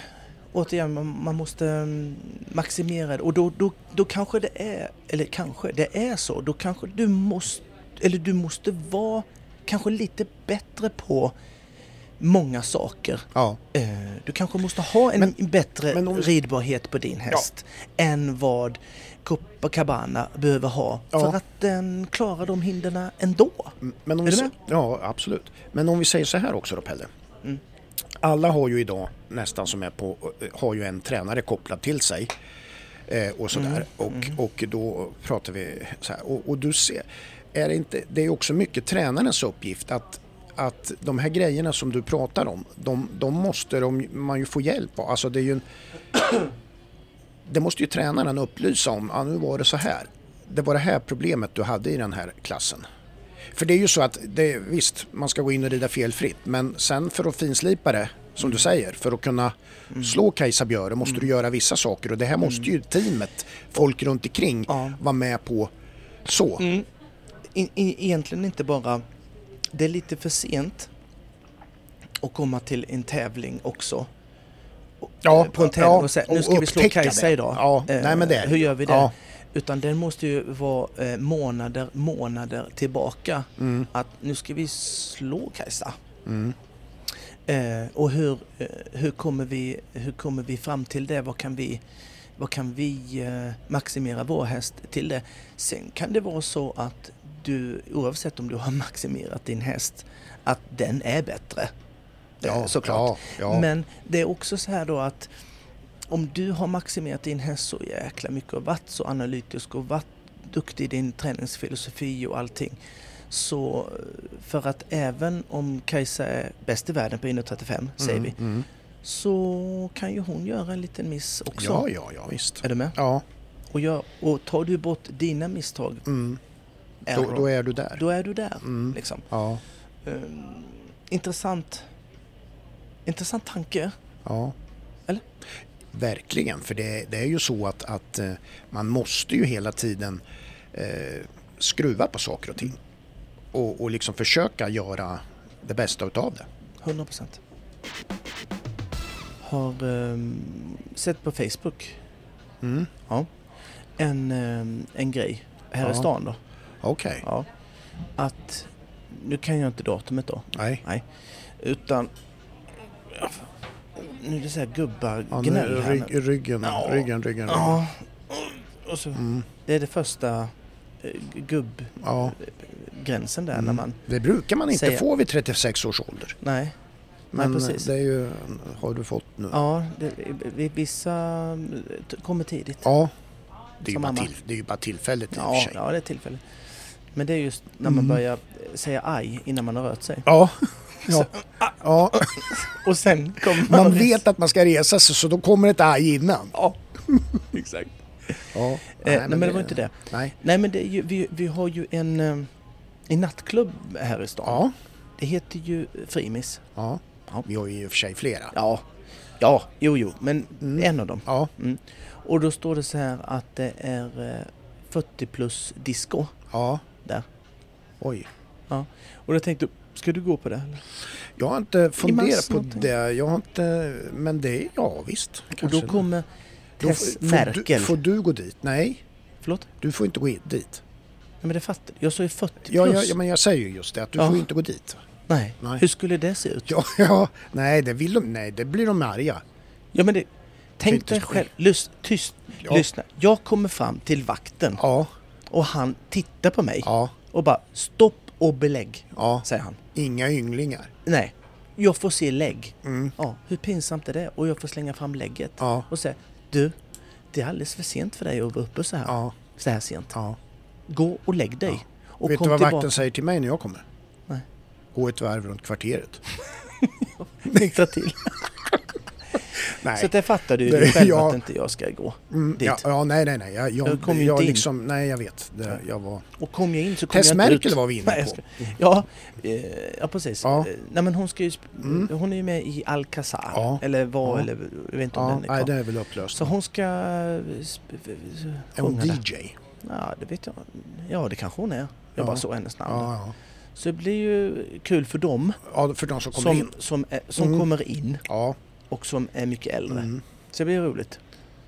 Speaker 2: Återigen, man man måste mm, maximera det. Och då, då, då kanske det är... Eller kanske, det är så. Då kanske du måste... Eller du måste vara kanske lite bättre på många saker.
Speaker 1: Ja.
Speaker 2: Eh, Du kanske måste ha en bättre
Speaker 1: men om vi-
Speaker 2: ridbarhet på din häst än vad Copacabana behöver ha.
Speaker 1: Ja.
Speaker 2: För att den klarar de hindren ändå.
Speaker 1: Men om
Speaker 2: Är
Speaker 1: vi, sä-
Speaker 2: du med?
Speaker 1: Ja, absolut. Men om vi säger så här också då Pelle.
Speaker 2: Mm.
Speaker 1: Alla har ju idag nästan som är på, eh, har ju en tränare kopplad till sig. Eh, och sådär.
Speaker 2: Mm.
Speaker 1: Och, och då pratar vi så här. Och, och du ser, är det, inte, det är ju också mycket tränarens uppgift att att de här grejerna som du pratar om, de, de måste de, man ju få hjälp av. Alltså det är ju en, det måste ju tränaren upplysa om. Ja, nu var det så här. Det var det här problemet du hade i den här klassen. För det är ju så att det, visst, man ska gå in och rida felfritt. Men sen för att finslipa det, som
Speaker 2: Mm.
Speaker 1: du säger, för att kunna slå Kajsa Björe måste du göra vissa saker. Och det här måste ju teamet, folk runt omkring,
Speaker 2: Mm. Ja. Mm.
Speaker 1: vara med på. Så.
Speaker 2: in, in, egentligen inte bara... Det är lite för sent att komma till en tävling också. Och-
Speaker 1: Ja,
Speaker 2: eh, på en tävling
Speaker 1: ja,
Speaker 2: och säga
Speaker 1: och
Speaker 2: nu ska vi slå
Speaker 1: upptäcka
Speaker 2: Kajsa
Speaker 1: det."
Speaker 2: idag.
Speaker 1: Ja,
Speaker 2: Eh,
Speaker 1: nej, men det-
Speaker 2: Hur gör vi det?
Speaker 1: ja.
Speaker 2: Utan den måste ju vara eh, månader, månader tillbaka.
Speaker 1: Mm.
Speaker 2: Att nu ska vi slå Kajsa. Eh, och hur, eh, hur, kommer vi, hur kommer vi fram till det? Vad kan vi, vad kan vi eh, maximera vår häst till det? Sen kan det vara så att du, oavsett om du har maximerat din häst, att den är bättre. Eh,
Speaker 1: Ja,
Speaker 2: såklart.
Speaker 1: ja, ja.
Speaker 2: Men det är också så här då att om du har maximerat din häst så jäkla mycket och varit så analytisk och varit duktig i din träningsfilosofi och allting. Så eh, för att även om Kajsa är bäst i världen på 1,35 säger vi,
Speaker 1: Mm.
Speaker 2: så kan ju hon göra en liten miss också.
Speaker 1: Ja, ja, ja, visst.
Speaker 2: Är du med?
Speaker 1: Ja,
Speaker 2: Och, gör, och tar du bort dina misstag,
Speaker 1: mm. då,
Speaker 2: error,
Speaker 1: då är du där.
Speaker 2: då är du där.
Speaker 1: Mm.
Speaker 2: Liksom.
Speaker 1: Ja,
Speaker 2: Ehm, intressant, intressant tanke.
Speaker 1: ja.
Speaker 2: Eller?
Speaker 1: Verkligen, för det, det är ju så att, att eh, man måste ju hela tiden eh, skruva på saker och ting. Och, och liksom försöka göra det bästa utav det.
Speaker 2: 100 procent. Har ehm, sett på Facebook
Speaker 1: Mm.
Speaker 2: ja, en, ehm, en grej här i
Speaker 1: Ja.
Speaker 2: stan då.
Speaker 1: Okej,
Speaker 2: Ja, att, nu kan jag inte datumet då,
Speaker 1: nej.
Speaker 2: utan nu är det så här gubbar
Speaker 1: Ja, nu,
Speaker 2: gnäll här nu.
Speaker 1: rygg, ryggen,
Speaker 2: Ja.
Speaker 1: ryggen, ryggen.
Speaker 2: Ja, och så,
Speaker 1: Mm.
Speaker 2: det är det första eh, gubbgränsen
Speaker 1: Ja.
Speaker 2: där när
Speaker 1: Mm.
Speaker 2: man,
Speaker 1: Det brukar man inte
Speaker 2: Säger-
Speaker 1: få vid 36 års ålder.
Speaker 2: nej,
Speaker 1: Men eh,
Speaker 2: precis.
Speaker 1: det är ju, har du fått nu.
Speaker 2: ja, det, vi- vissa eh, t- kommer tidigt.
Speaker 1: Ja. Det är, ju
Speaker 2: Som
Speaker 1: bara
Speaker 2: mamma.
Speaker 1: till, det är ju bara tillfälligt i och för
Speaker 2: Ja,
Speaker 1: sig. Mm.
Speaker 2: ja, det är tillfället. Men det är just när man börjar eh, säga aj innan man har rört sig.
Speaker 1: Ja. Ja.
Speaker 2: ah.
Speaker 1: ja.
Speaker 2: Och sen kommer
Speaker 1: Man vet att man ska resa sig så då kommer ett aj innan.
Speaker 2: Ja, exakt.
Speaker 1: Ja.
Speaker 2: Eh, nej, men det var inte det.
Speaker 1: Nej.
Speaker 2: Nej, men det är ju, vi, vi har ju en, eh, en nattklubb här i stan.
Speaker 1: Ja.
Speaker 2: Det heter ju Frimis.
Speaker 1: ja.
Speaker 2: Ja.
Speaker 1: Vi har ju i och för sig flera.
Speaker 2: Ja, ja, jo, jo, men
Speaker 1: Mm.
Speaker 2: en av dem.
Speaker 1: Ja.
Speaker 2: Mm. Och då står det så här att det är eh, 40 plus disco
Speaker 1: Ja.
Speaker 2: där.
Speaker 1: Oj.
Speaker 2: Ja. Och då tänkte jag, ska du gå på det? eller?
Speaker 1: Jag har inte funderat
Speaker 2: mars
Speaker 1: på
Speaker 2: någonting.
Speaker 1: det. Jag har inte... Men det... Ja, visst.
Speaker 2: Och
Speaker 1: Kanske.
Speaker 2: då kommer
Speaker 1: Då
Speaker 2: Tess
Speaker 1: f- får, du,
Speaker 2: Merkel.
Speaker 1: får du gå dit? Nej.
Speaker 2: Förlåt?
Speaker 1: Du får inte gå i- dit.
Speaker 2: Nej, men det fattar jag. sa ju 40 plus.
Speaker 1: Ja, ja, ja, men jag säger ju just det. Att du
Speaker 2: Ja.
Speaker 1: får ju inte gå dit.
Speaker 2: Nej.
Speaker 1: Nej.
Speaker 2: hur skulle det se ut?
Speaker 1: Ja, ja. Nej, det vill de... Nej, det blir de arga.
Speaker 2: Ja, men det, tänk
Speaker 1: Typiskt
Speaker 2: dig själv. Lys, tyst,
Speaker 1: Ja.
Speaker 2: lyssna. Jag kommer fram till vakten
Speaker 1: Ja.
Speaker 2: och han tittar på mig
Speaker 1: Ja.
Speaker 2: och bara stopp och belägg,
Speaker 1: Ja.
Speaker 2: säger han.
Speaker 1: Inga ynglingar.
Speaker 2: Nej, jag får se lägg.
Speaker 1: Mm.
Speaker 2: Ja, hur pinsamt är det? Och jag får slänga fram lägget
Speaker 1: Ja.
Speaker 2: och säga du, det är alldeles för sent för dig att vara uppe så här,
Speaker 1: Ja.
Speaker 2: så här sent.
Speaker 1: Ja.
Speaker 2: Gå och lägg dig. Och
Speaker 1: Vet
Speaker 2: kom
Speaker 1: du vad
Speaker 2: tillbaka.
Speaker 1: vakten säger till mig när jag kommer?
Speaker 2: Nej.
Speaker 1: Gå ett varv runt kvarteret.
Speaker 2: Nyktra till.
Speaker 1: Nej.
Speaker 2: Så det fattar du
Speaker 1: Det-
Speaker 2: ju själv
Speaker 1: ja.
Speaker 2: att inte jag ska gå
Speaker 1: Mm,
Speaker 2: dit.
Speaker 1: ja, ja, nej, nej, nej. Jag, jag,
Speaker 2: Jag kom ju
Speaker 1: jag
Speaker 2: inte in.
Speaker 1: liksom, nej, jag vet. Det, jag var...
Speaker 2: Och kom jag in så kom
Speaker 1: Tess
Speaker 2: jag inte
Speaker 1: Merkel
Speaker 2: ut.
Speaker 1: var vi inne
Speaker 2: jag
Speaker 1: på.
Speaker 2: ska- Ja, eh, ja precis.
Speaker 1: Ja. Mm.
Speaker 2: Eh, Nej, men hon, ska ju, sp- hon är ju med i Alcazar.
Speaker 1: Ja.
Speaker 2: Eller var,
Speaker 1: Ja.
Speaker 2: eller jag vet inte om
Speaker 1: Ja,
Speaker 2: den är
Speaker 1: nej,
Speaker 2: kvar.
Speaker 1: det är väl upplöst.
Speaker 2: Så hon ska eh, sp- f- f-
Speaker 1: är hon
Speaker 2: sjunga där.
Speaker 1: DJ?
Speaker 2: Ja, det vet jag. Ja, det kanske hon är. Jag
Speaker 1: Ja.
Speaker 2: bara såg hennes
Speaker 1: Ja,
Speaker 2: namn.
Speaker 1: ja.
Speaker 2: Så det blir ju kul för dem
Speaker 1: Ja, för de som kommer
Speaker 2: som,
Speaker 1: in.
Speaker 2: som, är, som
Speaker 1: Mm.
Speaker 2: kommer in
Speaker 1: Ja.
Speaker 2: och som är mycket äldre.
Speaker 1: Mm.
Speaker 2: Så det blir roligt.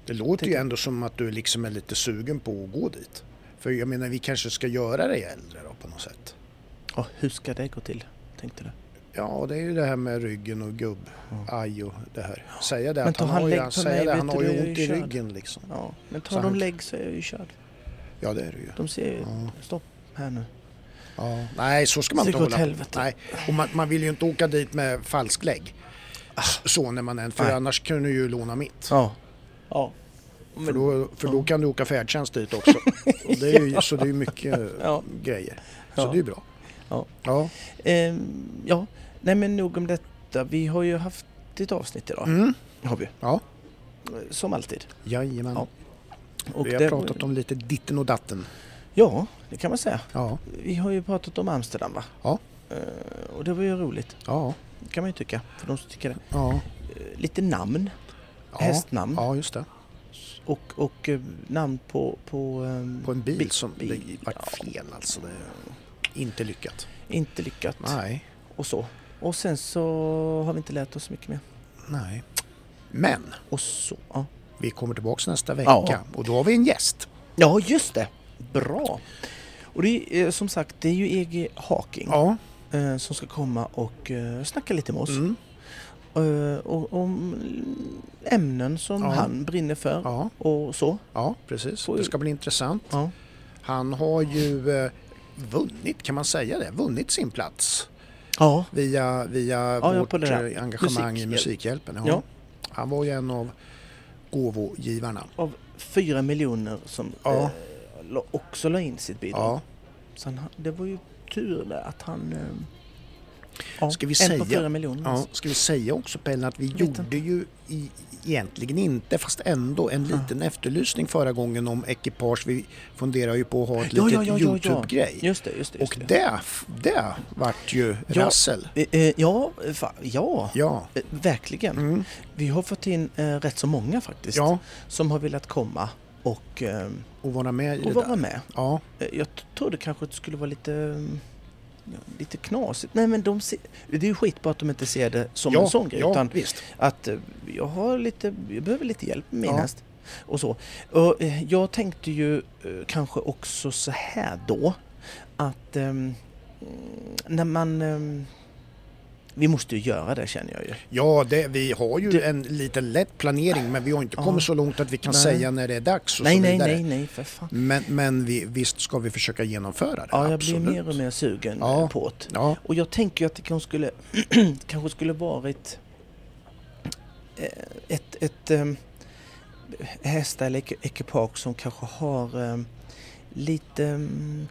Speaker 1: Det låter ju
Speaker 2: Tycker-
Speaker 1: ändå som att du liksom är lite sugen på att gå dit. För jag menar, vi kanske ska göra dig äldre då på något sätt.
Speaker 2: Ja, hur ska det gå till? Tänkte du.
Speaker 1: Ja, det är ju det här med ryggen och gubb,
Speaker 2: Ja.
Speaker 1: aj och det här. Säga det
Speaker 2: Men
Speaker 1: att
Speaker 2: tar
Speaker 1: han,
Speaker 2: han
Speaker 1: har ju,
Speaker 2: lägg
Speaker 1: han,
Speaker 2: på mig,
Speaker 1: säga det,
Speaker 2: vet
Speaker 1: han
Speaker 2: du,
Speaker 1: har
Speaker 2: då är
Speaker 1: ju
Speaker 2: jag
Speaker 1: ont
Speaker 2: ju
Speaker 1: i
Speaker 2: körd.
Speaker 1: ryggen liksom.
Speaker 2: Ja, men
Speaker 1: Så
Speaker 2: tar de
Speaker 1: han-
Speaker 2: lägg så är jag ju körd.
Speaker 1: Ja, det är det ju.
Speaker 2: De ser ju...
Speaker 1: Ja,
Speaker 2: Stopp här nu.
Speaker 1: ja. Nej, så ska man
Speaker 2: Så det
Speaker 1: inte
Speaker 2: går åt
Speaker 1: hålla på.
Speaker 2: helvete.
Speaker 1: Nej, och man, man vill ju inte åka dit med falsk lägg. Så när man än, för
Speaker 2: Ah. Nej.
Speaker 1: annars kan du ju låna mitt.
Speaker 2: Ja. Ja.
Speaker 1: För,
Speaker 2: Men,
Speaker 1: då, för då kan du åka färdtjänst dit också. Och det är ju, Så det är ju mycket eh,
Speaker 2: Ja.
Speaker 1: grejer. Så
Speaker 2: Ja.
Speaker 1: det är ju bra.
Speaker 2: Ja.
Speaker 1: ja.
Speaker 2: ehm, ja. Nej men nog om detta. Vi har ju haft ett avsnitt idag.
Speaker 1: Mm.
Speaker 2: Har vi.
Speaker 1: Ja.
Speaker 2: Som alltid.
Speaker 1: Jajamän.
Speaker 2: Ja. Och
Speaker 1: vi har
Speaker 2: det-
Speaker 1: pratat om lite ditten och datten.
Speaker 2: Ja, det kan man säga.
Speaker 1: Ja,
Speaker 2: Vi har ju pratat om Amsterdam va?
Speaker 1: Ja.
Speaker 2: Eh, och det var ju roligt.
Speaker 1: ja,
Speaker 2: kan man ju tycka. För de som tycker det.
Speaker 1: ja.
Speaker 2: Eh, lite namn.
Speaker 1: ja.
Speaker 2: Hästnamn.
Speaker 1: Ja, just det.
Speaker 2: Och, och eh, namn på... På, ehm,
Speaker 1: På en bil,
Speaker 2: Bil-
Speaker 1: som
Speaker 2: bil,
Speaker 1: det vart
Speaker 2: ja.
Speaker 1: fel alltså. Det är inte lyckat.
Speaker 2: Inte lyckat.
Speaker 1: Nej,
Speaker 2: Och så. Och sen så har vi inte lärt oss mycket mer.
Speaker 1: nej. Men
Speaker 2: Och så. Ja,
Speaker 1: vi kommer tillbaks nästa vecka
Speaker 2: Ja.
Speaker 1: och då har vi en gäst.
Speaker 2: ja just det. Bra. Och det är eh, som sagt, det är ju EG Haking
Speaker 1: Ja,
Speaker 2: eh, som ska komma och eh, snacka lite med oss.
Speaker 1: mm.
Speaker 2: Eh, och, om ämnen som
Speaker 1: Ja.
Speaker 2: han brinner för
Speaker 1: ja,
Speaker 2: och så.
Speaker 1: ja precis.
Speaker 2: Får
Speaker 1: Det
Speaker 2: ju-
Speaker 1: ska bli intressant.
Speaker 2: Ja.
Speaker 1: Han har ju eh, vunnit, kan man säga det? Vunnit sin plats
Speaker 2: Ja.
Speaker 1: via, via
Speaker 2: ja,
Speaker 1: vårt
Speaker 2: på det där.
Speaker 1: eh, engagemang i
Speaker 2: Musikhjälp.
Speaker 1: Musikhjälpen. Ja.
Speaker 2: Ja.
Speaker 1: Han var ju en av gåvogivarna.
Speaker 2: Av fyra miljoner som
Speaker 1: Ja.
Speaker 2: eh, la- också la in sitt bidrag.
Speaker 1: Ja.
Speaker 2: Så han, det var ju tur där att han... eh, Ja,
Speaker 1: Ska vi
Speaker 2: en
Speaker 1: säga-
Speaker 2: på fyra miljoner.
Speaker 1: Ja,
Speaker 2: alltså.
Speaker 1: ska vi säga också Pelle att vi
Speaker 2: vet
Speaker 1: gjorde ju i, egentligen inte, fast ändå, en
Speaker 2: Ja.
Speaker 1: liten efterlysning förra gången om ekipage. Vi funderar ju på att ha ett
Speaker 2: Ja,
Speaker 1: litet
Speaker 2: ja, ja, ja, ja.
Speaker 1: Youtube-grej.
Speaker 2: Just det, just det. Just
Speaker 1: Och
Speaker 2: det.
Speaker 1: det, det vart ju
Speaker 2: Ja.
Speaker 1: rassel.
Speaker 2: Eh, eh, Ja, fa- ja,
Speaker 1: Ja.
Speaker 2: eh, verkligen.
Speaker 1: Mm.
Speaker 2: Vi har fått in eh, rätt så många faktiskt
Speaker 1: ja,
Speaker 2: som har velat komma och, eh,
Speaker 1: och vara med i
Speaker 2: och
Speaker 1: det
Speaker 2: vara
Speaker 1: där.
Speaker 2: med.
Speaker 1: Ja,
Speaker 2: Eh, Jag t- trodde kanske att det skulle vara lite, eh, ja, lite knasigt. Nej men de ser, det är ju skitbra att de inte ser det som en
Speaker 1: ja,
Speaker 2: sån grej.
Speaker 1: ja
Speaker 2: Utan
Speaker 1: visst.
Speaker 2: att eh, jag, har lite, jag behöver lite hjälp med min
Speaker 1: Ja.
Speaker 2: häst. Och så. Och eh, jag tänkte ju eh, kanske också så här då att ehm, mm, när man... ehm, vi måste ju göra det känner jag ju.
Speaker 1: Ja, det, vi har ju
Speaker 2: Det-
Speaker 1: en liten lätt planering men vi har inte
Speaker 2: Ja.
Speaker 1: kommit så långt att vi kan
Speaker 2: Nej.
Speaker 1: säga när det är dags och
Speaker 2: nej,
Speaker 1: så
Speaker 2: nej,
Speaker 1: vidare.
Speaker 2: nej, nej, för fan.
Speaker 1: Men, men vi, visst ska vi försöka genomföra det.
Speaker 2: Ja, jag
Speaker 1: absolut.
Speaker 2: blir mer och mer sugen
Speaker 1: Ja.
Speaker 2: eh, på det.
Speaker 1: Ja,
Speaker 2: Och jag tänker ju att det kanske skulle, kanske skulle varit eh, ett, ett eh, hästar eller ek- ekipage som kanske har eh, lite mm,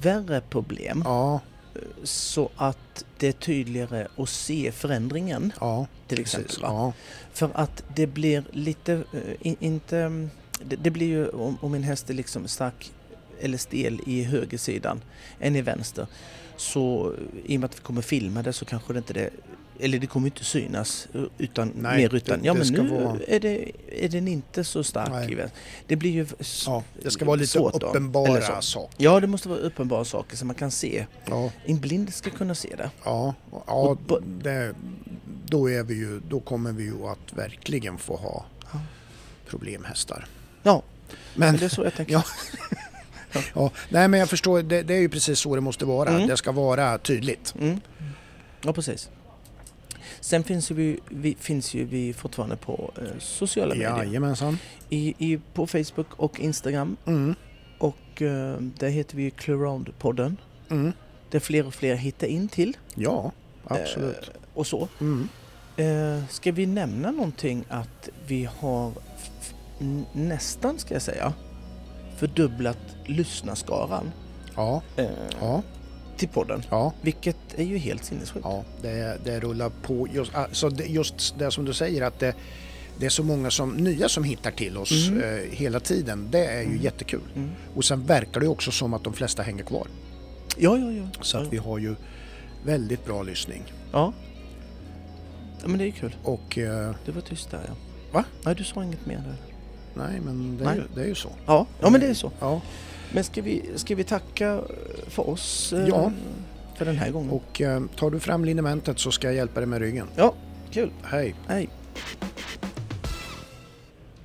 Speaker 2: värre problem
Speaker 1: ja,
Speaker 2: så att det är tydligare att se förändringen
Speaker 1: ja.
Speaker 2: till
Speaker 1: precis.
Speaker 2: exempel. Va?
Speaker 1: Ja.
Speaker 2: För att det blir lite, eh, in, inte, mm, det, det blir ju om, om en häst är liksom stark eller stel i högersidan än i vänster så eh, i och med att vi kommer filma det så kanske det inte det, eller det kommer ju inte synas eh, utan,
Speaker 1: Nej,
Speaker 2: mer utan,
Speaker 1: det-
Speaker 2: ja
Speaker 1: det
Speaker 2: men
Speaker 1: ska
Speaker 2: nu
Speaker 1: vara-
Speaker 2: är, det, är den inte så stark
Speaker 1: Nej.
Speaker 2: i vänster. Det blir ju s-
Speaker 1: Ja, det ska vara lite
Speaker 2: svårt då, eller
Speaker 1: uppenbara
Speaker 2: så.
Speaker 1: saker.
Speaker 2: Ja, det måste vara uppenbara saker som man kan se.
Speaker 1: Ja,
Speaker 2: En blind ska kunna se det.
Speaker 1: ja, ja
Speaker 2: Och bo-
Speaker 1: det, då, är vi ju, då kommer vi ju att verkligen få ha
Speaker 2: Ja.
Speaker 1: problemhästar.
Speaker 2: Ja,
Speaker 1: Men,
Speaker 2: det är så jag tänker.
Speaker 1: Ja. ja, nej, men jag förstår, det, det är ju precis så det måste vara.
Speaker 2: Mm.
Speaker 1: Det ska vara tydligt.
Speaker 2: Mm. Ja, precis. Sen finns ju vi, vi, finns ju vi fortfarande på eh, sociala medier.
Speaker 1: Jajamensan.
Speaker 2: I, i, på Facebook och Instagram.
Speaker 1: Mm.
Speaker 2: Och eh, där heter vi ju Cluround-podden.
Speaker 1: Mm.
Speaker 2: Där fler och fler hittar in till.
Speaker 1: Ja, absolut.
Speaker 2: Eh, och så.
Speaker 1: Mm.
Speaker 2: Eh, ska vi nämna någonting att vi har f- f- n- nästan, ska jag säga, fördubblat lyssnarskaran
Speaker 1: Ja,
Speaker 2: eh,
Speaker 1: ja,
Speaker 2: till podden.
Speaker 1: ja.
Speaker 2: Vilket är ju helt sinnessjukt.
Speaker 1: Ja, det, det rullar på. Just, alltså det, just det som du säger att det, det är så många som, nya som hittar till oss
Speaker 2: Mm.
Speaker 1: eh, hela tiden. Det är ju
Speaker 2: Mm.
Speaker 1: jättekul.
Speaker 2: Mm.
Speaker 1: Och sen verkar det ju också som att de flesta hänger kvar.
Speaker 2: Ja, ja, ja.
Speaker 1: Så
Speaker 2: Ja.
Speaker 1: att vi har ju väldigt bra lyssning.
Speaker 2: Ja. ja men det är ju kul.
Speaker 1: Och eh,
Speaker 2: Du var tyst där ja.
Speaker 1: Va?
Speaker 2: Nej, du sa inget mer där.
Speaker 1: nej, men det, Är,
Speaker 2: Nej.
Speaker 1: ju- det är ju så.
Speaker 2: Ja, ja men det är så.
Speaker 1: Ja,
Speaker 2: Men ska vi, ska vi tacka eh, för oss? eh,
Speaker 1: Ja.
Speaker 2: för den här gången.
Speaker 1: Och eh, tar du fram linjementet så ska jag hjälpa dig med ryggen.
Speaker 2: Ja, kul.
Speaker 1: Hej!
Speaker 2: Hej.